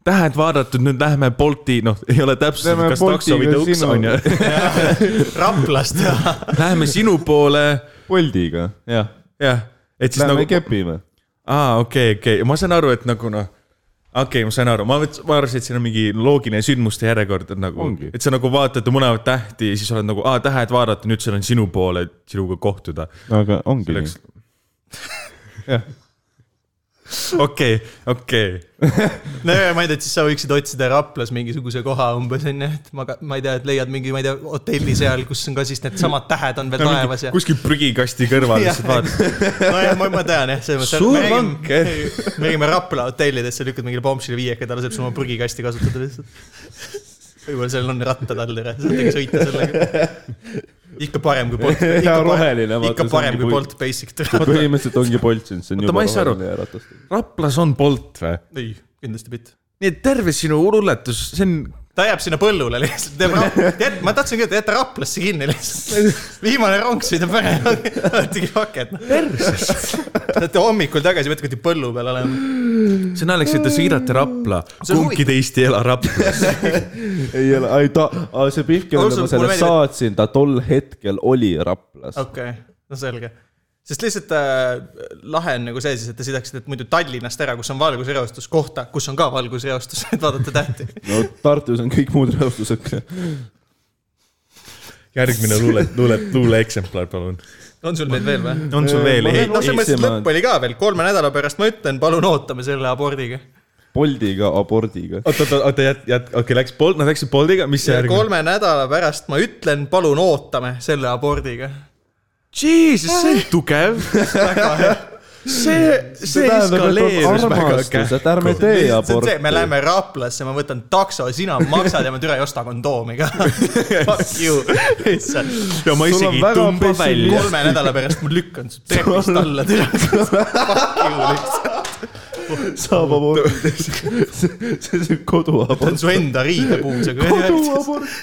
Speaker 2: tähed vaadatud , nüüd lähme Bolti , noh , ei ole täpselt ,
Speaker 3: Lähme
Speaker 2: kas takso või
Speaker 3: Boltiga
Speaker 2: tõuks
Speaker 3: sinu-
Speaker 2: onju .
Speaker 1: Raplast ja
Speaker 2: Lähme sinu poole ,
Speaker 3: Boldiga , jah .
Speaker 2: jah , et siis
Speaker 3: Lähme
Speaker 2: nagu
Speaker 3: kepime .
Speaker 2: aa , okei , okei , ma saan aru , et nagu noh , okei okay, , ma sain aru , ma mõtlesin , ma arvasin , et siin on mingi loogiline sündmuste järjekord , et nagu
Speaker 3: Ongi. ,
Speaker 2: et sa nagu vaatad mõlemat tähti ja siis oled nagu , aa , tähed vaadata , nüüd see on sinu poole , et sinuga kohtuda .
Speaker 3: aga ongi nii .
Speaker 2: okei , okei ,
Speaker 1: no ja ma ei tea , et siis sa võiksid otsida Raplas mingisuguse koha umbes onju , et ma , ma ei tea , et leiad mingi , ma ei tea , hotelli seal , kus on ka siis needsamad tähed on veel taevas ja .
Speaker 2: kuskil prügikasti kõrval
Speaker 1: Jah.
Speaker 2: lihtsalt vaatad ,
Speaker 1: nojah , ma , ma tean jah , selles mõttes .
Speaker 2: Suur
Speaker 3: eh.
Speaker 1: vanker . me käime Rapla hotellidesse , lükkad mingile pomsile viieka , ta laseb sul oma prügikasti kasutada lihtsalt . võib-olla seal on rattad all ära , saad ikka sõita sellega . ikka parem kui Bolt .
Speaker 3: Hea roheline, vaata,
Speaker 1: ikka
Speaker 3: see
Speaker 1: parem
Speaker 3: ongi
Speaker 1: kui
Speaker 3: puit.
Speaker 1: Bolt Basic tuleb .
Speaker 3: põhimõtteliselt ongi Bolt siin , see on
Speaker 2: Oota,
Speaker 3: juba
Speaker 2: ma ei saa aru.
Speaker 3: roheline ja ratas .
Speaker 2: Raplas on Bolt või ?
Speaker 1: ei , kindlasti mitte .
Speaker 2: nii et terve sinu luuletus , see on ,
Speaker 1: ta jääb sinna põllule lihtsalt , teeb ra- , tead , ma tahtsin küll , et jäta Raplasse kinni lihtsalt . viimane rong sõidab ära , oletigi fuck it . Te hommikul tagasi mõtlete , et põllu peal olema .
Speaker 2: see on naljakas , et te sõidate Rapla ,
Speaker 1: See on
Speaker 2: kumbki teist ei ela Raplas .
Speaker 3: ei ole , ei ta , see Pihk , kelle
Speaker 1: Ausalt,
Speaker 3: ma
Speaker 1: mulle
Speaker 3: selle
Speaker 1: meeldib, et-
Speaker 3: saatsin , ta tol hetkel oli Raplas .
Speaker 1: okei okay. , no selge . sest lihtsalt äh, lahe on nagu see siis , et te sõidaksite muidu Tallinnast ära , kus on valgusreostus , kohta , kus on ka valgusreostus , et vaadata tähti .
Speaker 3: no Tartus on kõik muud reostused .
Speaker 2: järgmine luule , luule , luuleeksemplar , palun .
Speaker 1: on sul neid veel või ?
Speaker 2: on sul veel
Speaker 3: Äh, Ma
Speaker 2: ei
Speaker 3: veel- ?
Speaker 1: no selles mõttes , et
Speaker 3: Eestimaa-
Speaker 1: lõpp oli ka veel , kolme nädala pärast ma ütlen , palun ootame selle abordiga .
Speaker 3: Boldiga , abordiga .
Speaker 2: oota , oota , oota , jät- , jät- , okei okay, , läks Bolt , nad läksid Boltiga , mis see järgmine Kolm... ?
Speaker 1: kolme nädala pärast ma ütlen , palun ootame selle abordiga .
Speaker 2: Jesus , see on tugev . see , see eskaleerus väga kähku .
Speaker 3: et ärme tee
Speaker 1: lihtsalt see , me
Speaker 3: aborti .
Speaker 1: läheme Raplasse , ma võtan takso , sina maksad ja ma türa ei osta kondoomi ka . Fuck you , lihtsalt
Speaker 2: ja ma
Speaker 3: Sul on
Speaker 2: isegi ei
Speaker 3: väga
Speaker 2: tõmba
Speaker 3: pessimist-
Speaker 2: välja .
Speaker 1: kolme nädala pärast ma lükkan su trepist alla , türa . Fuck you lihtsalt .
Speaker 3: saab aborti . see on see
Speaker 1: see on
Speaker 3: koduabort .
Speaker 1: su enda riidepuusega .
Speaker 3: koduabort .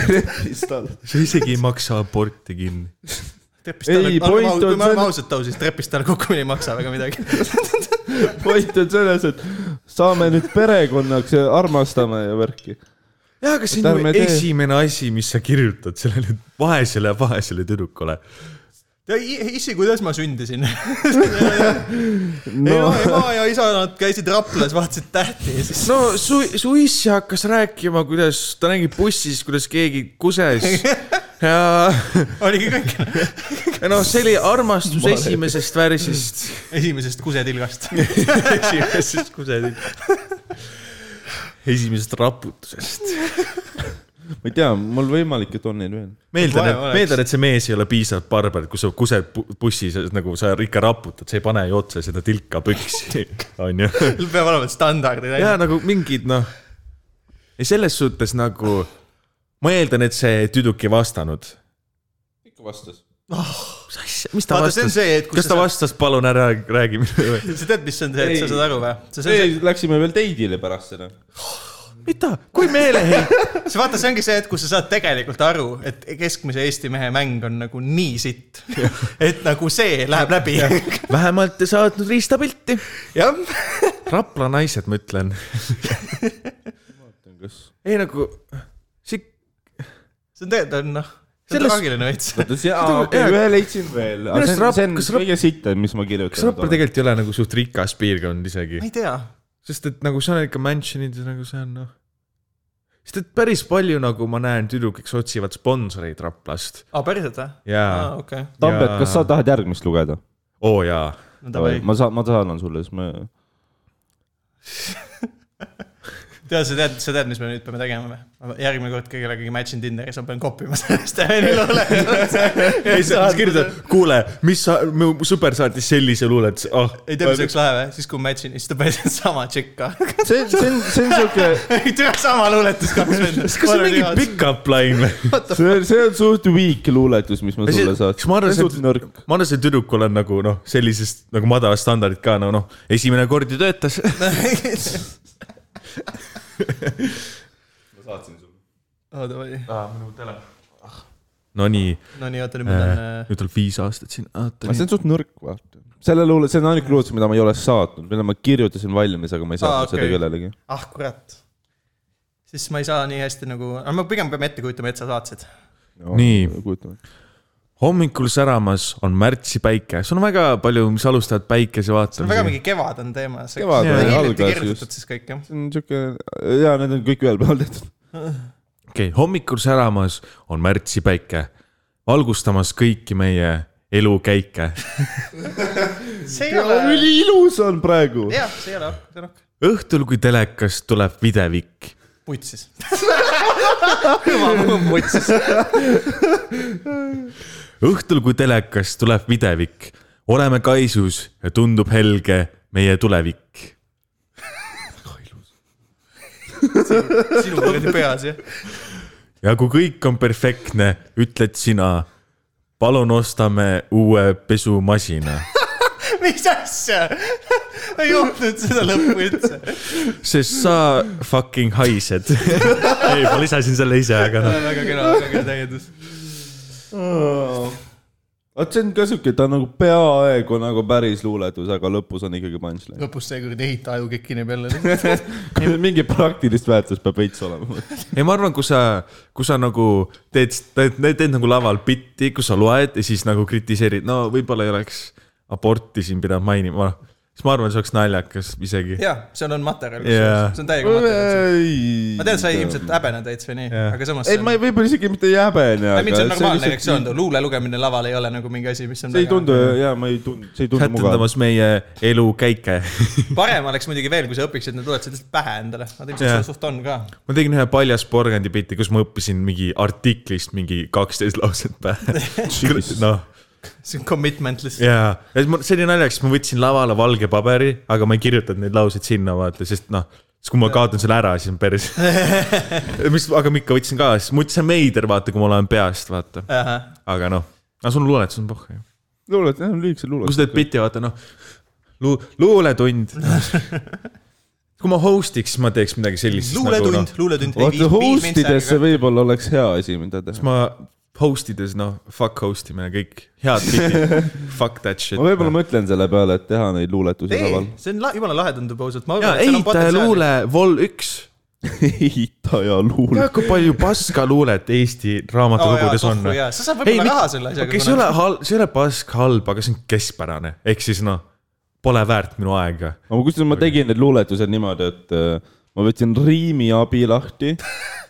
Speaker 3: trepist all .
Speaker 2: sa isegi ei maksa aborti kinni .
Speaker 3: Ei, point on
Speaker 1: kui me oleme
Speaker 3: selles-
Speaker 1: ausad ausalt , siis trepist alla kukkumine ei maksa väga midagi .
Speaker 3: point on selles , et saame nüüd perekonnaks ja armastame ja värki .
Speaker 2: jaa , aga see
Speaker 3: Et
Speaker 2: on
Speaker 3: ärme
Speaker 2: ju
Speaker 3: tee.
Speaker 2: esimene asi , mis sa kirjutad sellele vaesele , vaesele tüdrukule .
Speaker 1: issi , kuidas ma sündisin ?
Speaker 3: no
Speaker 1: ema , ema ja isa , nad käisid Raplas , vaatasid tähti ja siis .
Speaker 2: no su , su issi hakkas rääkima , kuidas ta nägi bussis , kuidas keegi kuses ja
Speaker 1: oligi kõik
Speaker 2: ja noh , see oli armastus esimesest värsist .
Speaker 1: esimesest kusetilgast .
Speaker 2: esimesest kusetit . esimesest raputusest .
Speaker 3: ma ei tea , mul võimalik , et on neil veel .
Speaker 2: meeldan ,
Speaker 1: Vaja
Speaker 2: et
Speaker 1: oleks. ,
Speaker 2: meeldan , et see mees ei ole piisavalt barbar , kui sa kused bu- bussis , nagu sa ikka raputad , sa ei pane ju otse seda tilka püksi , onju .
Speaker 1: peab olema standardid ,
Speaker 2: ja
Speaker 1: onju .
Speaker 2: nagu mingid noh , ei selles suhtes nagu , ma eeldan , et see tüdruk ei vastanud .
Speaker 3: ikka vastas .
Speaker 2: mis asja , mis ta
Speaker 1: vaata , see on
Speaker 2: vastas ?
Speaker 1: see , et
Speaker 2: kas ta vastas , palun ära räägi minuga või ?
Speaker 1: sa tead , mis on see , et sa
Speaker 3: Ei.
Speaker 1: saad aru või ? see on see ,
Speaker 3: ei , läksime veel teidile pärast seda .
Speaker 2: mida , kui meeleheit ,
Speaker 1: see vaata , see ongi see hetk , kus sa saad tegelikult aru , et keskmise Eesti mehe mäng on nagu nii sitt , et nagu see läheb läbi .
Speaker 2: vähemalt ei saatnud riistapilti .
Speaker 1: jah ,
Speaker 2: Rapla naised , ma ütlen . ei nagu ,
Speaker 1: see
Speaker 2: see
Speaker 1: on tegelikult on noh , see on
Speaker 2: Selles-
Speaker 1: traagiline veits .
Speaker 3: jaa , okei , ühe leidsin veel .
Speaker 2: Minu arust
Speaker 3: see on ,
Speaker 2: rap-
Speaker 3: see on
Speaker 2: kas rap-
Speaker 3: kõige sitem , mis ma kirjutanud
Speaker 2: kas Rapla
Speaker 3: olen .
Speaker 2: tegelikult ei ole nagu suht rikas piirkond isegi
Speaker 1: ma ? ei tea ,
Speaker 2: sest et nagu seal on ikka mansion'id ja nagu see on noh . sest et päris palju nagu ma näen tüdrukiks otsivad sponsoreid Raplast
Speaker 1: aa , päriselt või ?
Speaker 2: ja
Speaker 1: aa , okei .
Speaker 2: Jaa.
Speaker 6: Tambet , kas sa tahad järgmist lugeda ?
Speaker 2: oo oh, jaa .
Speaker 1: no davai .
Speaker 6: ma saan , ma saadan sulle , siis me .
Speaker 1: tead , sa tead , sa tead , mis me nüüd peame tegema või ? järgmine kord , kui kellegagi match in Tinderis , ma pean koppima sellest Evelile olemas .
Speaker 2: ei , sa siis kirjutad , kuule , mis sa , mu sõber saatis sellise luule , et ah .
Speaker 1: ei tea , mis oleks lahe või ? siis kui match in , siis ta päris sama tšikka .
Speaker 6: see , see on , see on siuke ,
Speaker 1: ei tea , sama luuletus kaks venda .
Speaker 2: kas see on mingi pick-up line või ?
Speaker 3: see , see on suht weak luuletus , mis ma sulle
Speaker 2: siis
Speaker 3: saatsin .
Speaker 2: ma arvan ,
Speaker 3: see on suht
Speaker 2: et
Speaker 3: nõrk .,
Speaker 2: ma arvan , et see tüdrukul on nagu noh , sellisest nagu madalast standardit ka no noh , esimene kord ju töötas .
Speaker 3: ma saatsin sulle .
Speaker 1: aa , davai . Ah.
Speaker 2: Nonii ,
Speaker 1: Nonii , oota , nüüd
Speaker 3: Äh.
Speaker 1: ma pean .
Speaker 2: Äh.
Speaker 1: äh,
Speaker 2: nüüd on viis aastat siin , oota
Speaker 3: aga . Ah, see on suht nõrk , vaata . selle luule , see on ainuke luuletus , mida ma ei ole saatnud , mille ma kirjutasin valmis , aga ma ei saatnud
Speaker 1: okei.
Speaker 3: seda kellelegi .
Speaker 1: ah kurat . siis ma ei saa nii hästi nagu , aga me pigem peame ette kujutama , et sa saatsid .
Speaker 2: Nii.
Speaker 3: kujutame .
Speaker 2: hommikul säramas on märtsipäike , see on väga palju , mis alustavad päikese
Speaker 1: väga
Speaker 2: vaatamisega .
Speaker 1: mingi kevad on teema .
Speaker 3: Kevad
Speaker 2: on
Speaker 3: algas
Speaker 1: kirjutatud
Speaker 3: just.
Speaker 1: siis kõik jah .
Speaker 3: see on siuke , jaa , need on kõik ühel päeval tehtud .
Speaker 2: okei okay, , hommikul säramas on märtsipäike , valgustamas kõiki meie elukäike .
Speaker 1: see ei ole ,
Speaker 3: üliilus on praegu .
Speaker 1: jah , see ei ole hakk , see on hakk .
Speaker 2: õhtul , kui telekast tuleb videvik ,
Speaker 1: putsis . hüva , mul on putsis .
Speaker 2: õhtul , kui telekast tuleb videvik , oleme kaisus ja tundub helge meie tulevik .
Speaker 1: sinu kuradi peas jah .
Speaker 2: ja kui kõik on perfektne , ütled sina , palun ostame uue pesumasina
Speaker 1: mis asja ? ei juhtunud seda lõppu üldse .
Speaker 2: sest sa fucking haised . ei , ma lisasin selle ise , aga noh .
Speaker 1: Äh, väga kena , väga kena täiendus .
Speaker 3: vot see on ka siuke , ta on nagu peaaegu nagu päris luuletus , aga lõpus on ikkagi punchline .
Speaker 1: lõpus seekord ei ehita aju kikini peale .
Speaker 3: mingi praktilist väärtust peab veits olema .
Speaker 2: ei , ma arvan , kui sa , kui sa nagu teed , teed, teed nagu laval bitti , kus sa loed ja siis nagu kritiseerid , no võib-olla ei oleks aborti siin pidanud mainima , siis ma arvan , see oleks naljakas isegi .
Speaker 1: jah , seal on materjal
Speaker 2: Jaa.
Speaker 1: kusjuures , see on täiega materjal . ma
Speaker 3: ma
Speaker 1: tean , sa ilmselt häbened veits või nii ,
Speaker 2: Jah.
Speaker 1: aga samas .
Speaker 3: ei , ma ei- võib-olla isegi mitte ei häbene ,
Speaker 1: ei , mind see on normaalne
Speaker 3: aga
Speaker 1: reaktsioon , luule lugemine laval ei ole nagu mingi asi , mis on
Speaker 3: see ei tundu , jaa , ma ei tundu , see ei tundu mugav .
Speaker 2: sätendamas meie elukäike .
Speaker 1: parem oleks muidugi veel , kui sa õpiksid need luuletused lihtsalt pähe endale , nad ilmselt
Speaker 2: Jah.
Speaker 1: selle suht on ka .
Speaker 2: ma tegin ühe paljas porgandi bitti , kus ma õppisin mingi artiklist mingi kaksteist lauset pähe . noh
Speaker 1: see on commitment lihtsalt .
Speaker 2: jaa , et ma , see oli naljakas , ma võtsin lavale valge paberi , aga ma ei kirjutanud neid lauseid sinna vaata , sest noh , siis kui ma kaotan selle ära , siis on päris . mis , aga ma ikka võtsin ka , siis ma ütlesin veider , vaata , kui ma loen peast , vaata , aga noh , aga sul luuletus on pohh ju .
Speaker 3: luulet , jah , lühikesed
Speaker 2: kui
Speaker 3: luuletused .
Speaker 2: sa teed bitti , vaata noh , lu- , luuletund . kui ma host'iks , siis ma teeks midagi sellist . nagu, noh,
Speaker 1: luuletund ,. luuletund .
Speaker 3: vaata , host ides see võib-olla oleks hea asi , mida teha .
Speaker 2: ma host ides , noh , fuck host imine , kõik head bitid , fuck that shit .
Speaker 3: ma võib-olla mõtlen selle peale , et teha neid luuletusi
Speaker 1: ei
Speaker 3: laval ,
Speaker 1: see on la- jumala lahe , tundub ausalt .
Speaker 2: jaa , eitaja . luule , vol üks
Speaker 3: ehitaja luule
Speaker 2: tead , kui palju paska luulet Eesti raamatukogudes on ?
Speaker 1: sa saad võib-olla raha selle asjaga .
Speaker 2: okei , see ei ole . halb , see ei ole pask halb , aga see on keskpärane , ehk siis noh , pole väärt minu aega .
Speaker 3: aga kusjuures ma tegin need luuletused niimoodi , et äh, ma võtsin riimi abi lahti ,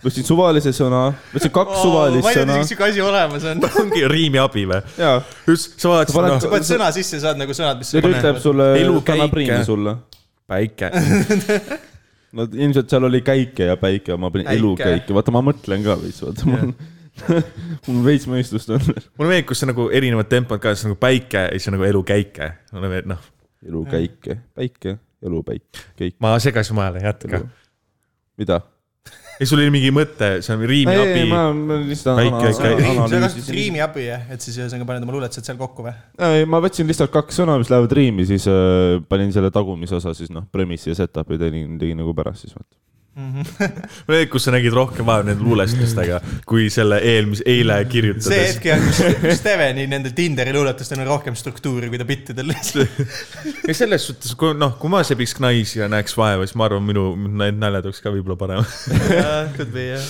Speaker 3: võtsin suvalise sõna , võtsin kaks suvalist
Speaker 1: ma ei
Speaker 3: sõna
Speaker 1: tea , sihuke asi olemas on .
Speaker 2: ongi riimi abi või ?
Speaker 3: ja
Speaker 2: just , sa vaatasid
Speaker 3: paned-
Speaker 2: noh
Speaker 1: sa , paned sõna sisse , saad nagu sõnad , mis .
Speaker 3: nüüd ütleb sulle
Speaker 2: Elu ,
Speaker 3: annab
Speaker 2: käike.
Speaker 3: riimi sulle .
Speaker 2: noh, päike .
Speaker 3: no ilmselt seal oli käike ja päike , ma panin
Speaker 1: Käike.
Speaker 3: elukäike , vaata ma mõtlen ka veits , vaata mul , mul veits mõistust on .
Speaker 2: mulle meeldib , kus on nagu erinevad tempod ka , siis on nagu päike ja siis on nagu elukäike . mulle meeldib , noh ,
Speaker 3: elukäike , päike , elupäike , kõik ,
Speaker 2: ma segasin vahele , jätka .
Speaker 3: mida ?
Speaker 2: ei , sul oli mingi mõte , see on riimi
Speaker 3: ei , ma
Speaker 2: abi .
Speaker 3: ma lihtsalt
Speaker 2: Väike-
Speaker 3: ana-
Speaker 2: väike-
Speaker 3: ana-
Speaker 1: sa kasutad
Speaker 3: analüüsisin .
Speaker 1: riimi abi , et siis ühesõnaga paned oma luuletused seal kokku või ?
Speaker 3: ei , ma võtsin lihtsalt kaks sõna , mis lähevad riimi , siis äh, panin selle tagumise osa siis noh , premissi ja setup'i tegin , tegin nagu pärast siis vaata .
Speaker 2: mulle meeldib , kus sa nägid rohkem vaeva nende luulestustega , kui selle eelmise , eile
Speaker 1: see
Speaker 2: kirjutades .
Speaker 1: hetk jah , kus Steveni nendel Tinderi luuletustel on rohkem struktuuri , kui ta bittidel lihtsalt .
Speaker 2: ja selles suhtes , kui noh , kui ma sebiks naisi ja näeks vaeva , siis ma arvan , minu need naljad oleks ka võib-olla paremad .
Speaker 1: Could be jah .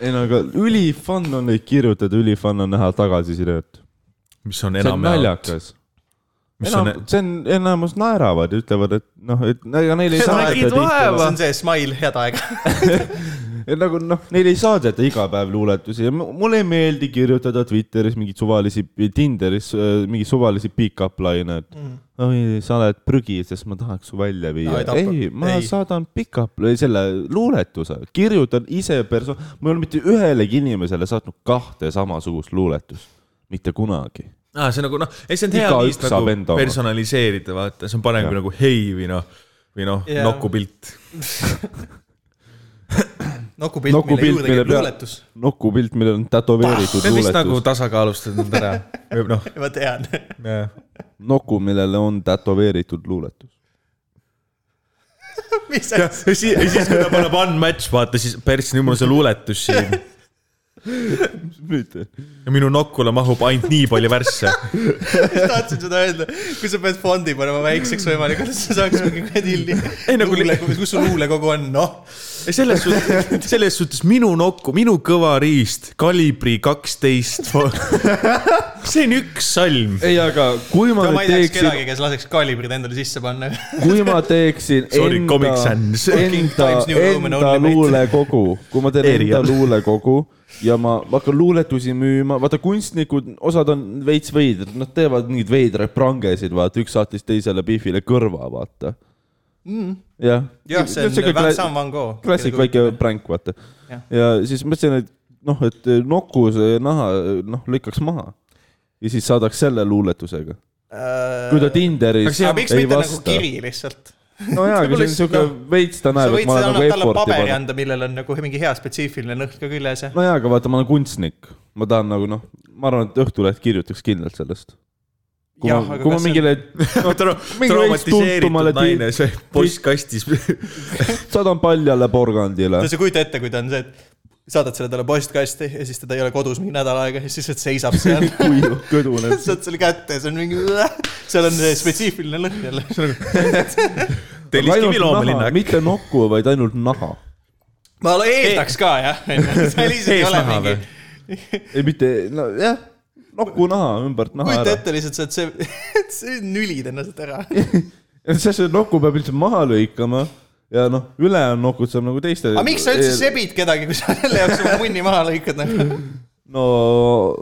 Speaker 3: ei no aga üli fun on neid kirjutada , üli fun on näha tagasisidet .
Speaker 2: mis on
Speaker 3: see on
Speaker 2: enamjaolt ,
Speaker 3: naljakas .
Speaker 2: mis
Speaker 3: enam
Speaker 2: on ,,
Speaker 3: see on , enamus naeravad ja ütlevad , et noh , et no ega neil ei
Speaker 1: Seda
Speaker 3: saadeta
Speaker 1: nägid see
Speaker 3: tihtipeale ,
Speaker 1: on see smile head aeg .
Speaker 3: et nagu noh , neil ei saadeta iga päev luuletusi ja mu- mulle ei meeldi kirjutada Twitteris mingeid suvalisi , Tinderis äh, mingeid suvalisi pick-up laine , et mm. oi , sa oled prügi , sest ma tahaks su välja
Speaker 1: No,
Speaker 3: viia
Speaker 1: ei
Speaker 3: no, .
Speaker 1: tapa.
Speaker 3: ei , ma
Speaker 1: Ei.
Speaker 3: ei. saadan pick-up , selle luuletuse , kirjutan ise perso- , ma ei ole mitte ühelegi inimesele saatnud kahte samasugust luuletust , mitte kunagi .
Speaker 2: aa , see nagu noh , ei see on hea
Speaker 3: Igaüks
Speaker 2: viis
Speaker 3: saab
Speaker 2: nagu
Speaker 3: enda oma.
Speaker 2: personaliseerida , vaata , see on parem kui nagu hei või noh , või noh
Speaker 1: Jaa. ,
Speaker 2: nokupilt .
Speaker 1: nokupilt , mille
Speaker 3: Nokupilt,
Speaker 1: juurde
Speaker 3: mille
Speaker 1: käib
Speaker 3: peal-
Speaker 1: luuletus .
Speaker 3: nokupilt , millel on
Speaker 1: Ah,
Speaker 3: tätoveeritud
Speaker 2: see on vist nagu
Speaker 3: luuletus .
Speaker 2: tasakaalustatud nüüd ära , või noh ,
Speaker 1: ma tean . nagu-
Speaker 3: noku , millele on tätoveeritud luuletus .
Speaker 1: mis
Speaker 2: ja
Speaker 1: asi ,
Speaker 2: siis , ja siis , kui ta paneb unmatch , vaata siis päris nii , mul on see luuletus siin ja minu nokule mahub ainult nii palju värsse .
Speaker 1: ma tahtsin seda öelda , kui sa pead fondi panema väikseks võimalikult , et sa saaks mingi kadilli .
Speaker 2: Ei, nagu li-
Speaker 1: luule , kus su luulekogu on , noh .
Speaker 2: selles suhtes , selles suhtes minu nokku , minu kõva riist , kalibri kaksteist . see on üks salm .
Speaker 3: ei , aga kui ma,
Speaker 1: no ma
Speaker 3: ma
Speaker 1: ei teaks
Speaker 3: teeksin ,
Speaker 1: kedagi , kes laseks kalibrid endale sisse panna .
Speaker 3: kui ma teeksin
Speaker 2: Sorry, Comic
Speaker 3: enda ,
Speaker 2: Sans.
Speaker 3: enda
Speaker 1: Times , New Roman
Speaker 3: enda
Speaker 1: only, mate.
Speaker 3: luulekogu , kui ma teen
Speaker 2: Erial.
Speaker 3: enda luulekogu ja ma hakkan luuletusi müüma , vaata kunstnikud , osad on veits veidrad , nad teevad mingeid veidraid prangesid , vaata , üks saatis teisele Biffile kõrva , vaata mm. . jah
Speaker 1: jah , see on Vincent Van Gogh .
Speaker 3: klassik väike . pränk , vaata .
Speaker 1: Jah.
Speaker 3: ja siis mõtlesin , et noh , et noku see naha , noh , lõikaks maha . ja siis saadaks selle luuletusega . kui ta
Speaker 1: aga
Speaker 3: Tinderis
Speaker 1: see- Äh, aga miks
Speaker 3: ei
Speaker 1: mitte nagu
Speaker 3: vasta .
Speaker 1: kiri lihtsalt ?
Speaker 3: no jaa , aga see on siuke veits , ta
Speaker 1: sa
Speaker 3: näeb ,
Speaker 1: võid
Speaker 3: et ma
Speaker 1: seda
Speaker 3: olen
Speaker 1: nagu
Speaker 3: nagu
Speaker 1: talle
Speaker 3: effort'i
Speaker 1: paberi
Speaker 3: pannud .
Speaker 1: anda , millel on nagu mingi hea spetsiifiline lõhn ka küljes ja .
Speaker 3: no jaa , aga vaata , ma olen kunstnik , ma tahan nagu noh , ma arvan , et Õhtuleht kirjutaks kindlalt sellest . kui
Speaker 1: Jah,
Speaker 3: ma ,
Speaker 1: aga
Speaker 3: kui ma
Speaker 1: kas see on-
Speaker 3: mingile ,
Speaker 2: Tra-
Speaker 3: mingi veits tuntumale
Speaker 2: traumatiseeritud
Speaker 3: ti-
Speaker 2: naine , see postkastis .
Speaker 3: saadan paljale porgandile
Speaker 1: no . sa kujuta ette , kui ta on see , et saadad selle talle postkasti ja siis teda ei ole kodus mingi nädal aega ja siis lihtsalt seisab seal .
Speaker 3: kuiv , kõdune .
Speaker 1: saad selle kätte ja see on mingi , seal on see spetsiifiline lõhn jälle .
Speaker 2: tellis kivi loomalinna .
Speaker 3: mitte nokku , vaid ainult naha .
Speaker 1: ma ole- eeldaks ka jah , seal isegi ei ole
Speaker 2: Eesnaha
Speaker 1: mingi .
Speaker 3: ei mitte , nojah , nokku naha , ümbert naha
Speaker 1: kujuta
Speaker 3: ära .
Speaker 1: ette lihtsalt , sa oled see , sa nülid ennast ära . aga
Speaker 3: sest see nokku peab üldse maha lõikama ja noh , ülejäänud nokud saab nagu teiste .
Speaker 1: miks sa üldse ? sebid kedagi , kui sa selle jaoks oma munni maha lõikad nagu ?
Speaker 3: no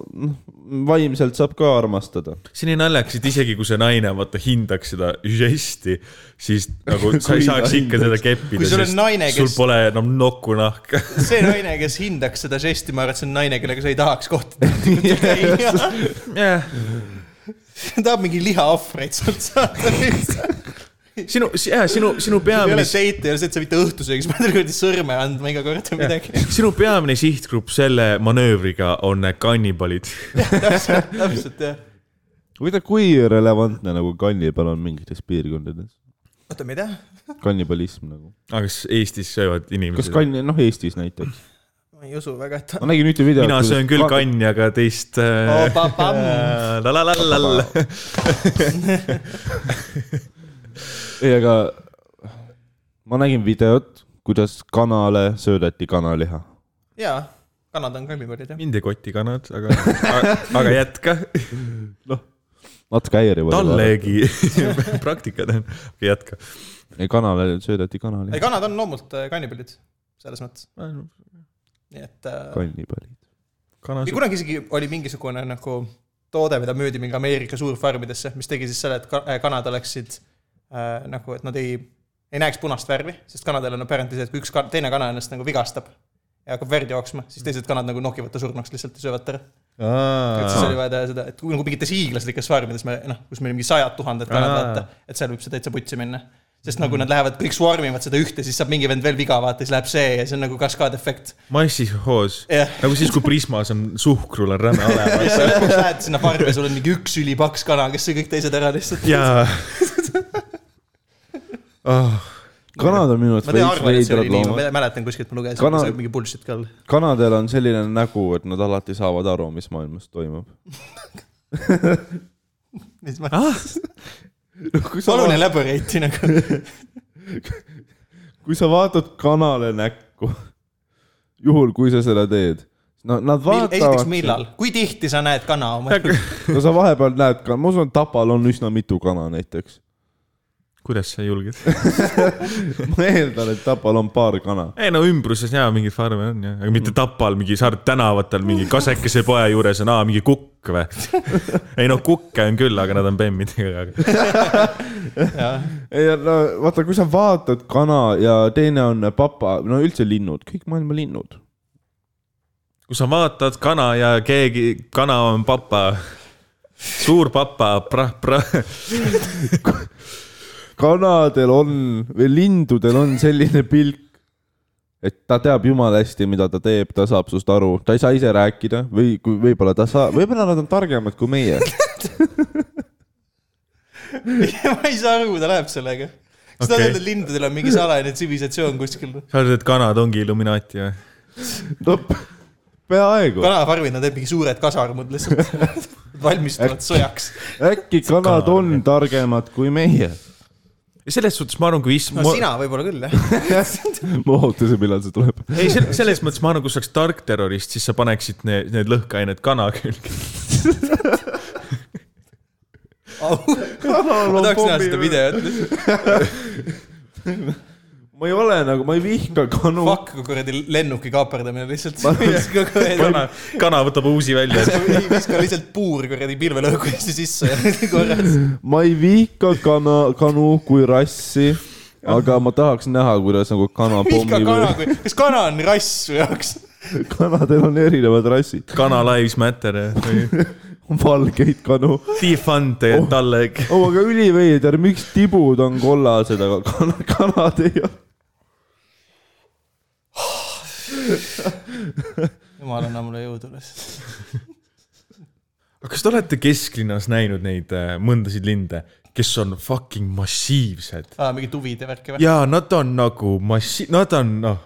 Speaker 3: noh, vaimselt saab ka armastada .
Speaker 2: see on nii naljakas , et isegi kui see naine vaata hindaks seda žesti , siis nagu sa ei saaks ikka teda keppida .
Speaker 1: Kui sul on naine,
Speaker 2: sul
Speaker 1: kes-
Speaker 2: pole enam nokkunahka .
Speaker 1: see naine , kes hindaks seda žesti , ma arvan , et see on naine , kellega sa ei tahaks kohtuda . tahab mingi lihaohvreid sealt saada lihtsalt .
Speaker 2: sinu , jaa , sinu ,
Speaker 1: ei
Speaker 2: sinu
Speaker 1: ole
Speaker 2: peamine ,
Speaker 1: seite , ei ole see , et sa mitte õhtusöögis pead kuradi sõrme andma iga kord või midagi .
Speaker 2: sinu peamine sihtgrupp selle manöövriga on kannibalid .
Speaker 1: täpselt , täpselt jah .
Speaker 3: huvitav , kui relevantne nagu kannibal on mingites piirkondades ?
Speaker 1: oota , mida ?
Speaker 3: kannibalism nagu .
Speaker 2: aga kas Eestis söövad
Speaker 3: kas
Speaker 2: inimesed ?
Speaker 3: kann- , noh Eestis näiteks .
Speaker 1: ma ei usu väga , et ta .
Speaker 3: ma nägin ühte videot .
Speaker 2: mina söön küll . kanni , aga teist .
Speaker 1: Oh,
Speaker 2: äh,
Speaker 1: Äh.
Speaker 2: la-la-la-la-la .
Speaker 3: ei , aga ma nägin videot , kuidas kanale söödeti kanaliha .
Speaker 1: jaa , kanad on kallikorjad jah .
Speaker 2: mind ei koti kanad , aga , aga jätka .
Speaker 3: natuke häiriv .
Speaker 2: tallegi praktika tähendab , jätka .
Speaker 3: ei , kanale söödeti kanaliha
Speaker 1: ei , kanad on loomult äh, kannipallid , selles mõttes . nii et äh,
Speaker 3: kannibalid .
Speaker 1: ja kunagi isegi oli mingisugune nagu toode , mida müüdi mingi Ameerika suurfarmidesse , mis tegi siis selle , et ka- äh, kanad oleksid äh, nagu , et nad ei , ei näeks punast värvi , sest kanadel on apparently see , et kui üks , teine kana ennast nagu vigastab ja hakkab verd jooksma , siis teised kanad nagu nokivad ta surnuks lihtsalt ja söövad ta ära . et siis oli vaja teha seda , et kui nagu mingites hiiglaslikes farmides me noh , kus meil on mingi sajad tuhanded kanad ,
Speaker 2: Aa.
Speaker 1: vaata , et seal võib see täitsa putsi minna . sest nagu nad lähevad , kõik swarm ivad seda ühte , siis saab mingi vend veel viga , vaata , siis läheb see ja see on nagu kaskaadefekt .
Speaker 2: massihoos
Speaker 1: jah ,
Speaker 2: nagu siis , kui Prismas on suhkrul on räme olema .
Speaker 1: ja siis sa lõpuks lähed sinna farmi ja sul on mingi üks ülipaks kana , kes sõi kõik teised ära lihtsalt .
Speaker 2: jaa .
Speaker 3: kanad on minu arust
Speaker 1: ma tean , arvan , et
Speaker 3: veits
Speaker 1: see
Speaker 3: veidrad
Speaker 1: oli nii ,
Speaker 3: loomad .
Speaker 1: ma mäletan kuskilt , ma lugesin ,
Speaker 3: Kana-
Speaker 1: see oli mingi bullshit ka .
Speaker 3: kanadel on selline nägu , et nad alati saavad aru , mis maailmas toimub .
Speaker 2: Ah,
Speaker 3: kui sa
Speaker 1: palun
Speaker 3: vaatad ,
Speaker 1: elaborate'i nagu .
Speaker 3: kui sa vaatad kanale näkku , juhul kui sa seda teed , no nad
Speaker 1: esiteks
Speaker 3: vaatavad ,
Speaker 1: millal , kui tihti sa näed kana oma elus ?
Speaker 3: no sa vahepeal näed ka , ma usun , Tapal on üsna mitu kana näiteks .
Speaker 2: kuidas sa julged ?
Speaker 3: ma eeldan , et Tapal on paar kana .
Speaker 2: ei no ümbruses jaa , mingeid farme on jah , aga mitte Tapal , mingi Saart tänavatel mingi kasekese poe juures on aa mingi kukk või ? ei no kukke on küll , aga nad on bemmidega , aga
Speaker 3: ei no vaata , kui sa vaatad kana ja teine on papa , no üldse linnud , kõik maailma linnud .
Speaker 2: kui sa vaatad kana ja keegi , kana on papa , suur papa , prah-prah ,
Speaker 3: kanadel on või lindudel on selline pilk , et ta teab jumala hästi , mida ta teeb , ta saab sinust aru , ta ei saa ise rääkida või kui võib-olla ta saab , võib-olla nad on targemad kui meie .
Speaker 1: ma ei saa aru , kuhu ta läheb sellega . kas okay. ta
Speaker 2: Okei.
Speaker 1: ütleb , et lindudel on mingi salajane tsivilisatsioon kuskil ?
Speaker 2: sa arvad , et kanad ongi Illuminaati või ?
Speaker 3: no peaaegu ,
Speaker 1: kanafarmid , nad teevad mingi suured kasarmud lihtsalt , valmistuvad sõjaks .
Speaker 3: äkki kanad on targemad kui meie .
Speaker 2: selles suhtes ma arvan , kui is-
Speaker 1: no
Speaker 2: ma...
Speaker 1: ma... sina võib-olla küll , jah .
Speaker 3: ma ootasin , millal see tuleb .
Speaker 2: ei , selles mõttes ma arvan , kui sa oleks tark terrorist , siis sa paneksid need, need lõhkeained kana külge .
Speaker 1: ma tahaks näha seda videot ,
Speaker 3: ma ei ole nagu , ma ei vihka kanu .
Speaker 1: fuck , kui kuradi lennuki kaaperdamine lihtsalt . ei
Speaker 2: kana , kana võtab uusi välja .
Speaker 1: viska lihtsalt puur kuradi pilvelõõgu hästi sisse ja korras .
Speaker 3: ma ei vihka kana , kanu kui rassi , aga ma tahaks näha , kuidas nagu kana
Speaker 1: vihka
Speaker 3: pommi
Speaker 1: kana , kui , kas kana on rass su jaoks ?
Speaker 3: kanadel on erinevad rassid ,
Speaker 2: kana lives matter või
Speaker 3: valgeid kanu .
Speaker 2: defund oh. talle .
Speaker 3: oo , aga üliveider , miks tibud on kollased , aga kana , kanad ei ole ?
Speaker 1: jumal anna mulle jõudu lihtsalt .
Speaker 2: kas te olete kesklinnas näinud neid äh, mõndasid linde , kes on fucking massiivsed ?
Speaker 1: aa , mingit huvide Ah, värki või ?
Speaker 2: ja nad on nagu massi- , nad on noh ,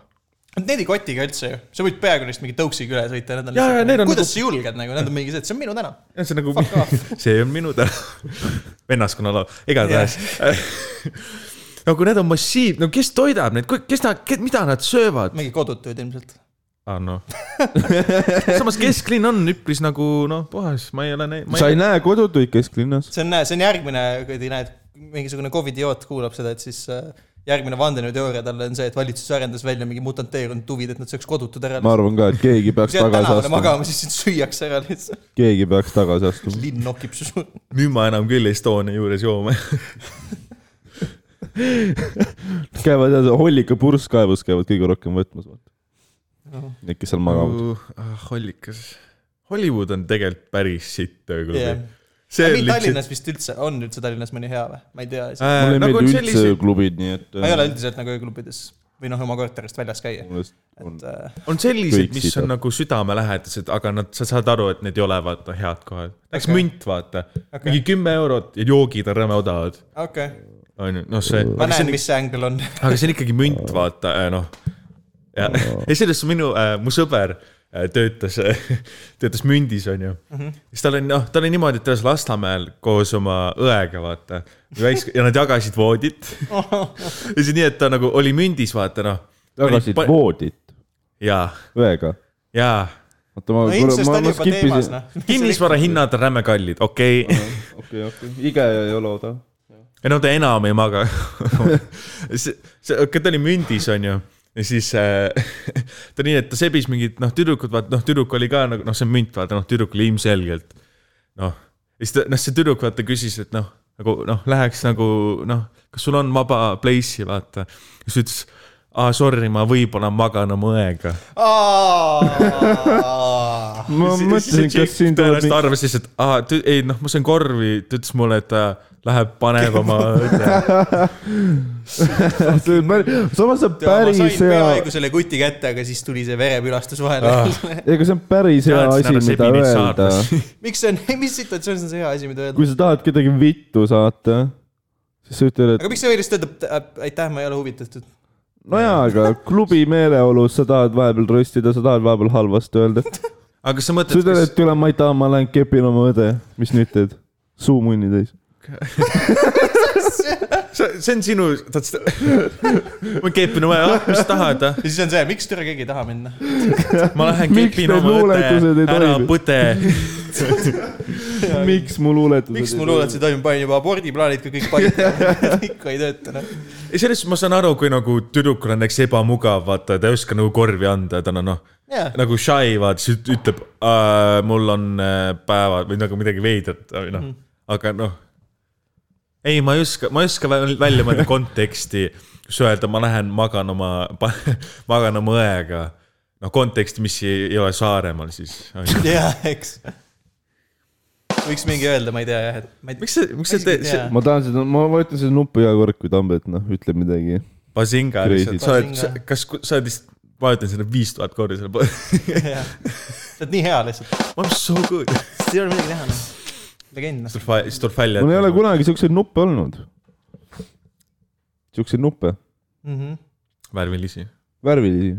Speaker 1: Need ei koti ka üldse ju , sa võid peaaegu neist mingi tõuksiga üle sõita , need on
Speaker 2: Jaa, jaa, need
Speaker 1: lihtsalt ,
Speaker 2: on
Speaker 1: kuidas
Speaker 2: nagu-
Speaker 1: sa julged nagu , need on mingi see , et see on minu tänav .
Speaker 2: see on nagu , see on minu tänav , vennaskonna laul , igatahes no kui need on massiiv , no kes toidab neid , kes nad , mida nad söövad ?
Speaker 1: mingi kodutööd ilmselt .
Speaker 2: ah, . No. samas kesklinn on üpris nagu noh , puhas , ma ei ole näinud .
Speaker 3: sa ei näe kodutuid kesklinnas ?
Speaker 1: see on , see on järgmine , kui näed , mingisugune COVID-idioot kuulab seda , et siis äh, järgmine vandenõuteooria talle on see , et valitsus arendas välja mingi mutanteerunud huvid , et nad sööks kodutud ära .
Speaker 3: ma arvan ka , et keegi peaks
Speaker 1: kui sa jääd
Speaker 3: tagasi
Speaker 1: tänavale
Speaker 3: astuma ,
Speaker 1: magama , siis sind süüakse ära lihtsalt .
Speaker 3: keegi peaks tagasi astuma .
Speaker 1: linn nokib su suhu .
Speaker 2: nüüd ma enam küll Estonia juures jooma .
Speaker 3: käivad jah , hollika purskkaevus käivad kõige rohkem võtmas . Need , kes seal magavad .
Speaker 2: ah, hollikas . Hollywood on tegelikult päris sitt ööklubi
Speaker 1: jah
Speaker 2: yeah. .. see on lihtsalt .
Speaker 1: Tallinnas vist üldse , on üldse Tallinnas mõni hea või ? ma ei tea .
Speaker 2: Äh,
Speaker 3: mulle ei
Speaker 2: nagu
Speaker 3: meeldi üldse sellised... klubid , nii et .
Speaker 1: nagu
Speaker 3: äh,
Speaker 1: ma ei ole üldiselt nagu ööklubides või noh , oma korterist väljas käia ,
Speaker 3: on
Speaker 1: et äh,
Speaker 2: on selliseid ,
Speaker 3: Kõik
Speaker 2: mis
Speaker 3: sidad.
Speaker 2: on nagu südamelähedased , aga nad , sa saad aru , et need ei ole vaata head kohad . Läks
Speaker 1: Okei.
Speaker 2: okay. münt , vaata okay. . mingi kümme eurot ja joogid on räme odavad ,
Speaker 1: okei okay. ,
Speaker 2: onju , noh see .
Speaker 3: Äh.
Speaker 1: ma näen , mis see ängel on .
Speaker 2: aga see on ikkagi münt , vaata , noh . ja ja selles suhtes minu äh, , mu sõber äh, töötas , töötas mündis , onju . siis tal oli , noh , ta oli niimoodi , et ta elas Lasnamäel koos oma õega , vaata . ja nad jagasid voodit . ja siis nii , et ta nagu oli mündis , vaata noh .
Speaker 3: jagasid voodit
Speaker 2: jaa ,
Speaker 3: õega .
Speaker 2: jaa .
Speaker 3: oota , ma
Speaker 1: no ,
Speaker 3: kuule ,
Speaker 1: incest
Speaker 3: ma ,
Speaker 1: on
Speaker 3: ma
Speaker 1: juba teemas ,
Speaker 3: skippisin .
Speaker 1: noh .
Speaker 2: kinnisvara hinnad on räme kallid , okei okay. .
Speaker 3: okei , okei , ige ei ole odav .
Speaker 2: ei no ta enam ei maga . see , see , ta oli mündis , onju . ja siis äh, ta nii , et ta sebis mingid noh , tüdrukud , vaata noh , tüdruk oli ka nagu noh , see on münt , vaata noh , tüdruk oli ilmselgelt noh . ja siis ta , noh , see tüdruk vaata küsis , et noh , nagu noh , läheks nagu noh , kas sul on vaba place'i vaata . siis ta ütles , aa sorry , ma võib-olla magan oma õega .
Speaker 1: Aa.
Speaker 3: ma mõtlesin , kas siin tuleb
Speaker 2: tõenäoliselt
Speaker 3: mingi ,
Speaker 2: arvas lihtsalt , aa , ei noh , ma sõin korvi , ta ütles mulle , et ta läheb , paneb oma õde
Speaker 3: samas see
Speaker 1: Jaa, ma sain
Speaker 3: on päris hea ,
Speaker 1: peaaegu selle kuti kätte , aga siis tuli see verepülastus vahele ah. .
Speaker 3: ega see on päris hea
Speaker 2: Tead,
Speaker 3: asi
Speaker 2: seda ,
Speaker 3: mida
Speaker 2: Sebinit
Speaker 3: öelda .
Speaker 2: saarnas.
Speaker 1: miks see on , mis situatsioonis on see hea asi , mida öelda ?
Speaker 3: kui sa tahad kedagi vittu saata , siis sa ütled , et
Speaker 1: aga miks see veel lihtsalt ütleb , äh, aitäh , ma ei ole huvitatud .
Speaker 3: nojaa , aga klubi meeleolus sa tahad vahepeal röstida , sa tahad vahepeal halvasti öelda .
Speaker 2: aga kas sa
Speaker 3: sa
Speaker 2: mõtled ,
Speaker 3: ütled ,
Speaker 2: kas
Speaker 3: et tule , ma ei taha , ma lähen kepin oma õde . mis nüüd teed ? suu munni täis .
Speaker 2: see on sinu , tahad seda ? ma kepin oma , ah , mis sa tahad , ah .
Speaker 1: ja siis on see , miks türa keegi ei taha minna .
Speaker 2: ma lähen
Speaker 3: Miks
Speaker 2: kepin
Speaker 3: need
Speaker 2: oma
Speaker 3: luuletused
Speaker 2: õde
Speaker 3: ei ,
Speaker 2: ära
Speaker 3: toimi?
Speaker 2: põde .
Speaker 3: miks mu luuletused
Speaker 1: miks mu luuletusi toimub , ma olin juba abordiplaanid ka kõik paika , ikka ei tööta noh .
Speaker 2: ei , selles suhtes ma saan aru , kui nagu tüdrukul on näiteks ebamugav , vaata , ta ei oska nagu korvi anda , ta on noh
Speaker 1: Jaa.
Speaker 2: nagu shy , vaata , siis üt- ütleb äh, , mul on äh, päevad või nagu midagi veidrat , noh mm. , aga noh . ei , ma ei oska , ma ei oska väl- välja mõelda konteksti , kus öelda , ma lähen magan oma , magan oma õega . noh , kontekst , mis ei, ei ole Saaremaal siis .
Speaker 1: jaa , eks . võiks mingi öelda , ma ei tea jah , et ma ei
Speaker 2: miks sa , miks sa teed , see
Speaker 3: ma tahan seda , ma vajutan seda nuppu iga kord , kui Tambet noh , ütleb midagi .
Speaker 2: Bazinga lihtsalt , sa oled
Speaker 1: Bazinga. ,
Speaker 2: kas ku- sa oled lihtsalt , ma ütlen seda viis tuhat korda selle poole .
Speaker 1: tea . sa oled nii hea lihtsalt ,
Speaker 2: I m so good
Speaker 1: siis ei ole midagi teha noh . legend noh .
Speaker 2: siis tuleb , siis tuleb välja . nagu
Speaker 3: mul ei ole kunagi siukseid nuppe olnud . siukseid nuppe ,
Speaker 2: värvilisi .
Speaker 3: värvilisi .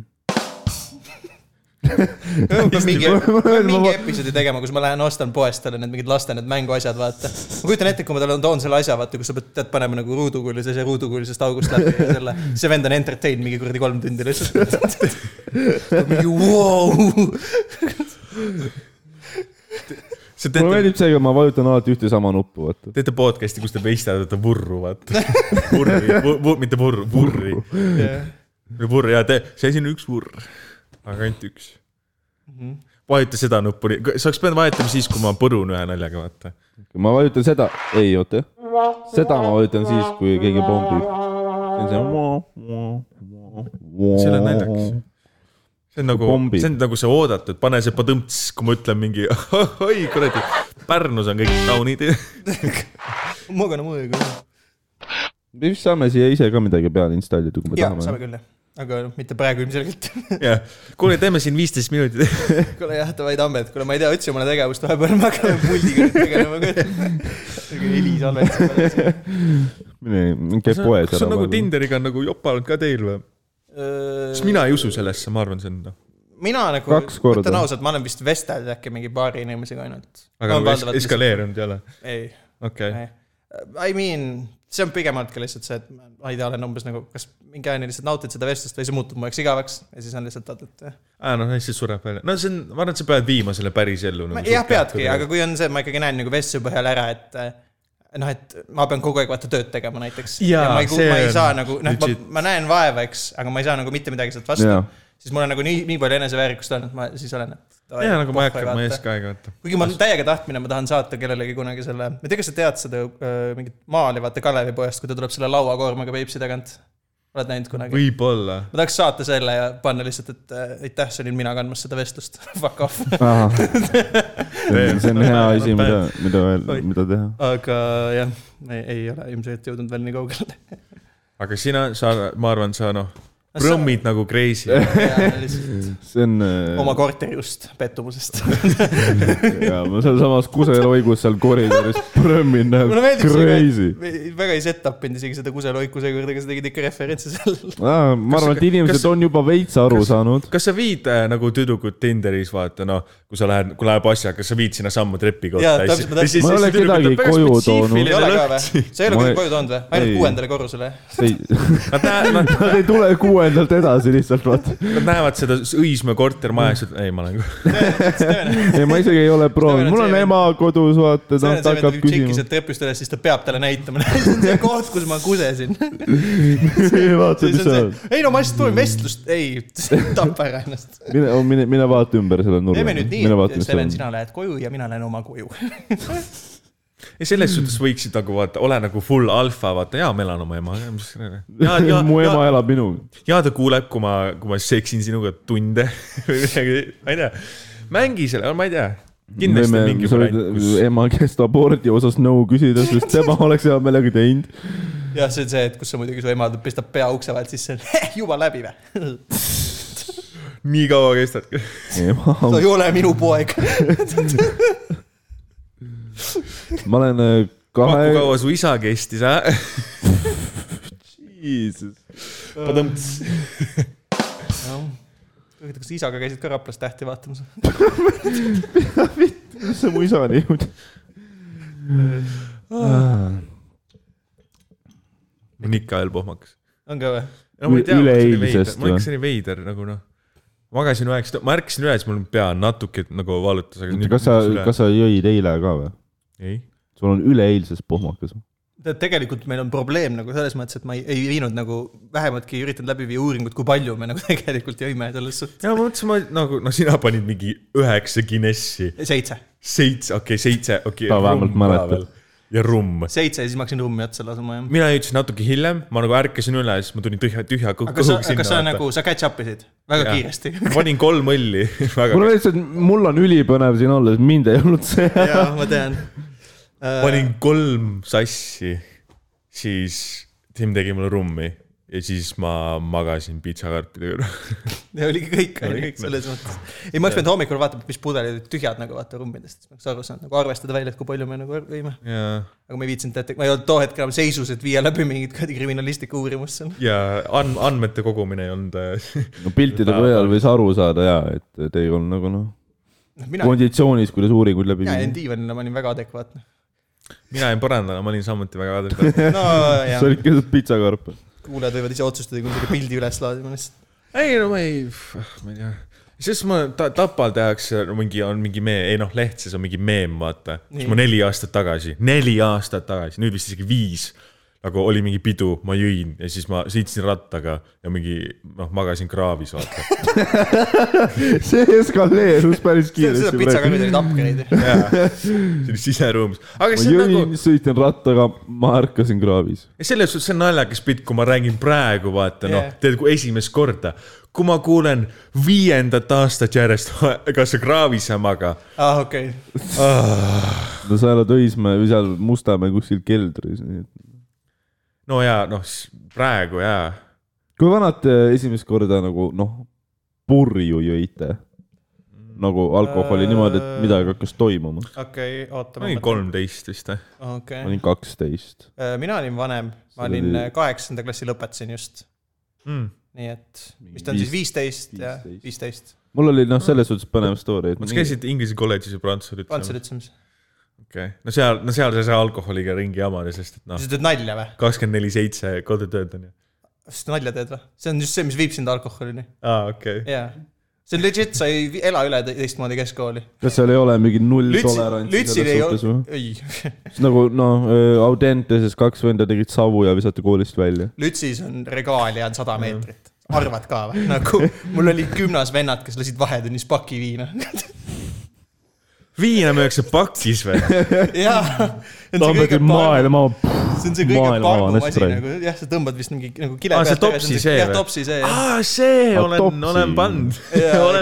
Speaker 1: mingi ,
Speaker 3: ma- ma-
Speaker 1: mingi
Speaker 3: ma-
Speaker 1: episoodi tegema , kus ma lähen ostan poest talle need mingid laste need mänguasjad , vaata . ma kujutan ette , kui ma talle toon selle asja , vaata , kus sa pead , pead panema nagu ruudukulise , see ruudukulisest august läbi ja selle . see vend on entertain mingi kuradi kolm tundi lihtsalt . mingi vau ,
Speaker 2: see
Speaker 3: mulle
Speaker 2: teete ,
Speaker 3: meeldib see , et ma vajutan alati ühte sama nuppu , vaata .
Speaker 2: teete podcast'i , kus te veistate vurru , vaata . vurri vu, , vu, mitte vurru , vurri . vurri ja te , see siin on üks vurr , aga ainult üks .
Speaker 3: Mhm.
Speaker 2: vajuta seda nuppu , sa oleks pidanud vajutama siis , kui ma põrun ühe naljaga , vaata .
Speaker 3: ma vajutan seda , ei oota , seda ma vajutan siis , kui keegi pommib . see
Speaker 2: see ei
Speaker 3: on
Speaker 2: ole
Speaker 3: see .
Speaker 2: naljakas . see on nagu ,
Speaker 3: Pombi.
Speaker 2: see on nagu see oodatud , pane see padõmts , kui ma ütlen mingi oi kuradi , Pärnus on kõik taunid .
Speaker 1: magana mõõga .
Speaker 3: me vist saame siia ise ka midagi peale installida , kui me
Speaker 1: jaa , saame
Speaker 3: tahame .
Speaker 1: küll jah , aga noh, mitte praegu ilmselgelt .
Speaker 2: jah , kuule , teeme siin viisteist minutit
Speaker 1: kuule jah , davai Tambet , kuule ma ei tea , otsi omale tegevust vahepeal , me hakkame puldiga nüüd tegelema ka . heli salvestab .
Speaker 3: mine , käi poes
Speaker 2: kas
Speaker 3: ära
Speaker 2: on nagu . Tinderiga on nagu jopa olnud ka teil või ? sest mina ei usu sellesse , ma arvan , see on noh .
Speaker 1: mina nagu ,
Speaker 3: Kaks korda.
Speaker 1: ütlen ausalt , ma olen vist vestelnud äkki mingi paari inimesega ainult .
Speaker 2: aga nagu es- . eskaleerunud ei ole ,
Speaker 1: ei ,
Speaker 2: okei okay. .
Speaker 1: ei . I mean , see on pigemalt ka lihtsalt see , et ma ma ei tea , olen umbes nagu , kas mingi ajani lihtsalt nautid seda vestlust või see muutub mu jaoks igaveks ja siis on lihtsalt , et eh.
Speaker 2: aa noh , siis sureb välja , no see on , ma arvan , et sa pead viima selle päris ellu
Speaker 1: Ma-
Speaker 2: nagu, .
Speaker 1: jah , peadki , aga kui on see , ma ikkagi näen nagu vestluse põhjal ära , et eh, noh , et ma pean kogu aeg vaata tööd tegema näiteks .
Speaker 2: Jaa,
Speaker 1: ma ei, ku-
Speaker 2: see
Speaker 1: ma ei
Speaker 2: on
Speaker 1: saa nagu , noh , ma,
Speaker 2: legit.
Speaker 1: ma näen vaeva , eks , aga ma ei saa nagu mitte midagi sealt vastu
Speaker 3: Jaa. .
Speaker 1: siis mul on nagu nii , nii palju eneseväärikust on , et ma siis olen , et .
Speaker 2: ja nagu ma ei hakka , ma ei oska aega võtta .
Speaker 1: kuigi mul on täiega tahtmine , ma tahan saata kellelegi kunagi selle , ma ei tea , kas sa tead seda öö, mingit maali , vaata Kalevipojast , kui ta tuleb selle lauakoormaga Peipsi tagant . oled näinud kunagi ?
Speaker 2: võib-olla .
Speaker 1: ma tahaks saata selle ja panna lihtsalt , et äh, aitäh , see olin mina kandmas seda vestlust , fuck off .
Speaker 3: see on hea asi , mida , mida , mida teha .
Speaker 1: aga jah , ei, ei ole ilmselt jõudnud veel nii kaugele .
Speaker 2: aga sina , sa , ma arvan , sa noh , prõmmid nagu crazy .
Speaker 3: see on . äh,
Speaker 1: oma korterist , pettumusest .
Speaker 3: ja ma sealsamas kuseloigus seal koridoris prõmmin nagu
Speaker 1: mulle meeldib
Speaker 3: crazy
Speaker 1: see ., väga ei set-up inud isegi seda kuseloiku seekord , aga sa tegid ikka referentsi seal .
Speaker 3: ma arvan , et inimesed
Speaker 2: kas-
Speaker 3: kas, on juba veits aru kas, saanud .
Speaker 2: kas sa viid äh, nagu tüdrukut Tinderis , vaata noh , kui sa lähed , kui läheb asja , kas sa viid sinna sammu trepi
Speaker 1: Jaa,
Speaker 2: kohta ?
Speaker 1: täpselt, ma tahtsin-
Speaker 3: Ma ei ole kedagi koju toonud.
Speaker 1: ei ole ka või ? sa ei ole
Speaker 3: Ma
Speaker 1: kuidagi
Speaker 3: ei-
Speaker 1: koju toonud või ? ainult
Speaker 3: ei.
Speaker 1: kuuendale korrusele ?
Speaker 2: Nad näe- nad-
Speaker 3: Nad ei tule kuuendalt edasi lihtsalt , vaata .
Speaker 2: nad näevad seda Õismäe kortermaja ja siis ütlevad , ei , ma olen
Speaker 3: ei , ma isegi ei ole proovinud , mul on
Speaker 1: See on
Speaker 3: ema kodus , vaata ,
Speaker 1: see on
Speaker 3: ta
Speaker 1: see , et
Speaker 3: hakkab
Speaker 1: kui tšiki
Speaker 3: küsima .
Speaker 1: sealt trepist üles , siis ta peab talle näitama , see on see koht , kus ma kusesin .
Speaker 3: vaata , mis seal on .
Speaker 1: ei no ma lihtsalt tulen vestlust , ei , tapa ära ennast .
Speaker 3: mine , mine , mine vaata ümber selle nurga .
Speaker 1: teeme nüüd nii
Speaker 3: mine , vaata ,
Speaker 1: et
Speaker 3: mis seal
Speaker 1: Steven ,
Speaker 3: on .
Speaker 1: sina lähed koju ja mina lähen oma koju .
Speaker 2: ei , selles suhtes võiksid nagu vaata , ole nagu full alfa , vaata , jaa , ma elan oma ema . ja , ja ,
Speaker 3: mu ema
Speaker 2: ja ,
Speaker 3: elab minuga .
Speaker 2: ja ta kuuleb , kui ma , kui ma seksin sinuga tunde või midagi , ma ei tea . mängi selle , ma ei tea . kindlasti on mingi variant , kus
Speaker 3: ema käest abordi osas nõu küsida , sest tema oleks hea meelega teinud .
Speaker 1: jah , see on see , et kus sa muidugi , su ema pistab pea ukse vahelt sisse , juba läbi või ?
Speaker 2: nii kaua kestad .
Speaker 3: ema
Speaker 1: sa ei ole minu poeg .
Speaker 3: ma olen äh, kahe
Speaker 2: kui . kaua su isa kestis , äh ?
Speaker 1: kas isaga käisid ka Raplas tähti vaatamas ?
Speaker 3: mis sa mu isani jõudnud ?
Speaker 2: Mikael Pohmakas .
Speaker 1: on ka või ?
Speaker 2: no ma ei tea , ma olin veider
Speaker 3: Üleeilsest ,
Speaker 2: ma olin
Speaker 3: või?
Speaker 2: ikka selline veider nagu noh . magasin üheksa , ma ärkasin üles , mul pea natuke nagu valutas , aga nüüd
Speaker 3: kas sa
Speaker 2: läks , üle.
Speaker 3: kas sa jõid eile ka või ?
Speaker 2: ei ,
Speaker 3: sul on üleeilses pohmakas .
Speaker 1: tead , tegelikult meil on probleem nagu selles mõttes , et ma ei, ei viinud nagu vähematki üritanud läbi viia uuringut , kui palju me nagu tegelikult jõime selles suhtes .
Speaker 2: ja ma mõtlesin , ma nagu , no sina panid mingi üheksa Guinessi ,
Speaker 1: seitse ,
Speaker 2: seitse , okei okay, , seitse , okei
Speaker 3: Ta vähemalt mäletab. .
Speaker 2: ja rumm .
Speaker 1: seitse ja siis ma hakkasin rummi otsa lasema jah .
Speaker 2: mina jõudsin natuke hiljem , ma nagu ärkasin üle , siis ma tulin tühja , tühja kõ-
Speaker 1: aga sa ,
Speaker 2: kõhuga
Speaker 1: aga sa
Speaker 2: sinna .
Speaker 1: nagu , sa catch up isid väga
Speaker 2: Jaa.
Speaker 1: ja. kiiresti .
Speaker 2: ma panin kolm õlli , väga
Speaker 3: mul on lihtsalt , mul on ülipõnev siin olla , sest mind ei olnud see .
Speaker 1: jah , ma tean .
Speaker 2: panin kolm sassi , siis Tim tegi mulle rummi ja siis ma magasin piitsakarpide juures .
Speaker 1: ja oligi kõik ,
Speaker 2: Oli
Speaker 1: onju
Speaker 2: kõik, , noh.
Speaker 1: selles mõttes . ei , ma oleks pidanud hommikul vaatama , mis pudelid olid tühjad nagu vaata rummidest , siis ma oleks aru saanud nagu arvestada välja , et kui palju me nagu ar- võime .
Speaker 2: ja ,
Speaker 1: aga ma ei viitsinud , et ma ei olnud too hetk enam seisus , et viia läbi mingit kuradi kriminalistlikku uurimust seal .
Speaker 2: ja and- , andmete kogumine ei olnud äh,
Speaker 3: no piltide põhjal võis aru saada ja , et te ei olnud nagu noh ,
Speaker 1: noh , mina ,
Speaker 3: konditsioonis , kuidas uuringuid läbi
Speaker 1: mina
Speaker 3: viia
Speaker 1: jäin . diivanile , ma olin väga adekvaatne .
Speaker 2: mina jäin parandama , ma olin samuti väga adekvaatne .
Speaker 1: no
Speaker 3: sa
Speaker 1: jah ,
Speaker 3: olid keset pitsakarp .
Speaker 1: kuulajad võivad ise otsustada , kui selle pildi üles laadime lihtsalt .
Speaker 2: ei no ma ei , ma ei tea . siis ma ta, , Tapal tehakse no, mingi , on mingi meem , ei noh , Lehtses on mingi meem , vaata . siis
Speaker 1: Nii.
Speaker 2: ma neli aastat tagasi , neli aastat tagasi , nüüd vist isegi viis , nagu oli mingi pidu , ma jõin ja siis ma sõitsin rattaga ja mingi noh , magasin kraavis , vaata .
Speaker 3: see eskaleerus päris
Speaker 1: seda
Speaker 3: kiiresti .
Speaker 1: pitsakarjad olid upgrade'i .
Speaker 2: see oli siseruumis . aga
Speaker 3: ma
Speaker 2: see on
Speaker 3: jõin
Speaker 2: nagu ,,
Speaker 3: sõitin rattaga , ma ärkasin kraavis .
Speaker 2: selles suhtes see on naljakas bitt , kui ma räägin praegu , vaata yeah.
Speaker 1: Jaa.
Speaker 2: noh , tead , kui esimest korda . kui ma kuulen viiendat aastat järjest , kas sa kraavis ei maga
Speaker 1: aa , Ah, okei .
Speaker 3: no sa elad Õismäe või seal Mustamäe kuskil keldris , nii et .
Speaker 2: no ja noh , praegu ja .
Speaker 3: kui vanad te esimest korda nagu noh , purju jõite ? nagu alkoholi
Speaker 1: Äh.
Speaker 3: niimoodi , et midagi hakkas toimuma .
Speaker 1: okei , oota .
Speaker 2: mingi . kolmteist vist või ?
Speaker 3: ma
Speaker 1: okei Äh,
Speaker 3: olin , kaksteist .
Speaker 1: mina olin vanem , ma
Speaker 3: See
Speaker 1: olin äh,
Speaker 3: oli-
Speaker 1: kaheksanda klassi lõpetasin just ,
Speaker 2: Mm.
Speaker 1: nii et , mis ta on siis , viisteist ja viisteist .
Speaker 3: mul oli noh , selles suhtes põnev story , et
Speaker 2: kas käisid Inglise kolledžis ja Prantsuse
Speaker 1: Prantsuse
Speaker 2: lütsemis ?
Speaker 1: lütsemis .
Speaker 2: okei , no seal , no seal sa ei saa alkoholiga ringi jamada , sest et noh ,
Speaker 1: sa teed nalja või ?
Speaker 2: kakskümmend neli seitse kodutööd on ju .
Speaker 1: kas sa nalja teed või ? see on just see , mis viib sind alkoholini .
Speaker 2: aa , okei .
Speaker 1: jaa . see on legit , sa ei vi- ela üle te- teistmoodi keskkooli .
Speaker 3: kas seal ei ole mingi null
Speaker 1: lütsil ,
Speaker 3: tolerantsi
Speaker 1: lütsil
Speaker 3: selles
Speaker 1: ei
Speaker 3: suhtes või
Speaker 1: olnud ,? ei ,
Speaker 3: nagu noh , Audenteses kaks venda tegid savu ja visati koolist välja .
Speaker 1: lütsis on regaal ja on sada meetrit . arvad ka või ? nagu mul olid gümnas vennad , kes lasid vahetunnis paki viina .
Speaker 2: viina müüakse pakis või ?
Speaker 1: jaa .
Speaker 3: Tammeti maailma ,
Speaker 1: see on see kõige
Speaker 3: maailma
Speaker 1: pargum
Speaker 3: avanest
Speaker 1: asi
Speaker 3: praegu. Ah,
Speaker 1: nagu , jah , sa tõmbad vist mingi nagu kile
Speaker 2: Aa, see topsi see
Speaker 1: jah ,
Speaker 2: või?
Speaker 1: topsi see jah .
Speaker 2: aa , see
Speaker 3: Aa,
Speaker 2: olen ,
Speaker 3: topsi.
Speaker 2: olen pannud .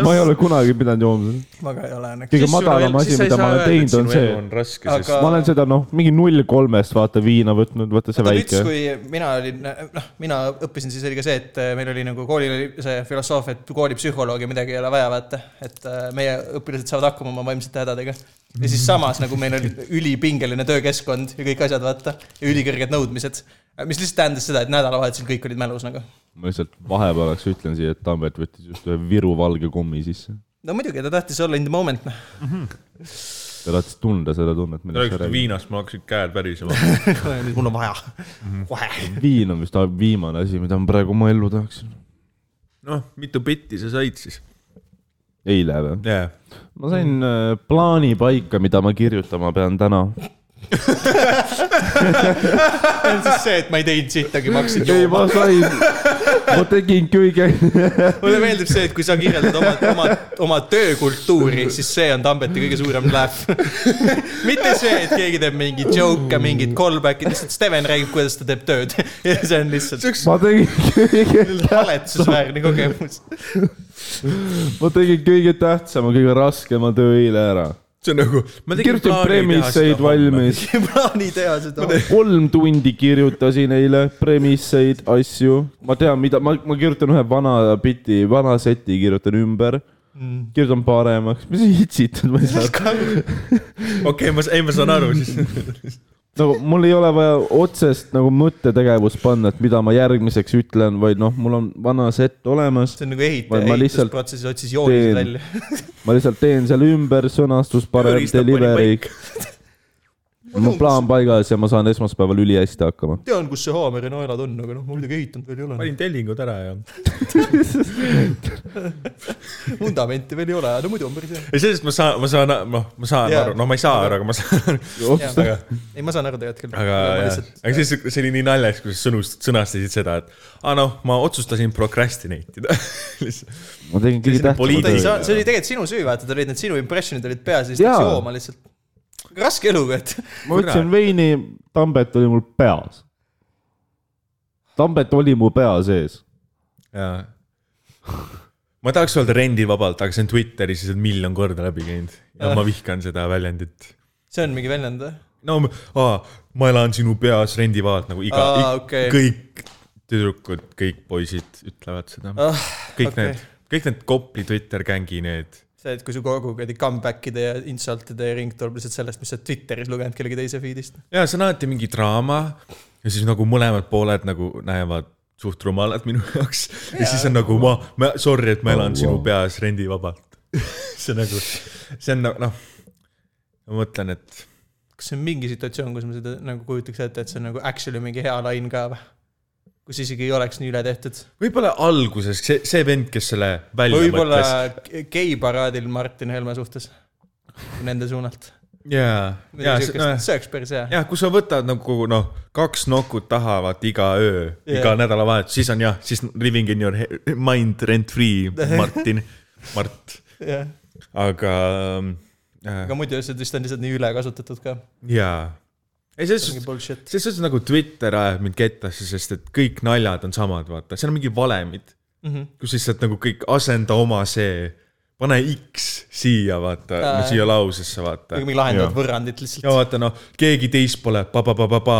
Speaker 3: ma ei ole kunagi pidanud jooma seda .
Speaker 1: ma ka ei ole nagu .
Speaker 3: kõige madalam asi , mida ma olen teinud , on see ,
Speaker 2: on raske ,
Speaker 1: Aga-
Speaker 2: sest
Speaker 3: ma olen seda noh , mingi null kolmest vaata viina võtnud , vaata see
Speaker 1: ta ütles ,
Speaker 3: väike .
Speaker 1: kui mina olin , noh , mina õppisin , siis oli ka see , et meil oli nagu koolil oli see filosoofia , et koolipsühholoogi midagi ei ole vaja , vaata . et äh, meie õpilased saavad hakkama oma vaimsete hädadega . ja siis samas nagu meil oli ülipingeline töökeskkond ja kõik asjad , vaata , ja ülikõrged nõudmised . mis lihtsalt tähendas seda , et nädalavahetusel kõik olid mälus nagu .
Speaker 3: ma lihtsalt vahepealaks ütlen siia , et Tambet võttis just ühe Viru valge kommi sisse .
Speaker 1: no muidugi , ta tahtis olla in the moment , noh .
Speaker 3: ta tahtis tunda seda tunnet , millest sa
Speaker 2: räägitud
Speaker 3: räägid .
Speaker 2: viinast , mul hakkasid käed värisema .
Speaker 1: nüüd mul on vaja , kohe .
Speaker 3: viin on vist viimane asi , mida ma praegu oma ellu tahaksin .
Speaker 2: noh , mitu bitti sa said siis ?
Speaker 3: eile või ?
Speaker 2: jaa .
Speaker 3: ma sain äh, plaani paika , mida ma kirjutama pean täna .
Speaker 1: see on siis see , et ma ei teinud sittagi , ma hakkasin
Speaker 3: ei ,
Speaker 1: jooma .
Speaker 3: ma sain , ma tegin kõige ,
Speaker 1: mulle meeldib see , et kui sa kirjeldad oma , oma , oma töökultuuri , siis see on Tambeti kõige suurem läheb . mitte see , et keegi teeb mingeid joke , mingeid callback'e , lihtsalt Steven räägib , kuidas ta teeb tööd . ja see on lihtsalt
Speaker 3: ma tegin kõige ,
Speaker 1: haletsusväärne kogemus .
Speaker 3: ma tegin kõige tähtsama , kõige raskema töö eile ära .
Speaker 2: see on nagu .
Speaker 3: kirjutasin premisseid . valmis ,
Speaker 1: plaanitehased on .
Speaker 3: kolm tundi kirjutasin eile premisseid , asju . ma tean , mida ma , ma kirjutan ühe vana biti , vana seti kirjutan ümber , kirjutan paremaks , mis hitsid , ma ei saa aru .
Speaker 2: okei , ma , ei , ma saan aru siis .
Speaker 3: nagu mul ei ole vaja otsest nagu mõttetegevust panna , et mida ma järgmiseks ütlen , vaid noh , mul on vana set olemas ,
Speaker 1: see on nagu
Speaker 3: Ma-
Speaker 1: ehitaja
Speaker 3: ma lihtsalt
Speaker 1: ehitusprotsessis otsis joonised
Speaker 3: teen-
Speaker 1: välja .
Speaker 3: ma lihtsalt teen selle ümber , sõnastus parem ,
Speaker 2: Tööriistad panin
Speaker 3: delivery . mul plaan paigas ja ma saan esmaspäeval ülihästi hakkama .
Speaker 1: tean , kus see Haameri naelad on , aga noh , ma muidugi ehitanud veel ei ole .
Speaker 2: panin tellingud ära ja .
Speaker 1: vundamenti veel ei ole , no muidu on päris hea .
Speaker 2: ei , sellest ma saan , ma saan , noh , ma saan
Speaker 1: Jaa.
Speaker 2: aru , no ma ei saa aru , aga ma saan ,
Speaker 1: aga , ei , ma saan aru tegelikult küll .
Speaker 2: aga , aga siis , see oli nii naljakas , kui sa sõnust- , sõnastasid seda , et aa noh , ma otsustasin procrastinate ida lihtsalt .
Speaker 3: ma tegin kõige
Speaker 2: Selline
Speaker 3: tähtsama
Speaker 1: ei
Speaker 2: poliitiline-
Speaker 3: töö .
Speaker 1: saa , see oli tegelikult sinu süü , vaata , tal olid need sinu impressionid olid peas ja siis läks
Speaker 3: Jaa.
Speaker 1: jooma lihtsalt . raske eluga , et
Speaker 3: ma võtsin veini , Tambet oli mul peas . Tambet oli mu pea sees .
Speaker 2: jaa . ma tahaks öelda rendin vabalt , aga see on Twitteris lihtsalt miljon korda läbi käinud ja ma vihkan seda väljendit .
Speaker 1: see on mingi väljend või ?
Speaker 2: no ma- aa , ma elan sinu peas rendivabalt nagu iga
Speaker 1: Aa,
Speaker 2: ah, ,
Speaker 1: okei.
Speaker 2: okay. kõik tüdrukud , kõik poisid ütlevad seda ah, . kõik
Speaker 1: okei.
Speaker 2: okay. need , kõik need Kopli Twitter gängi need .
Speaker 1: see , et kui su kogu kuradi comeback ide ja insultide ring tuleb lihtsalt sellest , mis sa oled Twitteris lugenud kellegi teise feed'ist .
Speaker 2: ja see on alati mingi draama ja siis nagu mõlemad pooled nagu näevad suht rumalad minu jaoks ja, ja siis on nagu ma, ma , sorry , et ma elan oh, sinu wow. peas rendivabalt . see on nagu , see on nagu noh , ma mõtlen , et
Speaker 1: kas see on mingi situatsioon , kus ma seda nagu kujutaks ette , et see on nagu actually mingi hea lain ka või ? kus isegi ei oleks nii üle tehtud .
Speaker 2: võib-olla alguses see , see vend , kes selle välja
Speaker 1: võib-olla
Speaker 2: mõtles .
Speaker 1: geiparaadil Martin Helme suhtes . Nende suunalt .
Speaker 2: jaa , noh, jaa ,
Speaker 1: see oleks päris hea .
Speaker 2: jah , kui sa võtad nagu noh , kaks nokut taha vaata iga öö yeah. , iga
Speaker 1: Jah.
Speaker 2: nädalavahetus , siis on jah , siis living in your he- mind rent free , Martin , Mart ,
Speaker 1: jah ,
Speaker 2: aga äh,
Speaker 1: aga muidu see vist on lihtsalt nii ülekasutatud ka .
Speaker 2: jaa . ei , selles
Speaker 1: mingi
Speaker 2: suhtes ,
Speaker 1: bullshit .
Speaker 2: selles suhtes nagu Twitter ajab mind kettasse , sest et kõik naljad on samad , vaata , seal on mingi valemid mm
Speaker 1: Mhm.
Speaker 2: -hmm. , kus lihtsalt nagu kõik asenda oma see , pane X siia , vaata
Speaker 1: Aa,
Speaker 2: no, , siia lausesse , vaata
Speaker 1: mingi lahendavad võrrandit
Speaker 2: ja
Speaker 1: lihtsalt .
Speaker 2: vaata noh , keegi teist pole pa-pa-pa-pa-pa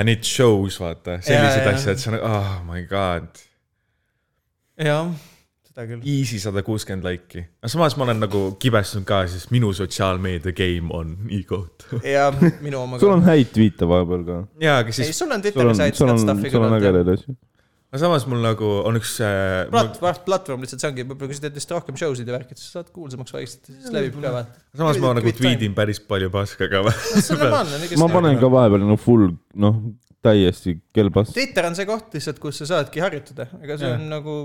Speaker 2: and it shows vaata , sellised
Speaker 1: Jaa, jaa.
Speaker 2: asjad , see on , oh my god .
Speaker 1: jah , seda küll .
Speaker 2: Easy sada kuuskümmend laiki , aga samas ma olen nagu kibestunud ka , sest minu sotsiaalmeedia game on e-koht .
Speaker 1: ja minu oma
Speaker 3: sul
Speaker 1: ka .
Speaker 3: on häid tweet'e vahepeal ka .
Speaker 2: jaa , aga
Speaker 1: ei ,
Speaker 2: siis ,
Speaker 1: sul on
Speaker 3: sul on
Speaker 1: Twitteris , häid
Speaker 3: sul on ,
Speaker 1: stuff'i
Speaker 3: sul on
Speaker 1: küllalt jah.
Speaker 3: ägedaid asju .
Speaker 2: aga samas mul nagu on üks äh, ma,
Speaker 1: plat- , platvorm lihtsalt , see ongi , võib-olla kui sa teed lihtsalt rohkem show sid ja värki , siis saad kuulsamaks vaikselt , siis levib ka vaata .
Speaker 2: samas ma nagu . tweetin päris palju paska ka .
Speaker 1: see on normaalne ,
Speaker 3: ma panen . ka vahepeal no full , noh , täiesti kelbas .
Speaker 1: Twitter on see koht lihtsalt , kus sa saadki harjutada , ega see on nagu ,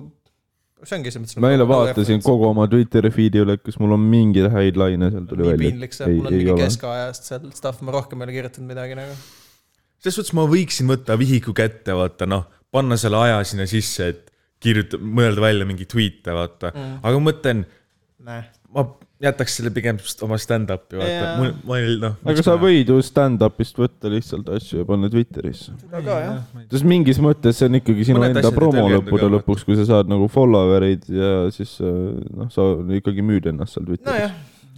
Speaker 1: see ongi selles mõttes .
Speaker 3: ma eile vaatasin . kogu oma Twitteri feed'i üle , kas mul on mingeid häid laine seal tuli
Speaker 1: nii
Speaker 3: välja .
Speaker 1: piinlik see , mul on
Speaker 3: ei
Speaker 1: mingi
Speaker 3: ole .
Speaker 1: keskajast seal stuff , ma rohkem ei ole kirjutanud midagi nagu .
Speaker 2: selles suhtes ma võiksin võtta vihiku kätte , vaata noh , panna selle aja sinna sisse , et kirjuta , mõelda välja mingi tweet'e , vaata mm. , aga ma mõtlen
Speaker 1: näe .
Speaker 2: ma jätaks selle pigem st- oma stand-up'i , vaata
Speaker 1: Jaa. ,
Speaker 2: mul , ma ei noh .
Speaker 3: aga sa võid ju stand-up'ist võtta lihtsalt asju ja panna Twitterisse .
Speaker 1: aga jah ,
Speaker 3: sest mingis mõttes see on ikkagi sinu
Speaker 2: Mõned
Speaker 3: Mõned enda
Speaker 2: asjad ei
Speaker 3: promo
Speaker 2: tõlgendu
Speaker 3: lõppude
Speaker 2: ka,
Speaker 3: lõpuks , kui sa saad nagu follower eid ja siis äh, noh , sa ikkagi müüd ennast seal Twitteris .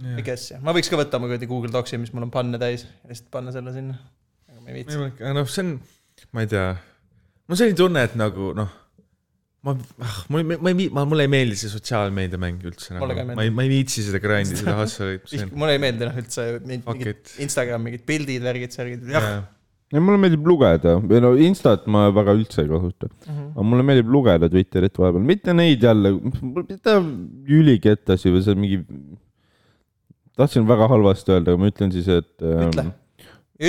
Speaker 1: nojah , I guess jah , ma võiks ka võtta oma kuradi Google Docsi , mis mul on panne täis , lihtsalt panna selle sinna . aga ma ei viitsi .
Speaker 2: aga noh , see on , ma ei tea , mul on selline tunne , et nagu noh , ma , mul , ma ei , ma , mulle ei meeldi see sotsiaalmeedia mäng üldse nagu.
Speaker 1: Mulle ka ei . meeldi.
Speaker 2: ma ei , ma ei viitsi seda grind'i , seda hustle'it , see on ,
Speaker 1: mulle ei meeldi noh üldse mingid
Speaker 2: Fuck
Speaker 1: mingid Instagram mingid pildid , värgid , särgid , jah
Speaker 2: jah .
Speaker 3: ja mulle meeldib lugeda , või no Instat ma väga üldse ei kasuta mm .
Speaker 2: Mhm.
Speaker 3: -hmm. aga mulle meeldib lugeda Twitterit vahepeal , mitte neid jälle , mitte ülikettasi või see mingi , tahtsin väga halvasti öelda , aga ma ütlen siis , et
Speaker 1: ütle
Speaker 3: ähm, ,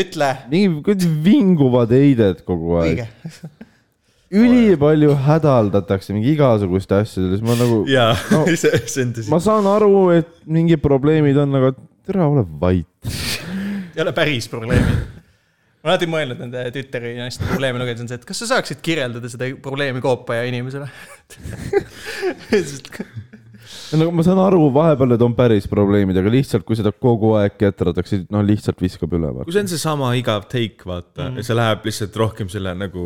Speaker 1: ütle .
Speaker 3: mingi kuradi vinguvad heided kogu aeg
Speaker 1: õige ..
Speaker 3: ülipalju hädaldatakse mingi igasuguste asjadega , siis ma nagu
Speaker 2: jaa ,
Speaker 3: No.
Speaker 2: see , see on tõsi .
Speaker 3: ma saan aru , et mingid probleemid on , aga tere , ole vait .
Speaker 1: ei ole päris probleemi . ma olen alati mõelnud nende Twitteri naiste probleeme lugedes on see , et kas sa saaksid kirjeldada seda probleemi koopaja inimesele
Speaker 3: no ma saan aru , vahepeal need on päris probleemid , aga lihtsalt , kui seda kogu aeg ketratakse , no lihtsalt viskab üle .
Speaker 2: kui see on seesama igav take , vaata
Speaker 1: Mhm.
Speaker 2: mm , -hmm. see läheb lihtsalt rohkem selle nagu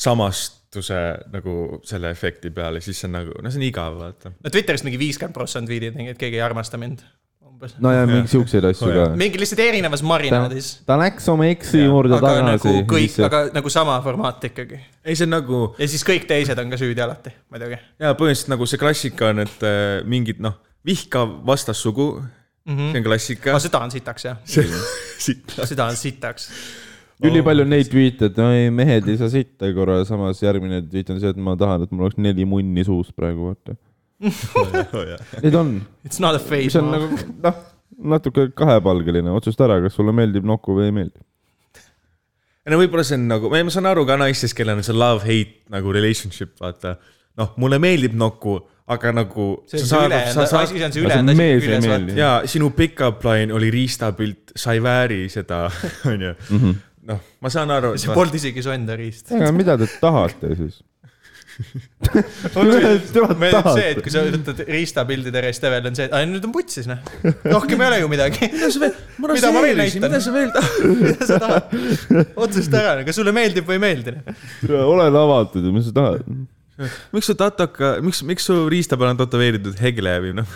Speaker 2: samastuse nagu selle efekti peale , siis see on nagu , no see on igav , vaata .
Speaker 1: no Twitteris mingi viiskümmend protsenti viidid , mingi , et keegi ei armasta mind . umbes .
Speaker 3: no ja mingi siukseid asju ka .
Speaker 1: mingi lihtsalt erinevas
Speaker 3: ta
Speaker 1: marinaadis .
Speaker 3: ta läks oma eksi juurde
Speaker 1: aga nagu
Speaker 3: tagasi .
Speaker 1: kõik , aga nagu sama formaat ikkagi .
Speaker 2: ei , see on nagu
Speaker 1: ja siis kõik teised on ka süüdi alati , muidugi .
Speaker 2: ja põhimõtteliselt nagu see klassika on , et äh, mingid noh , vihkav vastassugu mm ,
Speaker 1: Mhm.
Speaker 2: -hmm. see on klassika
Speaker 1: aga . seda on sitaks jah , seda on sitaks .
Speaker 3: ülipalju on neid tweet'e , et no ei , mehed ei saa sitta korra , samas järgmine tweet on see , et ma tahan , et mul oleks neli munni suus praegu , vaata .
Speaker 2: Oh,
Speaker 3: Neid on ,
Speaker 1: It's not a
Speaker 3: mis
Speaker 1: phase .
Speaker 3: on nagu noh , natuke kahepalgeline , otsusta ära , kas sulle meeldib nuku või ei meeldi .
Speaker 2: ei no võib-olla see on nagu , ma saan aru ka naistest , kellel on see love-hate nagu relationship , vaata . noh , mulle meeldib nokku , aga nagu .
Speaker 1: see on see ülejäänud , asi on see ülejäänud
Speaker 3: mees ei
Speaker 1: asi , üles
Speaker 3: meeldi.
Speaker 1: võtta .
Speaker 2: ja sinu pickup line oli riistapilt , sa ei vääri seda , onju . noh , ma saan aru .
Speaker 1: see polnud isegi su enda riist .
Speaker 3: aga mida te tahate siis ?
Speaker 1: meeldib see , et kui sa võtad riistapildide järjest Evel on see , et aa nüüd on putsis noh . rohkem ei ole ju midagi . mida ma veel näitan
Speaker 2: mida , sa veel tahad ?
Speaker 1: mida sa tahad ? otsusta ära , kas sulle meeldib või ei meeldi . noh.
Speaker 3: olen avatud ja mis sa tahad ?
Speaker 2: miks su tatoka , miks , miks su riista peal on tätoveeritud Hegle või noh ,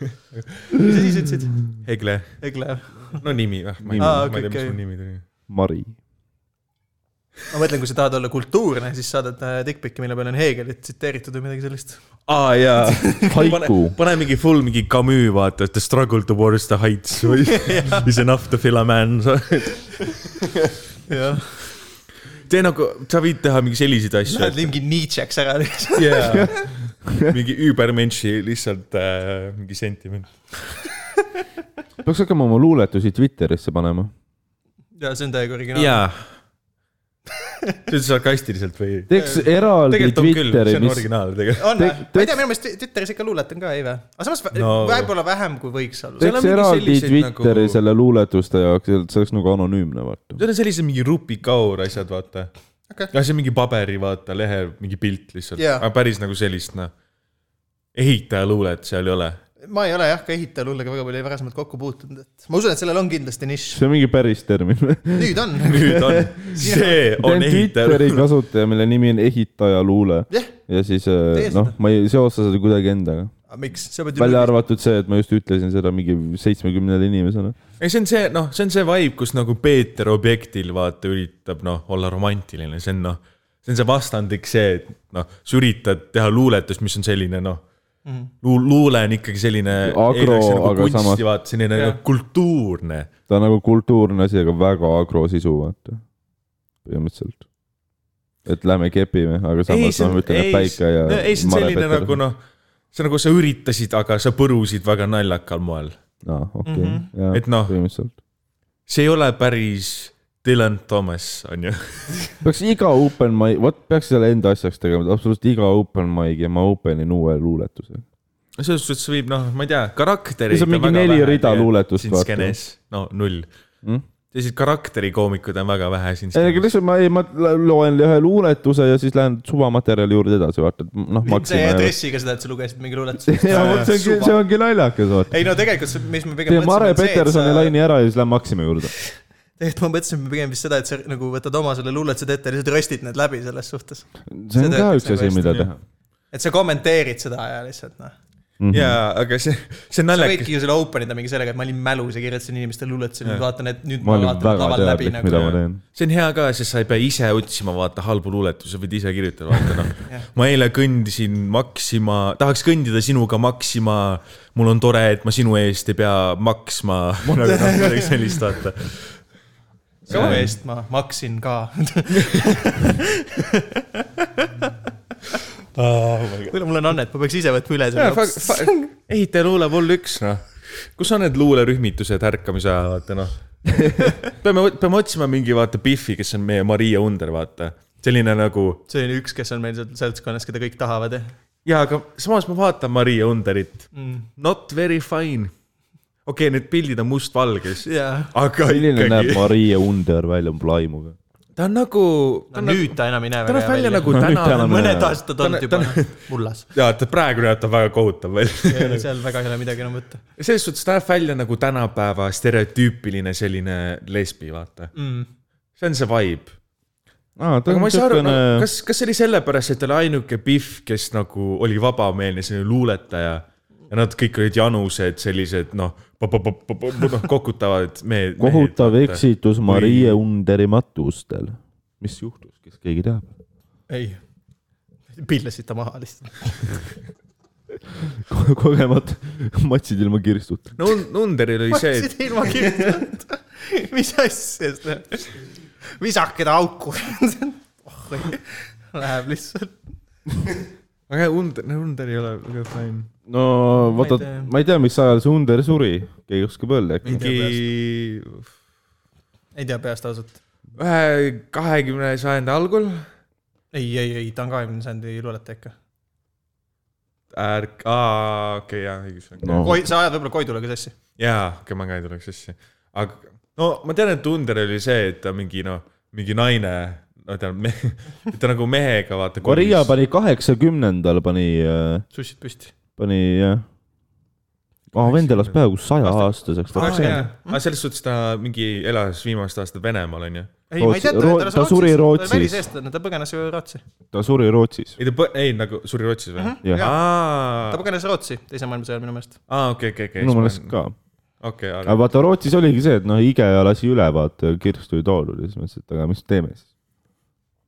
Speaker 1: mis sa siis ütlesid ?
Speaker 2: Hegle ,
Speaker 1: Egle .
Speaker 2: no nimi või ? ma ei
Speaker 1: Aa,
Speaker 2: ma
Speaker 1: okei,
Speaker 2: ei tea , mis
Speaker 1: okei.
Speaker 2: mu nimi tuli .
Speaker 3: Mari .
Speaker 1: ma mõtlen , kui sa tahad olla kultuurne , siis saadad äh, dickpic'i , mille peal on Heegelit tsiteeritud või midagi sellist .
Speaker 2: aa jaa .
Speaker 3: haiku .
Speaker 2: pane mingi full mingi Camus , vaata , The struggle towards the heights või is enough to fill a man .
Speaker 1: jah ,
Speaker 2: tee nagu , sa võid teha mingi selliseid asju
Speaker 1: lähed . mingi Nietzsche'ks ära lihtsalt .
Speaker 2: Yeah. mingi übermenši lihtsalt äh, mingi sentiment .
Speaker 3: peaks hakkama oma luuletusi Twitterisse panema .
Speaker 1: ja see on täiega originaalne .
Speaker 2: jaa . see on sarkastiliselt või ?
Speaker 3: teeks eraldi
Speaker 2: tegelikult on küll ,
Speaker 3: Twitteri ,
Speaker 2: see on
Speaker 3: mis ,
Speaker 2: originaal tegelikult .
Speaker 1: on või
Speaker 3: Te- ?
Speaker 1: ma ei tea , minu meelest Twitteris ikka luuletan ka , ei või ? aga samas vä-
Speaker 2: No.
Speaker 1: võib-olla vähem , kui võiks olla
Speaker 2: Te- .
Speaker 3: teeks
Speaker 2: mingi
Speaker 3: eraldi
Speaker 2: selliseid
Speaker 3: Twitteri
Speaker 2: nagu-
Speaker 3: selle luuletuste jaoks , et see oleks nagu anonüümne , vaata .
Speaker 2: Need on sellised mingi rupikaur asjad , vaata
Speaker 1: Okei.
Speaker 2: okay. . jah , see on mingi paberi , vaata , lehe , mingi pilt lihtsalt
Speaker 1: Jaa.
Speaker 2: yeah. , aga päris nagu sellist , noh . ehitajaluulet seal ei ole .
Speaker 1: ma ei ole jah ka ehitajalullega väga palju varasemalt kokku puutunud , et ma usun , et sellel on kindlasti nišš .
Speaker 3: see on mingi päris termin .
Speaker 1: nüüd on .
Speaker 2: nüüd on , see
Speaker 3: teen
Speaker 2: on
Speaker 3: Twitteri
Speaker 2: ehitajaluule .
Speaker 3: kasutaja , mille nimi on ehitaja luule
Speaker 1: jah ,
Speaker 3: ja siis
Speaker 1: Tee seda. ,
Speaker 3: noh ma ei seosta seda kuidagi endaga .
Speaker 1: aga miks , sa pead ju .
Speaker 3: välja arvatud see , et ma just ütlesin seda mingi seitsmekümnele inimesele .
Speaker 2: ei , see on see , noh , see on see vibe , kus nagu Peeter objektil , vaata , üritab , noh , olla romantiline , see on , noh , see on see vastandlik see , et noh , sa üritad teha luuletust , mis on selline , noh mm. , luule on ikkagi selline .
Speaker 3: Mhm. Agro, aga
Speaker 2: nagu kunsti
Speaker 3: samas-
Speaker 2: samas... , vaata , selline yeah.
Speaker 1: Jah.
Speaker 2: kultuurne
Speaker 3: ta on nagu kultuurne asi , aga väga agro sisu , vaata . põhimõtteliselt . et lähme kepime , aga
Speaker 2: ei ,
Speaker 3: samas
Speaker 2: see
Speaker 3: noh ,
Speaker 2: on ,
Speaker 3: ütleme
Speaker 2: ei ,
Speaker 3: päike ja .
Speaker 2: ei , see on selline nagu noh , see on nagu sa üritasid , aga sa põrusid väga naljakal moel .
Speaker 3: aa , okei , jaa ,
Speaker 2: Et noh.
Speaker 3: põhimõtteliselt .
Speaker 2: see ei ole päris Dylan Thomas , on ju .
Speaker 3: peaks iga open mic , vot peaks selle enda asjaks tegema , absoluutselt iga open mic'i ma openin uue luuletuse .
Speaker 2: selles suhtes võib , noh , ma ei tea , karaktereid .
Speaker 3: See on mingi neli rida luuletust,
Speaker 2: siin
Speaker 3: vaata.
Speaker 2: skeenes , no null
Speaker 3: Mm?
Speaker 2: mm? . selliseid karakterikoomikud on väga vähe siin
Speaker 3: ei , aga
Speaker 2: skeenes .
Speaker 3: lihtsalt ma ei , ma loen ühe luuletuse ja siis lähen suvamaterjali juurde edasi , vaata , et
Speaker 1: sa ei
Speaker 3: noh ,
Speaker 1: jää
Speaker 3: maksime .
Speaker 1: dressiga seda , et sa lugesid mingi luuletuse .
Speaker 3: ja vot see ongi , see ongi naljakas , vaata .
Speaker 1: ei no tegelikult , mis ma pigem
Speaker 3: teeme Mare Petersoni laine ära ja siis lähme Maksime juurde .
Speaker 1: tegelikult ma mõtlesin pigem vist seda , et sa nagu võtad oma selle luuletused ette ja lihtsalt röstid need läbi selles suhtes .
Speaker 3: see on
Speaker 1: See
Speaker 3: ka
Speaker 1: töötaks
Speaker 3: üks
Speaker 1: nagu
Speaker 3: asi ,
Speaker 1: hästi,
Speaker 3: mida
Speaker 1: jah.
Speaker 3: teha .
Speaker 1: et sa kommenteerid seda ja lihtsalt noh .
Speaker 2: jaa , aga see ,
Speaker 1: sa
Speaker 2: see on naljakas .
Speaker 1: võidki ju selle open ida mingi sellega , et ma olin mälus ja kirjutasin inimestele luuletusi , nüüd vaatan , et nüüd
Speaker 3: ma
Speaker 1: ma,
Speaker 3: olin
Speaker 1: vaatan
Speaker 3: väga
Speaker 1: laval läbi
Speaker 3: teadlik ,
Speaker 1: nagu .
Speaker 3: mida ma teen .
Speaker 2: see on hea ka , sest sa ei pea ise otsima , vaata , halbu luuletusi , sa võid ise kirjutada , vaata noh . ma eile kõndisin Maxima , tahaks kõndida sinuga Maxima , mul on tore , et ma sinu eest ei pea maksma . midagi sellist , vaata .
Speaker 1: sinu eest ma maksin ka .
Speaker 2: Ah, oh
Speaker 1: kuule , mul on annet , ma peaks ise võtma üle selle .
Speaker 2: ehitaja luule vol üks , noh . kus on need luulerühmitused ärkamise ajal , vaata noh . peame , peame otsima mingi , vaata , Biffi , kes on meie Maria Under , vaata . selline nagu
Speaker 1: see on üks , kes on meil seal seltskonnas , keda kõik tahavad .
Speaker 2: ja aga samas ma vaatan Maria Underit mm. . Not very fine . okei okay, , need pildid on mustvalges ,
Speaker 1: jaa .
Speaker 2: aga
Speaker 3: milline näeb
Speaker 2: ikkagi ,
Speaker 3: Marie Under välja plaimuga ?
Speaker 2: ta on nagu ,
Speaker 1: no
Speaker 2: ta on nagu ,
Speaker 1: nüüd ta enam ei näe
Speaker 2: ta näeb välja . nagu
Speaker 3: No nüüd
Speaker 2: täna
Speaker 3: ta enam- .
Speaker 1: mõned aastad
Speaker 2: Ta
Speaker 1: on
Speaker 2: nä-
Speaker 1: juba
Speaker 2: ta nä-
Speaker 1: mullas .
Speaker 2: ja ta praegu näeb väga kohutav välja .
Speaker 1: seal väga ei ole midagi enam võtta .
Speaker 2: selles suhtes ta näeb välja nagu tänapäeva stereotüüpiline selline lesbi , vaata mm. . see on see vibe .
Speaker 3: aa , ta
Speaker 2: aga
Speaker 3: on
Speaker 2: ma ei saa aru
Speaker 3: niisugune
Speaker 2: no, , kas , kas see oli sellepärast , et ta oli ainuke Biff , kes nagu oli vabameelne selline luuletaja ja nad kõik olid janused , sellised noh , noh kokutavad mehed .
Speaker 3: kohutav eksitus Marie
Speaker 2: Või-
Speaker 3: Underi matustel . mis juhtus , kes keegi teab ?
Speaker 1: ei . pillasid ta maha lihtsalt .
Speaker 3: kogemata matsid ilma kirstuta .
Speaker 2: no Nunderil oli see , et
Speaker 1: siin ilma kirjutamata . mis asja see ? visake ta auku . Läheb lihtsalt .
Speaker 2: aga Under , Under ei ole väga fine .
Speaker 3: no vaata
Speaker 1: Ma ei tea. ,
Speaker 3: ma ei tea , mis ajal see Under suri , keegi oskab öelda äkki .
Speaker 2: mingi
Speaker 1: ei tea peast ausalt .
Speaker 2: ühe kahekümne sajandi algul
Speaker 1: ei , ei , ei , ta on kahekümne sajandi luuletaja ikka .
Speaker 2: ärk- , aa , okei , jaa , õigus on .
Speaker 3: no
Speaker 1: Koi- , sa ajad võib-olla Koidulaga sassi .
Speaker 2: jaa , okei , ma ka ei tuleks sisse . aga no ma tean , et Under oli see , et ta mingi noh , mingi naine , no ta , ta nagu mehega vaata .
Speaker 3: Korea pani kaheksakümnendal pani ,
Speaker 1: sussid püsti .
Speaker 3: pani jah . aa , vend elas peaaegu saja aastaseks .
Speaker 2: aga Ah, selles suhtes ta mingi elas viimased aastad Venemaal onju .
Speaker 1: ei , ma ei tea ,
Speaker 3: Rootsi-
Speaker 1: ta
Speaker 3: ta suri Rootsis.
Speaker 1: ta oli väliseestlane , ta põgenes ju Rootsi .
Speaker 3: ta suri Rootsis .
Speaker 2: ei ta põ- , ei nagu suri Rootsis või ?
Speaker 3: jah ,
Speaker 1: ta
Speaker 2: aa ,
Speaker 1: põgenes Rootsi teise maailmasõja minu meelest .
Speaker 2: ah, okei , okei , okei .
Speaker 3: minu meelest . ka .
Speaker 2: okei , aga
Speaker 3: aga vaata Rootsis oligi see , et noh , IKEA lasi üle vaata kirstu ja toolud ja siis mõtlesid , et aga mis me teeme siis .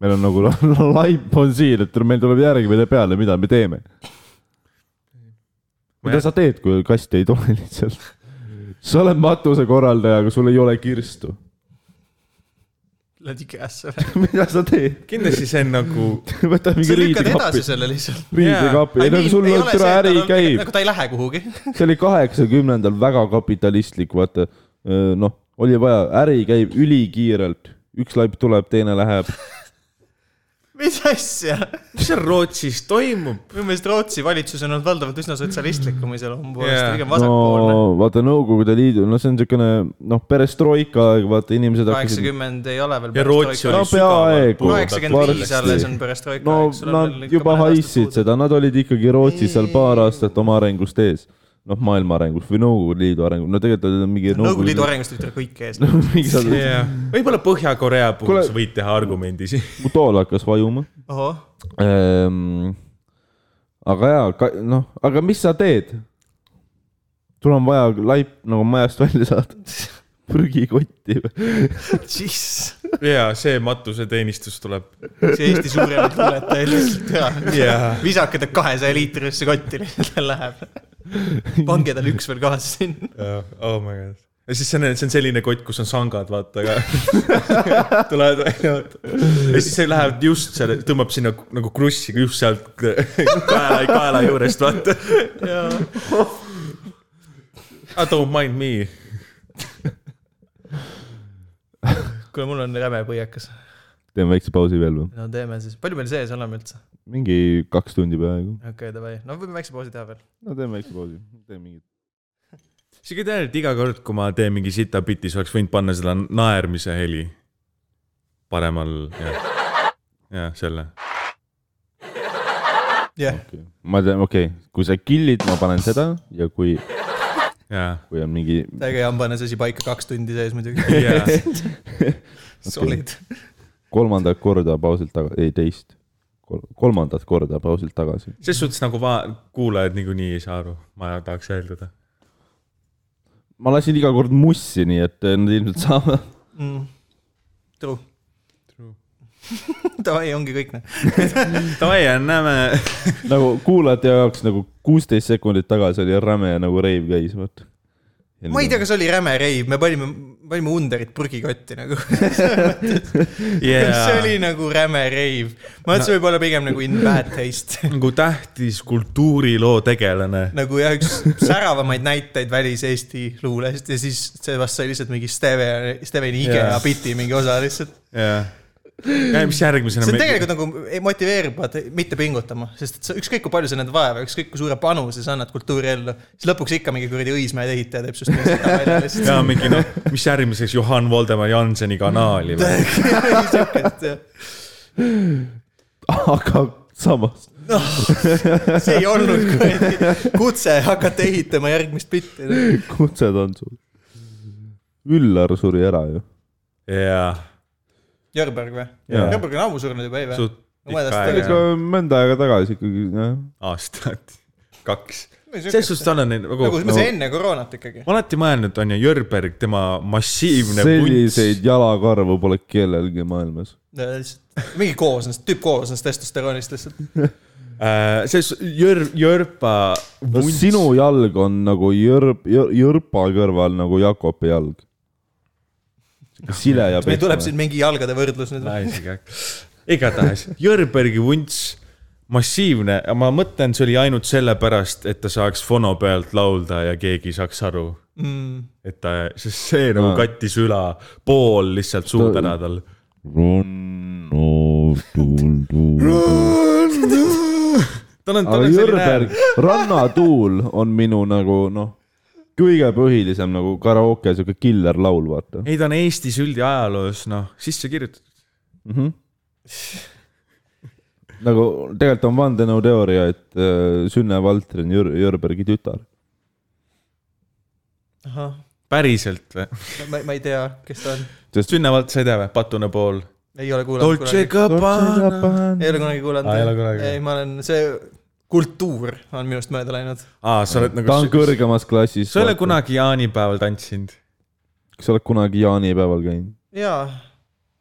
Speaker 3: meil on nagu la- laip on siin , et meil tuleb järgi meile peale , mida me teeme . mida sa teed , kui kasti ei tule lihtsalt ? sa oled matusekorraldaja , aga sul ei ole kirstu .
Speaker 1: Lädi käes .
Speaker 3: mida sa teed ?
Speaker 2: kindlasti see on nagu ,
Speaker 3: võta
Speaker 1: sa
Speaker 3: mingi
Speaker 1: lükkad edasi
Speaker 3: riidekapi ,
Speaker 1: selle lihtsalt .
Speaker 3: riidekapi , ei no sul on türa äri käib ,
Speaker 1: nagu ta ei lähe kuhugi .
Speaker 3: see oli kaheksakümnendal väga kapitalistlik , vaata öö, noh , oli vaja , äri käib ülikiirelt , üks laip tuleb , teine läheb .
Speaker 1: mis asja ?
Speaker 2: mis seal Rootsis toimub ?
Speaker 1: minu meelest Rootsi valitsus on olnud valdavalt üsna sotsialistlikum iseloomu poolest
Speaker 2: Jaa.
Speaker 1: yeah. , pigem vasakpoolne no, .
Speaker 3: no vaata Nõukogude Liidu , no see on niisugune noh , perestroika aeg , vaata inimesed hakkasid ,
Speaker 1: kaheksakümmend ei ole veel .
Speaker 2: ja Rootsi
Speaker 3: No
Speaker 2: oli
Speaker 3: peaaegu.
Speaker 1: kaheksakümmend viis
Speaker 3: varsti.
Speaker 1: alles on perestroika .
Speaker 3: no nad juba haisid . seda , nad olid ikkagi Rootsis seal paar aastat oma arengust ees . noh , maailma arengus või Nõukogude Liidu arengus , no tegelikult olid nad mingi
Speaker 1: Nõukogude Liidu arengust võib tulla kõik ees .
Speaker 3: mingi seal ,
Speaker 2: yeah. . võib-olla Põhja-Korea puhul
Speaker 3: Kuule-
Speaker 2: sa võid teha argumendi siin .
Speaker 3: mu tool hakkas vajuma
Speaker 1: ohoh ,
Speaker 3: ähm, . aga jaa , noh , aga mis sa teed ? sul on vaja laip nagu majast välja saada , prügikotti või ?
Speaker 1: jess .
Speaker 2: ja see matuseteenistus tuleb .
Speaker 1: see Eesti suuremad luuletaja lihtsalt jaa
Speaker 2: ja ,
Speaker 1: visake ta kahesaja liitrisse kotti lihtsalt , ta läheb . pange talle üks veel kaasa sinna .
Speaker 2: ja , oh my god . ja siis see on , see on selline kott , kus on sangad , vaata ka . tulevad välja , vaata . ja siis see läheb just selle , tõmbab sinna nagu krussi just sealt kaela , kaela juurest , vaata . I don't mind me .
Speaker 1: kuule , mul on räme põiekas .
Speaker 3: teeme väikse pausi veel või ?
Speaker 1: no teeme siis , palju meil sees oleme üldse ?
Speaker 3: mingi kaks tundi peaaegu .
Speaker 1: okei okay, , davai , no võime väikse pausi teha veel .
Speaker 3: no teeme väikse pausi , teeme mingit .
Speaker 2: isegi tean , et iga kord , kui ma teen mingi sita biti , siis oleks võinud panna selle naermise heli paremal ja , ja selle .
Speaker 1: jah yeah. ,
Speaker 3: ma tean , okei okay. , kui sa kill'id , ma panen seda ja kui ,
Speaker 2: jaa ,
Speaker 3: kui on mingi ,
Speaker 1: täiega jambane sasi paika kaks tundi sees muidugi .
Speaker 2: jaa .
Speaker 1: solid .
Speaker 3: kolmandat korda pausilt tagasi , ei teist , kolmandat korda pausilt tagasi .
Speaker 2: ses suhtes nagu va- , kuulajad niikuinii ei saa aru , ma tahaks eeldada .
Speaker 3: ma lasin iga kord mussi , nii et eh, nad ilmselt saavad .
Speaker 1: mm. . True . True . davai , ongi kõik noh .
Speaker 2: Davai , näeme .
Speaker 3: nagu kuulajate jaoks nagu kuusteist sekundit tagasi oli räme nagu reiv käis , vot .
Speaker 1: ma ei tea ,, kas oli räme reiv , me panime , panime Underit prügikotti nagu . see oli nagu räme reiv . ma mõtlesin no. võib-olla pigem nagu in bad taste .
Speaker 2: nagu tähtis kultuuriloo tegelane .
Speaker 1: nagu jah , üks säravamaid näiteid väliseesti luulest ja siis seepärast sai lihtsalt mingi Steven , Steveni IKEA
Speaker 2: Jaa.
Speaker 1: yeah. biti mingi osa lihtsalt .
Speaker 2: jah . mis järgmisena .
Speaker 1: see on tegelikult nagu ei- motiveerib vaata mitte pingutama , sest et sa ükskõik kui palju sa näed vaeva , ükskõik kui suure panuse sa annad kultuuriellu , siis lõpuks ikka mingi kuradi Õismäe ehitaja teeb sinust mingi seda välja lihtsalt .
Speaker 2: ja mingi noh , mis järgmiseks Johan Voldemar Janseni kanaali või ?
Speaker 1: Siukest, jah.
Speaker 3: aga samas ,
Speaker 1: see ei olnud kuradi kutse hakata ehitama järgmist bitti .
Speaker 3: kutsed on sul . Üllar suri ära ju .
Speaker 2: jaa ,
Speaker 1: Jörberg või ?
Speaker 3: Jaa.
Speaker 1: Jörberg on ammu surnud juba , ei või ?
Speaker 2: suht
Speaker 1: Ma ei
Speaker 2: pikka
Speaker 1: tea,
Speaker 2: aega
Speaker 3: ikka
Speaker 2: jah.
Speaker 3: mõnda aega tagasi ikkagi , jah .
Speaker 2: aastat , kaks . ses
Speaker 1: nagu
Speaker 2: suhtes tal on neid nagu ,
Speaker 1: nagu see enne koroonat ikkagi .
Speaker 2: ma alati mõelnud , on ju , Jörberg , tema massiivne punts .
Speaker 3: selliseid jalakarvu pole kellelgi maailmas .
Speaker 1: mingi koosnes , tüüp koosnes testosteroonist lihtsalt .
Speaker 2: Äh, selles Jör- , Jörpa
Speaker 3: no
Speaker 2: vunts .
Speaker 3: sinu jalg on nagu jörp , jörpa kõrval nagu Jakobi jalg . sile ja
Speaker 1: meil tuleb . siin mingi jalgade võrdlus nüüd .
Speaker 2: naisega . igatahes Jörbergi vunts , massiivne , ma mõtlen , see oli ainult sellepärast , et ta saaks fono pealt laulda ja keegi saaks aru .
Speaker 1: mm. .
Speaker 2: et ta , sest see nagu kattis üle pool lihtsalt suud ära tal . tal on , tal
Speaker 3: aga
Speaker 2: on selline ,
Speaker 3: Jürberg , Rannatuul on minu nagu noh , kõige põhilisem nagu karaoke siuke killer laul , vaata .
Speaker 2: ei ta on Eesti süldi ajaloos noh , sisse kirjutatud .
Speaker 3: Mhm. nagu tegelikult on vandenõuteooria , et äh, Sünne Valtri on Jür- , Jürbergi tütar .
Speaker 1: ahah ,
Speaker 2: päriselt või ?
Speaker 1: ma , ma ei tea , kes ta on ,
Speaker 2: sünnavalt sa ei tea või ? Patune pool .
Speaker 1: ei ole kuulanud
Speaker 2: Dolce
Speaker 1: kunagi ,
Speaker 2: Gabbana .
Speaker 1: ei ole kunagi
Speaker 2: Aa, ei ole
Speaker 1: kuulanud
Speaker 2: kunagi. ,
Speaker 1: ei , ma olen , see kultuur on minust mööda läinud .
Speaker 2: aa , sa oled
Speaker 3: ta on
Speaker 2: nagu ,
Speaker 3: kõrgemas klassis .
Speaker 2: sa ei ole . kunagi jaanipäeval tantsinud ?
Speaker 3: kas sa oled kunagi jaanipäeval käinud ?
Speaker 1: jaa ,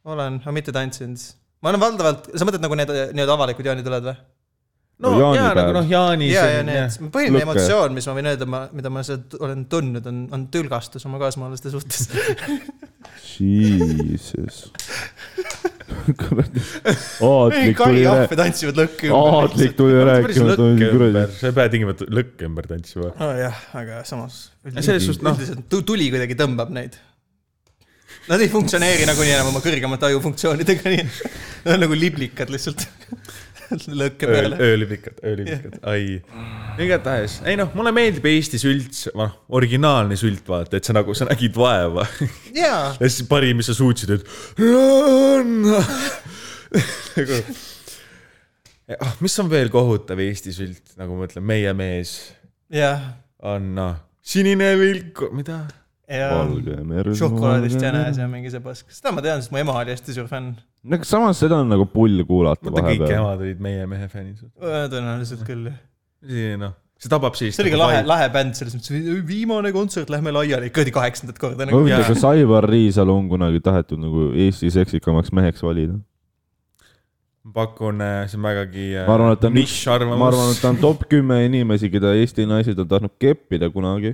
Speaker 1: olen , aga mitte tantsinud . ma olen valdavalt , sa mõtled nagu need nii-öelda avalikud jaanituled või ?
Speaker 2: no
Speaker 3: No
Speaker 2: jaa ,
Speaker 3: jaanipäev.
Speaker 2: nagu noh , jaanis .
Speaker 1: ja , ja need , põhiline
Speaker 3: Lõkke.
Speaker 1: emotsioon , mis ma võin öelda , ma , mida ma sealt olen tundnud , on , on tülgastus oma kaasmaalaste suhtes .
Speaker 3: Jesus . kuradi , aatlik tuli rää-
Speaker 1: karjahve tantsivad lõkki ümber .
Speaker 3: aatlik tuli rääkima , et oi kuradi .
Speaker 2: sa ei pea tingimata lõkke ümber tantsima .
Speaker 1: nojah , Oh, aga samas .
Speaker 2: selles suhtes noh ,
Speaker 1: üldiselt tu- tuli kuidagi tõmbab neid . Nad ei funktsioneeri nagunii enam oma kõrgemate ajufunktsioonidega , nii et nad on nagu liblikad lihtsalt lõkke
Speaker 2: ööl ,
Speaker 1: peale . Mm.
Speaker 2: öölipikad , öölipikad , ai . igatahes , ei noh , mulle meeldib Eestis üldse , noh , originaalne sült , vaata , et sa nagu , sa nägid vaeva
Speaker 1: jaa ,
Speaker 2: ja siis parim , mis sa suutsid , et ranna . nagu , mis on veel kohutav Eesti sült , nagu ma ütlen , meie mees
Speaker 1: jah ,
Speaker 2: on noh , sinine vilk , mida ?
Speaker 1: jaa . šokolaadist jänes ja mingi see pask , seda ma tean , sest mu ema oli hästi suur fänn .
Speaker 3: no aga samas seda on nagu pull kuulata
Speaker 2: vaata , kõik
Speaker 3: vahepeal .
Speaker 2: emad olid meie mehe fännid .
Speaker 1: tõenäoliselt küll , jah .
Speaker 2: see noh , see tabab nagu siis .
Speaker 1: see oli ka lahe , lahe bänd selles mõttes , viimane kontsert , lähme laiali , kuradi kaheksandat korda
Speaker 3: ma
Speaker 1: nagu .
Speaker 3: mõtlen ,
Speaker 2: Jaa.
Speaker 3: kas Aivar Riisalu on kunagi tahetud nagu Eesti seksikamaks meheks valida ?
Speaker 2: pakun , see on vägagi . äh,
Speaker 3: ma arvan , et ta on üks , ma arvan ,
Speaker 2: nišarvamus
Speaker 3: et . ta on top kümme inimesi , keda Eesti naised on tahtnud keppida kunagi .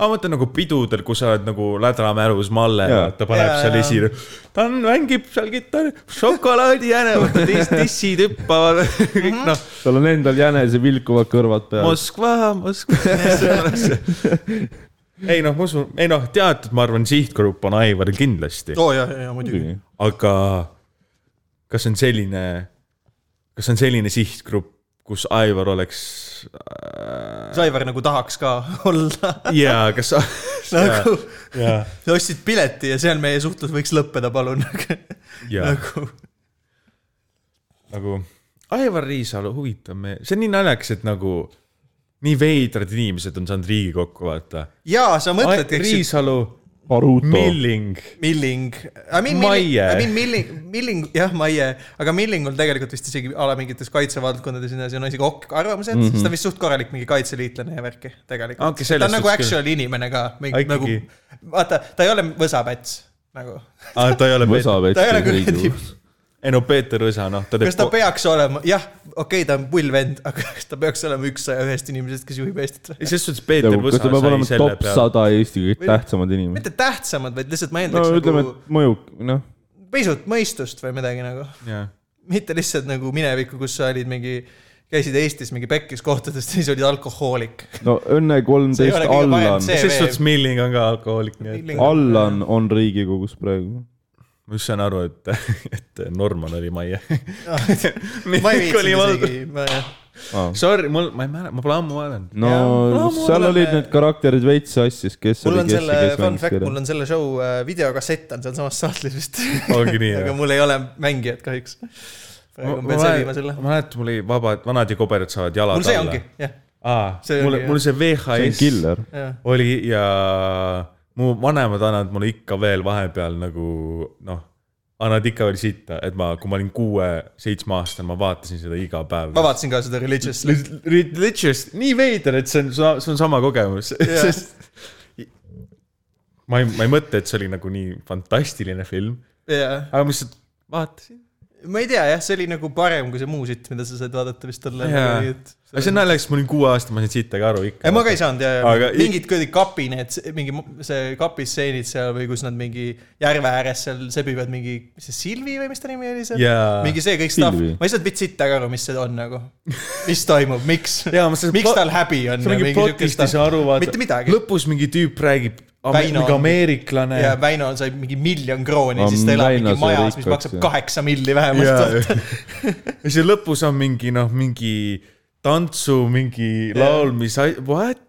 Speaker 2: aga ma mõtlen nagu pidudel , kus sa oled nagu lädramärus Malle ,
Speaker 3: Jaa.
Speaker 2: ta paneb
Speaker 1: Jaa,
Speaker 2: seal
Speaker 1: jaa.
Speaker 2: esi , ta on , mängib seal kitarri , šokolaadijäne , vaata tiss- , tissid hüppavad , kõik noh ,
Speaker 3: tal on endal jänese vilkuvad kõrvad
Speaker 1: Mhm.
Speaker 3: peal .
Speaker 2: Moskva , Moskva . ei noh , ma usun , ei noh , teatud , ma arvan , sihtgrupp on Aivaril kindlasti ,
Speaker 1: oo jaa , jaa , muidugi .
Speaker 2: aga kas on selline , kas on selline sihtgrupp , kus Aivar oleks äh, ,
Speaker 1: Saivar nagu tahaks ka olla
Speaker 2: jaa , kas ,
Speaker 1: nagu ,
Speaker 2: jaa ,
Speaker 1: sa ostsid pileti ja see on meie suhtlus , võiks lõppeda , palun .
Speaker 2: jaa
Speaker 1: nagu ,
Speaker 2: nagu Aivar Riisalu , huvitav me , see on nii naljakas , et nagu nii veidrad inimesed on saanud Riigikokku , vaata .
Speaker 1: jaa , sa mõtled , eks ju ,
Speaker 2: Riisalu ,
Speaker 3: Baruto .
Speaker 2: Milling ,
Speaker 1: Milling .
Speaker 2: Maie.
Speaker 1: Milling , Milling , jah , Maie , aga Millingul tegelikult vist isegi ala mingites kaitsevaldkondades ja nii edasi on isegi ok- arvamused mm , -hmm. sest ta on vist suht korralik mingi kaitseliitlane ja värki tegelikult
Speaker 2: Okei, Mhm.
Speaker 1: ta
Speaker 2: selles
Speaker 1: on nagu
Speaker 2: suhtes küll.
Speaker 1: actual inimene ka ,
Speaker 2: Aga
Speaker 1: mingi nagu
Speaker 2: ikkagi- ,
Speaker 1: vaata , ta ei ole võsapäts nagu
Speaker 2: ah, ta ei ole Peeter ,
Speaker 1: ta ei ole kuradi
Speaker 3: Võsavetsi .,
Speaker 2: ei no Peeter Õsa , noh , ta
Speaker 1: kas ta
Speaker 2: teeb ,
Speaker 1: peaks olema , jah , okei okay, , ta on pull vend , aga kas ta peaks olema üks saja ühest inimesest , kes juhib Eestit või ?
Speaker 2: selles suhtes Peeter
Speaker 3: kas
Speaker 2: Õsa
Speaker 3: ta peab
Speaker 2: sai
Speaker 3: olema
Speaker 2: selle
Speaker 3: top
Speaker 2: peale ,
Speaker 3: sada Eesti kõige tähtsamad inimesed ?
Speaker 1: mitte tähtsamad , vaid lihtsalt ma
Speaker 3: no
Speaker 1: eeldaks
Speaker 3: ütleme ,
Speaker 1: nagu
Speaker 3: et mõjuk , noh ,
Speaker 1: pisut mõistust või midagi nagu ,
Speaker 2: jah .
Speaker 1: mitte lihtsalt nagu minevikku , kus sa olid mingi , käisid Eestis mingi pekkis kohtades , siis olid alkohoolik .
Speaker 3: no Õnne
Speaker 1: See ei ole
Speaker 3: kolmteist
Speaker 1: kõige parem
Speaker 3: Allan ,
Speaker 1: see-
Speaker 2: selles suhtes Milling on ka alkohoolik , nii et
Speaker 1: Milling.
Speaker 3: Allan on Riigikogus praegu .
Speaker 2: ma just sain aru , et , et Norman oli Maie .
Speaker 1: Ah, ma ei viitsinud isegi , ma jah ,
Speaker 2: Sorry , mul , ma ei mäleta , ma pole ammu vaadanud .
Speaker 3: no
Speaker 1: Jaa,
Speaker 3: ja,
Speaker 1: no,
Speaker 3: seal
Speaker 1: mul on- äh,
Speaker 3: olid need karakterid veits sassis , kes
Speaker 1: mul
Speaker 3: oli
Speaker 1: on
Speaker 3: kes
Speaker 1: selle
Speaker 3: ja kes
Speaker 1: fun
Speaker 3: mängis
Speaker 1: fact , mul
Speaker 3: kirja .
Speaker 1: on selle show äh, videokassett on sealsamas saatlis vist ,
Speaker 2: ongi nii ,
Speaker 1: aga mul ei ole mängijat kahjuks . praegu ma pean
Speaker 2: mäletan
Speaker 1: säilima , selle .
Speaker 2: ma mäletan , mul oli vabad , vanad ja koberad saavad jalad alla .
Speaker 1: mul see ongi , jah ,
Speaker 2: aa
Speaker 1: See ,
Speaker 2: mul
Speaker 1: ongi, ,
Speaker 2: mul see
Speaker 3: see on
Speaker 2: VHS
Speaker 3: killer .
Speaker 1: jah .
Speaker 2: oli ja mu vanemad annavad mulle ikka veel vahepeal nagu noh , annavad ikka veel sitta , et ma , kui ma olin kuue-seitsmeaastane , ma vaatasin seda iga päev .
Speaker 1: ma vaatasin ka seda Religious
Speaker 2: Religious , nii veider , et see on , see on sama kogemus yeah. , sest ma ei , ma ei mõtle , et see oli nagu nii fantastiline film ,
Speaker 1: jaa ,
Speaker 2: aga ma lihtsalt vaatasin
Speaker 1: ma ei tea jah , see oli nagu parem kui see muu sitt , mida sa said vaadata vist tol
Speaker 2: jaa .
Speaker 1: ajal .
Speaker 2: aga see on naljakas , ma olin kuueaastane , ma ei saanud sittagi aru
Speaker 1: ei ,
Speaker 2: ikka .
Speaker 1: ma ka ei saanud ja , ja
Speaker 2: Aga-
Speaker 1: mingid kuradi kapi need , mingi mu- see kapistseenid seal või kus nad mingi järve ääres seal sebivad mingi , mis see Silvi või mis ta nimi oli seal ?
Speaker 2: Jaa.
Speaker 1: mingi see kõik stuff ,
Speaker 3: Silvi.
Speaker 1: ma ei saanud mitte sittagi aru , mis see on nagu , mis toimub , miks
Speaker 2: Jaa, ma saan- ,
Speaker 1: miks tal häbi on ?
Speaker 2: see mingi plotist ei saa aru , vaata .
Speaker 1: mitte midagi .
Speaker 2: lõpus mingi tüüp räägib ,
Speaker 1: Väino
Speaker 2: mingi
Speaker 1: on-
Speaker 2: ameeriklane .
Speaker 1: ja Väino sai mingi miljon krooni , siis
Speaker 3: Am-
Speaker 1: ta elab
Speaker 3: Väino
Speaker 1: mingi
Speaker 3: sai
Speaker 1: majas , mis
Speaker 3: rikkaks,
Speaker 1: maksab
Speaker 3: jah.
Speaker 1: kaheksa milli vähemalt .
Speaker 2: ja , ja see lõpus on mingi noh , mingi tantsu , mingi laul , mis , what ?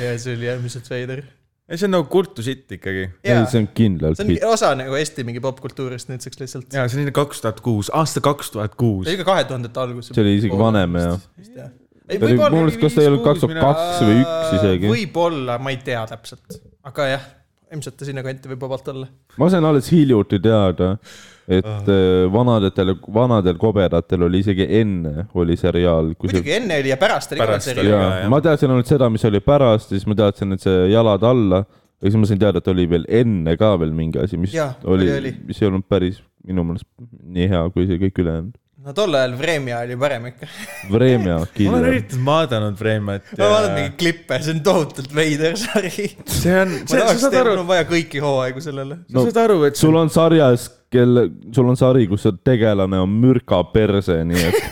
Speaker 1: ja see oli äärmiselt veider .
Speaker 2: ei , see on nagu kultu sitt ikkagi .
Speaker 1: ja
Speaker 3: ei , see on kindlalt
Speaker 1: see on
Speaker 3: hitt
Speaker 1: mingi . osa nagu Eesti mingi popkultuurist nüüdseks lihtsalt .
Speaker 2: ja see oli kaks tuhat kuus , aasta kaks tuhat kuus
Speaker 1: see . oli ka kahe tuhandete alguses .
Speaker 3: see oli isegi vanem ja .
Speaker 1: ei ,
Speaker 3: Ta oli-
Speaker 1: võib-olla Äh,
Speaker 3: minu arust kas ta ei olnud
Speaker 2: viis, kuus,
Speaker 3: 2002 või üks isegi.
Speaker 1: võib-olla , ma ei tea täpselt , aga jah , ilmselt ta sinna kanti võib vabalt olla .
Speaker 3: ma sain alles hiljuti teada , et äh, vanadel , vanadel koberatel oli isegi enne oli seriaal .
Speaker 1: muidugi enne oli ja pärast oli ka
Speaker 2: Pärast
Speaker 1: seriaal .
Speaker 2: oli.
Speaker 3: jaa
Speaker 2: jah. ,
Speaker 3: ma teadsin ainult seda , mis oli pärast , siis ma teadsin , et see Jalad alla , aga siis ma sain teada , et oli veel enne ka veel mingi asi , mis
Speaker 1: Jaa,
Speaker 3: oli,
Speaker 1: oli, oli.
Speaker 3: oli , mis ei olnud päris minu meelest nii hea kui see kõik ülejäänud .
Speaker 1: no tol ajal Vremja oli parem ikka .
Speaker 3: Vremja
Speaker 2: ma olen
Speaker 3: kindlalt .
Speaker 2: eriti vaadanud Vreemat
Speaker 1: ma vaatan mingeid klippe , see on tohutult veider sari .
Speaker 2: see on ,
Speaker 1: ma
Speaker 2: sa
Speaker 1: tahaks
Speaker 2: saad
Speaker 1: teha ,
Speaker 2: aru
Speaker 1: mul , on vaja kõiki hooaegu sellele .
Speaker 2: sa saad aru , et
Speaker 3: sul on sarjas , kelle , sul on sari , kus see tegelane on mürka perse , nii et .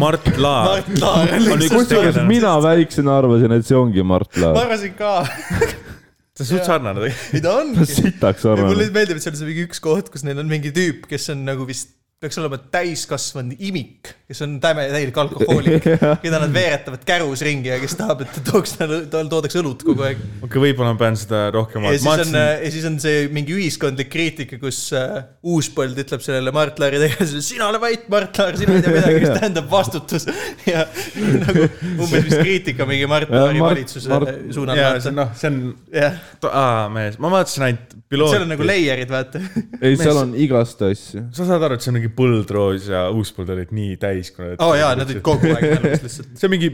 Speaker 2: Mart Laar
Speaker 1: Mart Laar on
Speaker 2: on üks
Speaker 3: kusjuures
Speaker 2: tegelane ,
Speaker 3: mina väiksena arvasin , et see ongi Mart
Speaker 1: ma
Speaker 3: Laar .
Speaker 1: arvasin ka ,
Speaker 2: ta on suht sarnane tegelikult .
Speaker 1: ei ta
Speaker 3: ma
Speaker 1: ongi .
Speaker 3: sitaks
Speaker 1: ja mulle
Speaker 3: arvan .
Speaker 1: meeldib , et seal on see mingi üks koht , kus neil on mingi tüüp , kes on nagu vist , peaks olema täiskasvanud imik , kes on täme , täielik alkohoolik , keda nad veeretavad kärus ringi ja kes tahab , et ta tooks talle , tal toodaks õlut kogu aeg .
Speaker 2: okei , võib-olla ma pean seda rohkem
Speaker 1: ja siis on ,
Speaker 2: vaatama .
Speaker 1: ja siis on see mingi ühiskondlik kriitika , kus äh, Uuspõld ütleb sellele Mart Laari tegelasele , sina ole vait , Mart Laar , sina ei tea midagi , mis tähendab vastutus . ja nagu umbes vist kriitika mingi Mart
Speaker 3: Ja
Speaker 1: Laari
Speaker 3: Mart-
Speaker 1: valitsuse
Speaker 3: Mart-
Speaker 1: suunal .
Speaker 2: ja see on noh , see on ,
Speaker 1: jah ,
Speaker 2: aa mees , ma vaatasin ainult pilooti .
Speaker 1: seal on nagu layer'id , vaata .
Speaker 3: ei , seal on igast asju .
Speaker 2: sa saad aru , et see on mingi Põldroos ja Uuspõld olid nii täis , kuna .
Speaker 1: oo jaa , nad olid kogu aeg mälus lihtsalt .
Speaker 2: see on mingi ,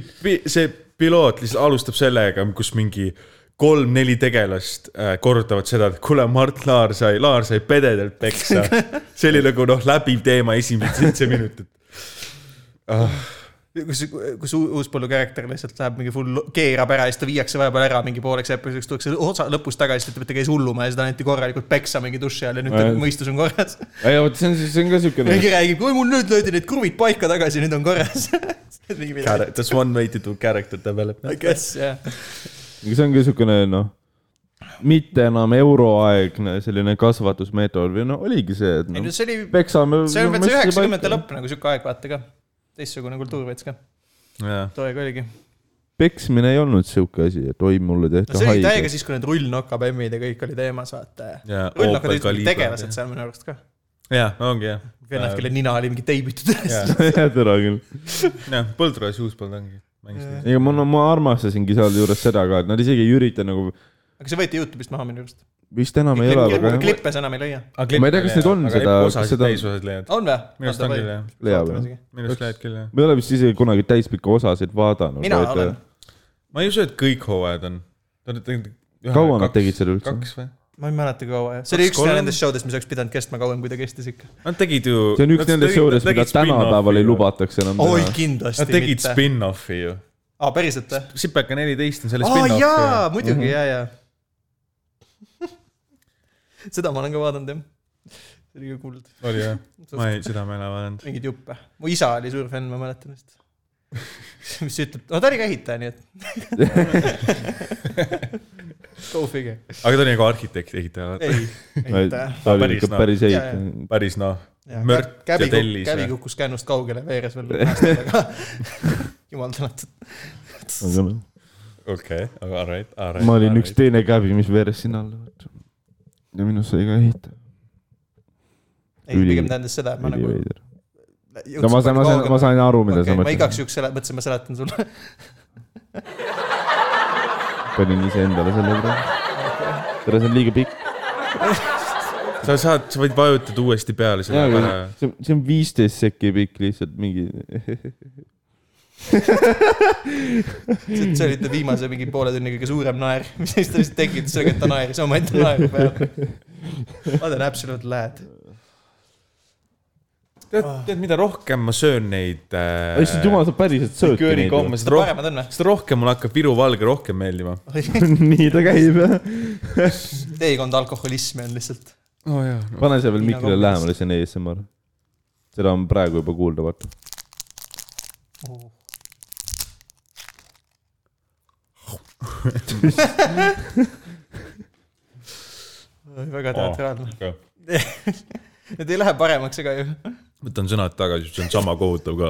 Speaker 2: see piloot lihtsalt alustab sellega , kus mingi kolm-neli tegelast äh, kordavad seda , et kuule , Mart Laar sai , Laar sai pededelt peksa . see oli nagu noh , läbiv teema esimesed seitse minutit .
Speaker 1: kus , kus u- Uuspõllu karakter lihtsalt läheb mingi full , keerab ära ja siis ta viiakse vahepeal ära mingi pooleks episoodiks , tuuakse otsa lõpus tagasi , ütleb , et ta käis hulluma ja seda anti korralikult peksa mingi duši all ja nüüd ta
Speaker 3: Äh.
Speaker 1: mõistus on korras .
Speaker 3: ei , vot see on , see on ka siukene .
Speaker 1: mingi räägib , oi mul nüüd löödi need kruvid paika tagasi , nüüd on korras .
Speaker 2: That's one way to do character development .
Speaker 1: kes , jah .
Speaker 3: see on ka siukene noh , mitte enam euroaegne selline kasvatusmeetod või no oligi see , et
Speaker 1: ei
Speaker 3: noh
Speaker 1: no , see oli ,
Speaker 3: peksame .
Speaker 1: see on veel see üheksakümnendate . lõpp nagu sihuke aeg , vaata ka . teistsugune kultuur veits ka ,
Speaker 2: jah ,
Speaker 1: too aeg oligi .
Speaker 3: peksmine ei olnud siuke asi , et oi , mulle
Speaker 1: no
Speaker 3: tehti
Speaker 1: see oli täiega
Speaker 3: haiget .
Speaker 1: siis , kui need rullnoka bämmid ja kõik oli teemas , vaata .
Speaker 2: Jaa,
Speaker 1: rullnokad olid
Speaker 2: Opel
Speaker 1: mingi
Speaker 2: Kalibra,
Speaker 1: tegelased
Speaker 2: jah.
Speaker 1: seal minu arust ka .
Speaker 2: ongi jah .
Speaker 1: vennad , kelle nina oli mingi teibitud üles .
Speaker 3: jah , tere küll .
Speaker 2: jah , Põldroos ja Uuspõld ongi . mängisid .
Speaker 3: ega ma , no ma armastasingi sealjuures seda ka , et nad isegi ei ürita nagu , aga
Speaker 1: aga see võeti Youtube'ist maha minu arust .
Speaker 3: vist enam ei ole väga jah ,
Speaker 1: klippes enam ei leia .
Speaker 3: Ma ei tea, kas neid on seda- kas
Speaker 2: osasid
Speaker 3: seda-
Speaker 2: täisosad leiad .
Speaker 1: on või ?
Speaker 2: minu arust on küll jah .
Speaker 3: leiab jah .
Speaker 2: minu arust leiad küll jah .
Speaker 3: ma ei ole vist isegi kunagi täispikki osasid vaadanud .
Speaker 1: mina olen .
Speaker 2: ma ei usu , et kõik hooajad on . kaua
Speaker 3: Kaua nad tegid seda üldse?
Speaker 2: kaks või ?
Speaker 1: ma ei mäleta , kui kaua jah . see oli üks
Speaker 2: kolm?
Speaker 1: nendest show dest , mis oleks pidanud kestma kauem , kui ta kestis ikka .
Speaker 2: Nad tegid ju .
Speaker 3: see on üks nendest showdest , mida tänapäeval ei . lubatakse enam
Speaker 1: oi ,
Speaker 3: teha .
Speaker 1: kindlasti
Speaker 2: Nad tegid
Speaker 1: mitte .
Speaker 2: spin-off'i ju .
Speaker 1: aa , päriselt või ?
Speaker 2: Sipeka neliteist on selle
Speaker 1: aa
Speaker 2: spin-off
Speaker 1: jaa , muidugi , jaa , jaa . seda ma olen ka vaadanud jah . see oli ka kuld ,
Speaker 2: ju . oli jah ? ma ei , seda ma ei ole vaadanud .
Speaker 1: mingeid juppe . mu isa oli suur fänn , ma mäletan vist . mis ütleb , no ta oli ka ehitaja , nii et . Go figure .
Speaker 2: aga ta oli nagu arhitekt , ehitaja .
Speaker 1: ei , ehitaja .
Speaker 3: ta oli
Speaker 2: Päris,
Speaker 3: ikka
Speaker 2: noh.
Speaker 3: päris
Speaker 1: Jaa,
Speaker 3: ehitaja .
Speaker 2: päris noh ,
Speaker 1: Ja
Speaker 2: Mört
Speaker 1: kä- käbi
Speaker 2: ja tellis,
Speaker 1: kuk- käbi
Speaker 2: jah.
Speaker 1: kukkus kännust kaugele , veeres veel päästjad , aga jumal tänatud .
Speaker 2: okei , aga alright , alright .
Speaker 3: noh, ma
Speaker 1: noh,
Speaker 3: olin üks teine käbi , mis veeres sinna alla võeti . ja minust sai ka ehitaja .
Speaker 1: ei ,
Speaker 3: Üli-
Speaker 1: pigem tähendas seda , et ma nagu .
Speaker 3: üliveider . no ma sain , ma sain , ma sain aru , mida sa
Speaker 1: ma igaks
Speaker 3: mõtled .
Speaker 1: juhuks sele- mõtlesin , ma seletan sulle .
Speaker 3: panin iseendale selle peale . tere , see on liiga pikk .
Speaker 2: sa saad , sa võid vajutada uuesti peale
Speaker 3: jaa ,
Speaker 2: selle
Speaker 3: aga
Speaker 2: pähe .
Speaker 3: see , see on viisteist sekki pikk lihtsalt mingi .
Speaker 1: see oli ta viimase mingi poole tunni kõige suurem naer , mis siis ta lihtsalt tekitas sellega , et ta naeris omaette naeru peale . ma teen absolute lad .
Speaker 2: tead , tead , mida rohkem ma söön neid äh,
Speaker 3: issand jumal , sa päriselt söödki neid ju
Speaker 2: köörikomme , seda rohkem ,
Speaker 1: paremad on või ?
Speaker 2: seda rohkem mulle hakkab Viru valge rohkem meeldima .
Speaker 3: nii ta käib jah .
Speaker 1: teekond alkoholismi on lihtsalt .
Speaker 2: oo jaa .
Speaker 3: pane see veel
Speaker 1: Hiina
Speaker 3: mikrile
Speaker 1: kombeks.
Speaker 3: lähemale , see on ASMR . seda on praegu juba kuulda , vaata .
Speaker 1: väga teatraalne .
Speaker 2: võtan
Speaker 1: Need ei lähe paremaks ega ju .
Speaker 2: sõnad tagasi , see on sama kohutav ka .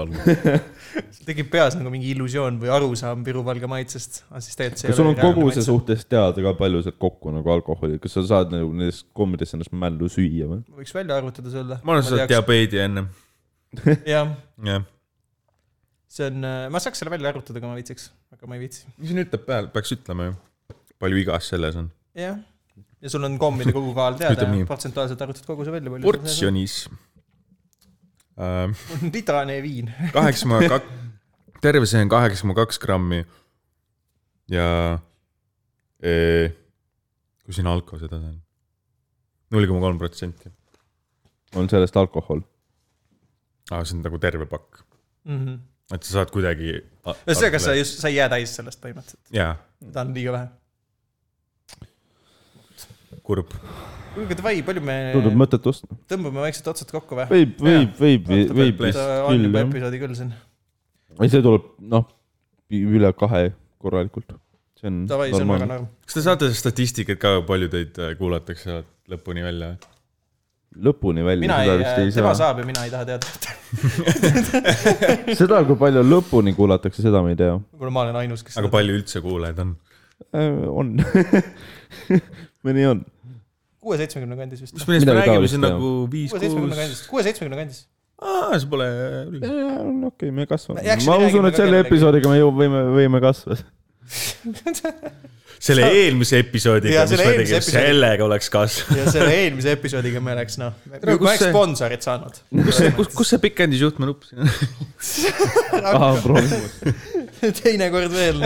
Speaker 1: tekib peas nagu mingi illusioon või arusaam Viru valge maitsest , aga siis tegelikult see
Speaker 3: kas sul on koguse . suhtes teada ka palju sealt kokku nagu alkoholi , kas sa saad nagu nendest kommidest ennast mällu süüa või ?
Speaker 1: võiks välja arvutada sulle .
Speaker 2: ma olen seda . diabeedi ennem ,
Speaker 1: jah ,
Speaker 2: jah .
Speaker 1: see on , ma saaks selle välja arvutada , kui ma viitsiks , aga ma ei viitsi .
Speaker 2: mis siin ütleb peal , peaks ütlema ju . palju igas selles on .
Speaker 1: jah , ja sul on kommide kogukaal teada
Speaker 2: Ütleme nii. ,
Speaker 1: protsentuaalselt arvutad koguse välja , palju .
Speaker 2: portsjonis äh, .
Speaker 1: litrane viin .
Speaker 2: kaheksa koma kaks , terve see on kaheksa koma kaks grammi . ja eh, kui siin alko seda on , null koma kolm protsenti ,
Speaker 3: on sellest alkohol ?
Speaker 2: aga see on nagu terve pakk ,
Speaker 1: ühesõnaga ,
Speaker 2: et sa saad kuidagi .
Speaker 1: sa just , sa ei jää täis sellest põhimõtteliselt ,
Speaker 2: jaa ,
Speaker 1: seda on liiga vähe .
Speaker 2: kurb .
Speaker 1: kuulge , davai , palju me
Speaker 3: tundub mõttetu osta .
Speaker 1: tõmbame vaikselt otsad kokku või ?
Speaker 3: võib , võib , võib , võib vist
Speaker 1: on
Speaker 3: küll
Speaker 1: juba
Speaker 3: jah .
Speaker 1: episoodi küll siin .
Speaker 3: ei , see tuleb noh , üle kahe korralikult . see on
Speaker 1: davai , see on väga nagu-
Speaker 3: normaalne .
Speaker 1: norm .
Speaker 2: kas te saate statistikat ka , palju teid eh, kuulatakse lõpuni välja ?
Speaker 3: lõpuni välja
Speaker 1: mina
Speaker 3: seda
Speaker 1: ei ,
Speaker 3: vist ei
Speaker 1: tema
Speaker 3: saa .
Speaker 1: saab ja mina ei taha teada .
Speaker 3: seda , kui palju lõpuni kuulatakse , seda ma ei tea .
Speaker 1: võib-olla ma olen ainus , kes .
Speaker 2: aga palju üldse kuulajaid on ?
Speaker 3: Äh, on . mõni on .
Speaker 1: kuue seitsmekümne kandis vist .
Speaker 2: mis me neist
Speaker 3: Midagi
Speaker 2: räägime ,
Speaker 3: taolist,
Speaker 2: see on
Speaker 3: jah.
Speaker 2: nagu viis ,
Speaker 1: kuue seitsmekümne
Speaker 2: kuus .
Speaker 1: kandis , kuue seitsmekümne kandis .
Speaker 2: aa , see pole üldse .
Speaker 3: Äh, okei okay, , me kasvame
Speaker 1: Me- . actually
Speaker 3: ma usun ,
Speaker 1: räägime
Speaker 3: et
Speaker 1: ka
Speaker 3: selle
Speaker 1: kellegagi.
Speaker 3: episoodiga me jõu- , võime , võime kasvada .
Speaker 2: selle eelmise episoodiga
Speaker 1: Jaa, ,
Speaker 2: mis
Speaker 1: selle
Speaker 2: me
Speaker 1: eelmise
Speaker 2: tegime ,
Speaker 1: episoodiga.
Speaker 2: sellega oleks kasv .
Speaker 1: ja selle eelmise episoodiga me oleks noh , me me
Speaker 2: kus
Speaker 1: oleks
Speaker 2: see-
Speaker 1: sponsorit saanud .
Speaker 2: kus see , kus , kus see pikendusjuhtme nupp siin on ?
Speaker 1: teinekord veel .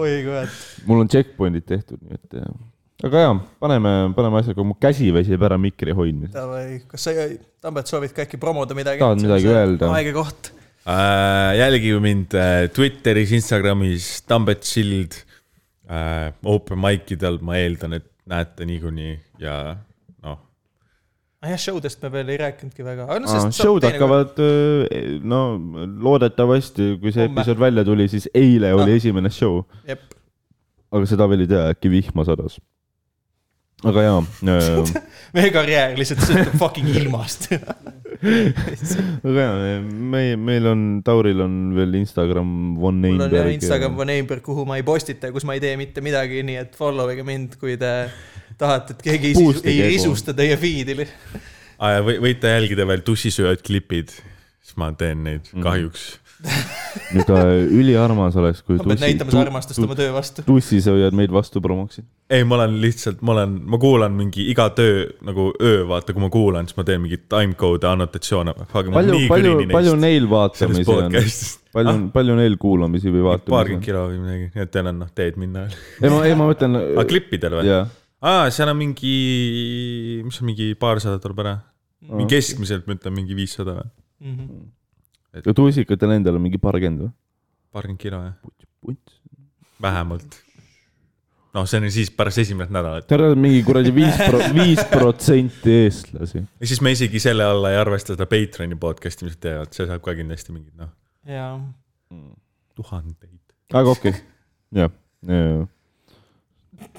Speaker 1: oi kurat .
Speaker 3: mul on checkpoint'id tehtud , nii et . aga jaa , paneme , paneme asjaga , mu käsi väsib ära mikri hoidmisel .
Speaker 1: Davai , kas sa , Tambet , soovid ka äkki promoda midagi ?
Speaker 3: Tahad midagi öelda?
Speaker 1: aeg ja koht .
Speaker 2: Äh, jälgige mind äh, Twitteris , Instagramis , Tambet Sild äh, , open mic idel , ma eeldan , et näete niikuinii ja noh ,
Speaker 1: Ah jah , showdest me veel ei rääkinudki väga .
Speaker 3: Ah, show'd . hakkavad , no loodetavasti , kui see
Speaker 1: Homme.
Speaker 3: episood välja tuli , siis eile oli esimene show ,
Speaker 1: jep ,
Speaker 3: aga seda veel ei tea , äkki vihma sadas . aga jaa , äh,
Speaker 1: meie karjäär lihtsalt sõltub fucking ilmast .
Speaker 3: aga jaa , meie , meil on , Tauril on veel Instagram One
Speaker 1: mul on jah
Speaker 3: Neinberg .
Speaker 1: Instagram One Neighbor , kuhu ma ei postita ja kus ma ei tee mitte midagi , nii et follow ige mind , kui te tahate , et keegi ei, sisu-
Speaker 3: Boostige
Speaker 1: ei
Speaker 3: ego.
Speaker 1: risusta teie feed'i .
Speaker 2: võite jälgida veel tussisööjad klipid , siis ma teen neid
Speaker 3: Mhm.
Speaker 2: kahjuks mm. .
Speaker 3: nüüd äh, üliarmas oleks , kui
Speaker 1: pead näitama seda armastust oma töö vastu .
Speaker 3: tussisööjad meid vastu promoksid .
Speaker 2: ei , ma olen lihtsalt , ma olen , ma kuulan mingi iga töö nagu öö , vaata , kui ma kuulan , siis ma teen mingeid timecode'e , annotatsioone .
Speaker 3: palju , palju , palju neil
Speaker 2: selles
Speaker 3: vaatamisi on ?
Speaker 2: podcast'is
Speaker 3: palju ah? , palju neil kuulamisi või
Speaker 2: paarkümmend
Speaker 3: vaatamisi on ?
Speaker 2: kilo või midagi , nii et teil on noh , teed minna veel .
Speaker 3: ei ma , ei ma mõtlen .
Speaker 2: aga klippidel Ah, või ?
Speaker 3: jah ,
Speaker 2: aa , seal on mingi , mis on mingi paarsada tuleb ära . mingi keskmiselt ma ütlen mingi viissada või ,
Speaker 3: tussikatel endal on mingi paarkümmend või ?
Speaker 2: paarkümmend kilo jah , vähemalt . noh , see on siis pärast esimest nädalat
Speaker 3: Teil on mingi kuradi viis pro- , viis protsenti eestlasi .
Speaker 2: ja siis me isegi selle alla ei arvesta seda Patreon'i podcast'i , mis nad teevad , see saab ka kindlasti mingid noh ,
Speaker 1: jaa ,
Speaker 2: tuhandeid .
Speaker 3: Ah, aga okei okay. , jah , jah .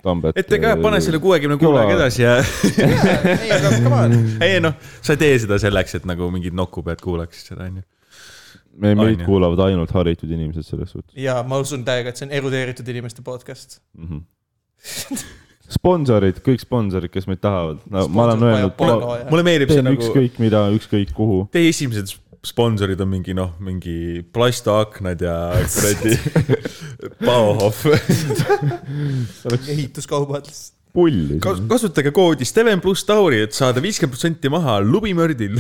Speaker 3: Tambet .
Speaker 2: et ega pane selle . kuuekümne kuulajaga
Speaker 3: Kõva.
Speaker 2: edasi ja
Speaker 1: ei aga come on .
Speaker 2: ei noh , sa ei tee seda selleks , et nagu mingid nokupead kuulaksid seda onju .
Speaker 3: meid
Speaker 2: Onju.
Speaker 3: kuulavad ainult haritud inimesed selles suhtes
Speaker 1: ja ma usun täiega , et see on erudeeritud inimeste podcast .
Speaker 3: mm . -hmm. sponsorid , kõik sponsorid , kes meid tahavad , no ma olen öelnud ,
Speaker 2: mulle meeldib see
Speaker 3: teen
Speaker 2: nagu
Speaker 3: ükskõik mida , ükskõik kuhu .
Speaker 2: teie esimesed sponsorid on mingi noh , mingi plastoaknad ja kuradi Bauhof .
Speaker 1: ehituskaubad .
Speaker 3: pulli .
Speaker 2: kasutage koodi Steven pluss Tauri , et saada viiskümmend protsenti maha lubimördil .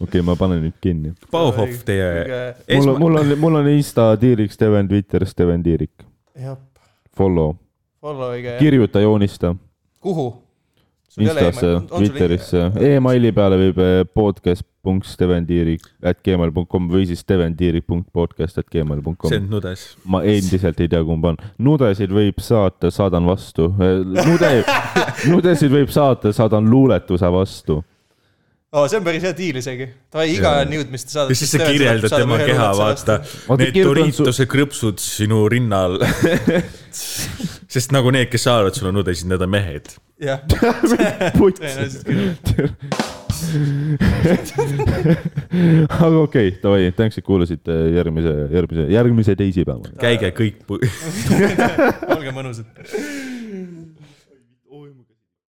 Speaker 3: okei , ma panen nüüd kinni .
Speaker 2: Bauhof
Speaker 3: Eh.
Speaker 2: teie .
Speaker 3: mul on ,
Speaker 2: Esma-
Speaker 3: mul on , mul on Insta Tiirik Steven , Twitter Steven Tiirik .
Speaker 1: jah ,
Speaker 3: Follow ,
Speaker 1: follow ige .
Speaker 3: kirjuta , joonista .
Speaker 1: kuhu ?
Speaker 3: Instasse , Twitterisse , emaili peale võib eh, podcast.steventiirik.gmail.com või siis steventiirik.podcast.gmail.com
Speaker 2: see on . nudes .
Speaker 3: ma endiselt ei tea , kumb on . nudesid võib saata , saadan vastu . Nude , nudesid võib saata , saadan luuletuse vastu .
Speaker 1: oh, . see on päris hea diil isegi . Davai , iga nude , mis te saadate .
Speaker 2: ja siis sa kirjeldad tema keha , vaata .
Speaker 3: Vaata,
Speaker 2: Need
Speaker 3: kirjutan su-
Speaker 2: Doritose krõpsud sinu rinnal . sest nagu need , kes saavad , sul on nudesid , need on mehed .
Speaker 1: jah , tõenäoliselt küll .
Speaker 3: aga okei okay, , davai , tänks , et kuulasite järgmise , järgmise , järgmise teisipäeva .
Speaker 2: käige kõik pu- .
Speaker 1: olge mõnusad .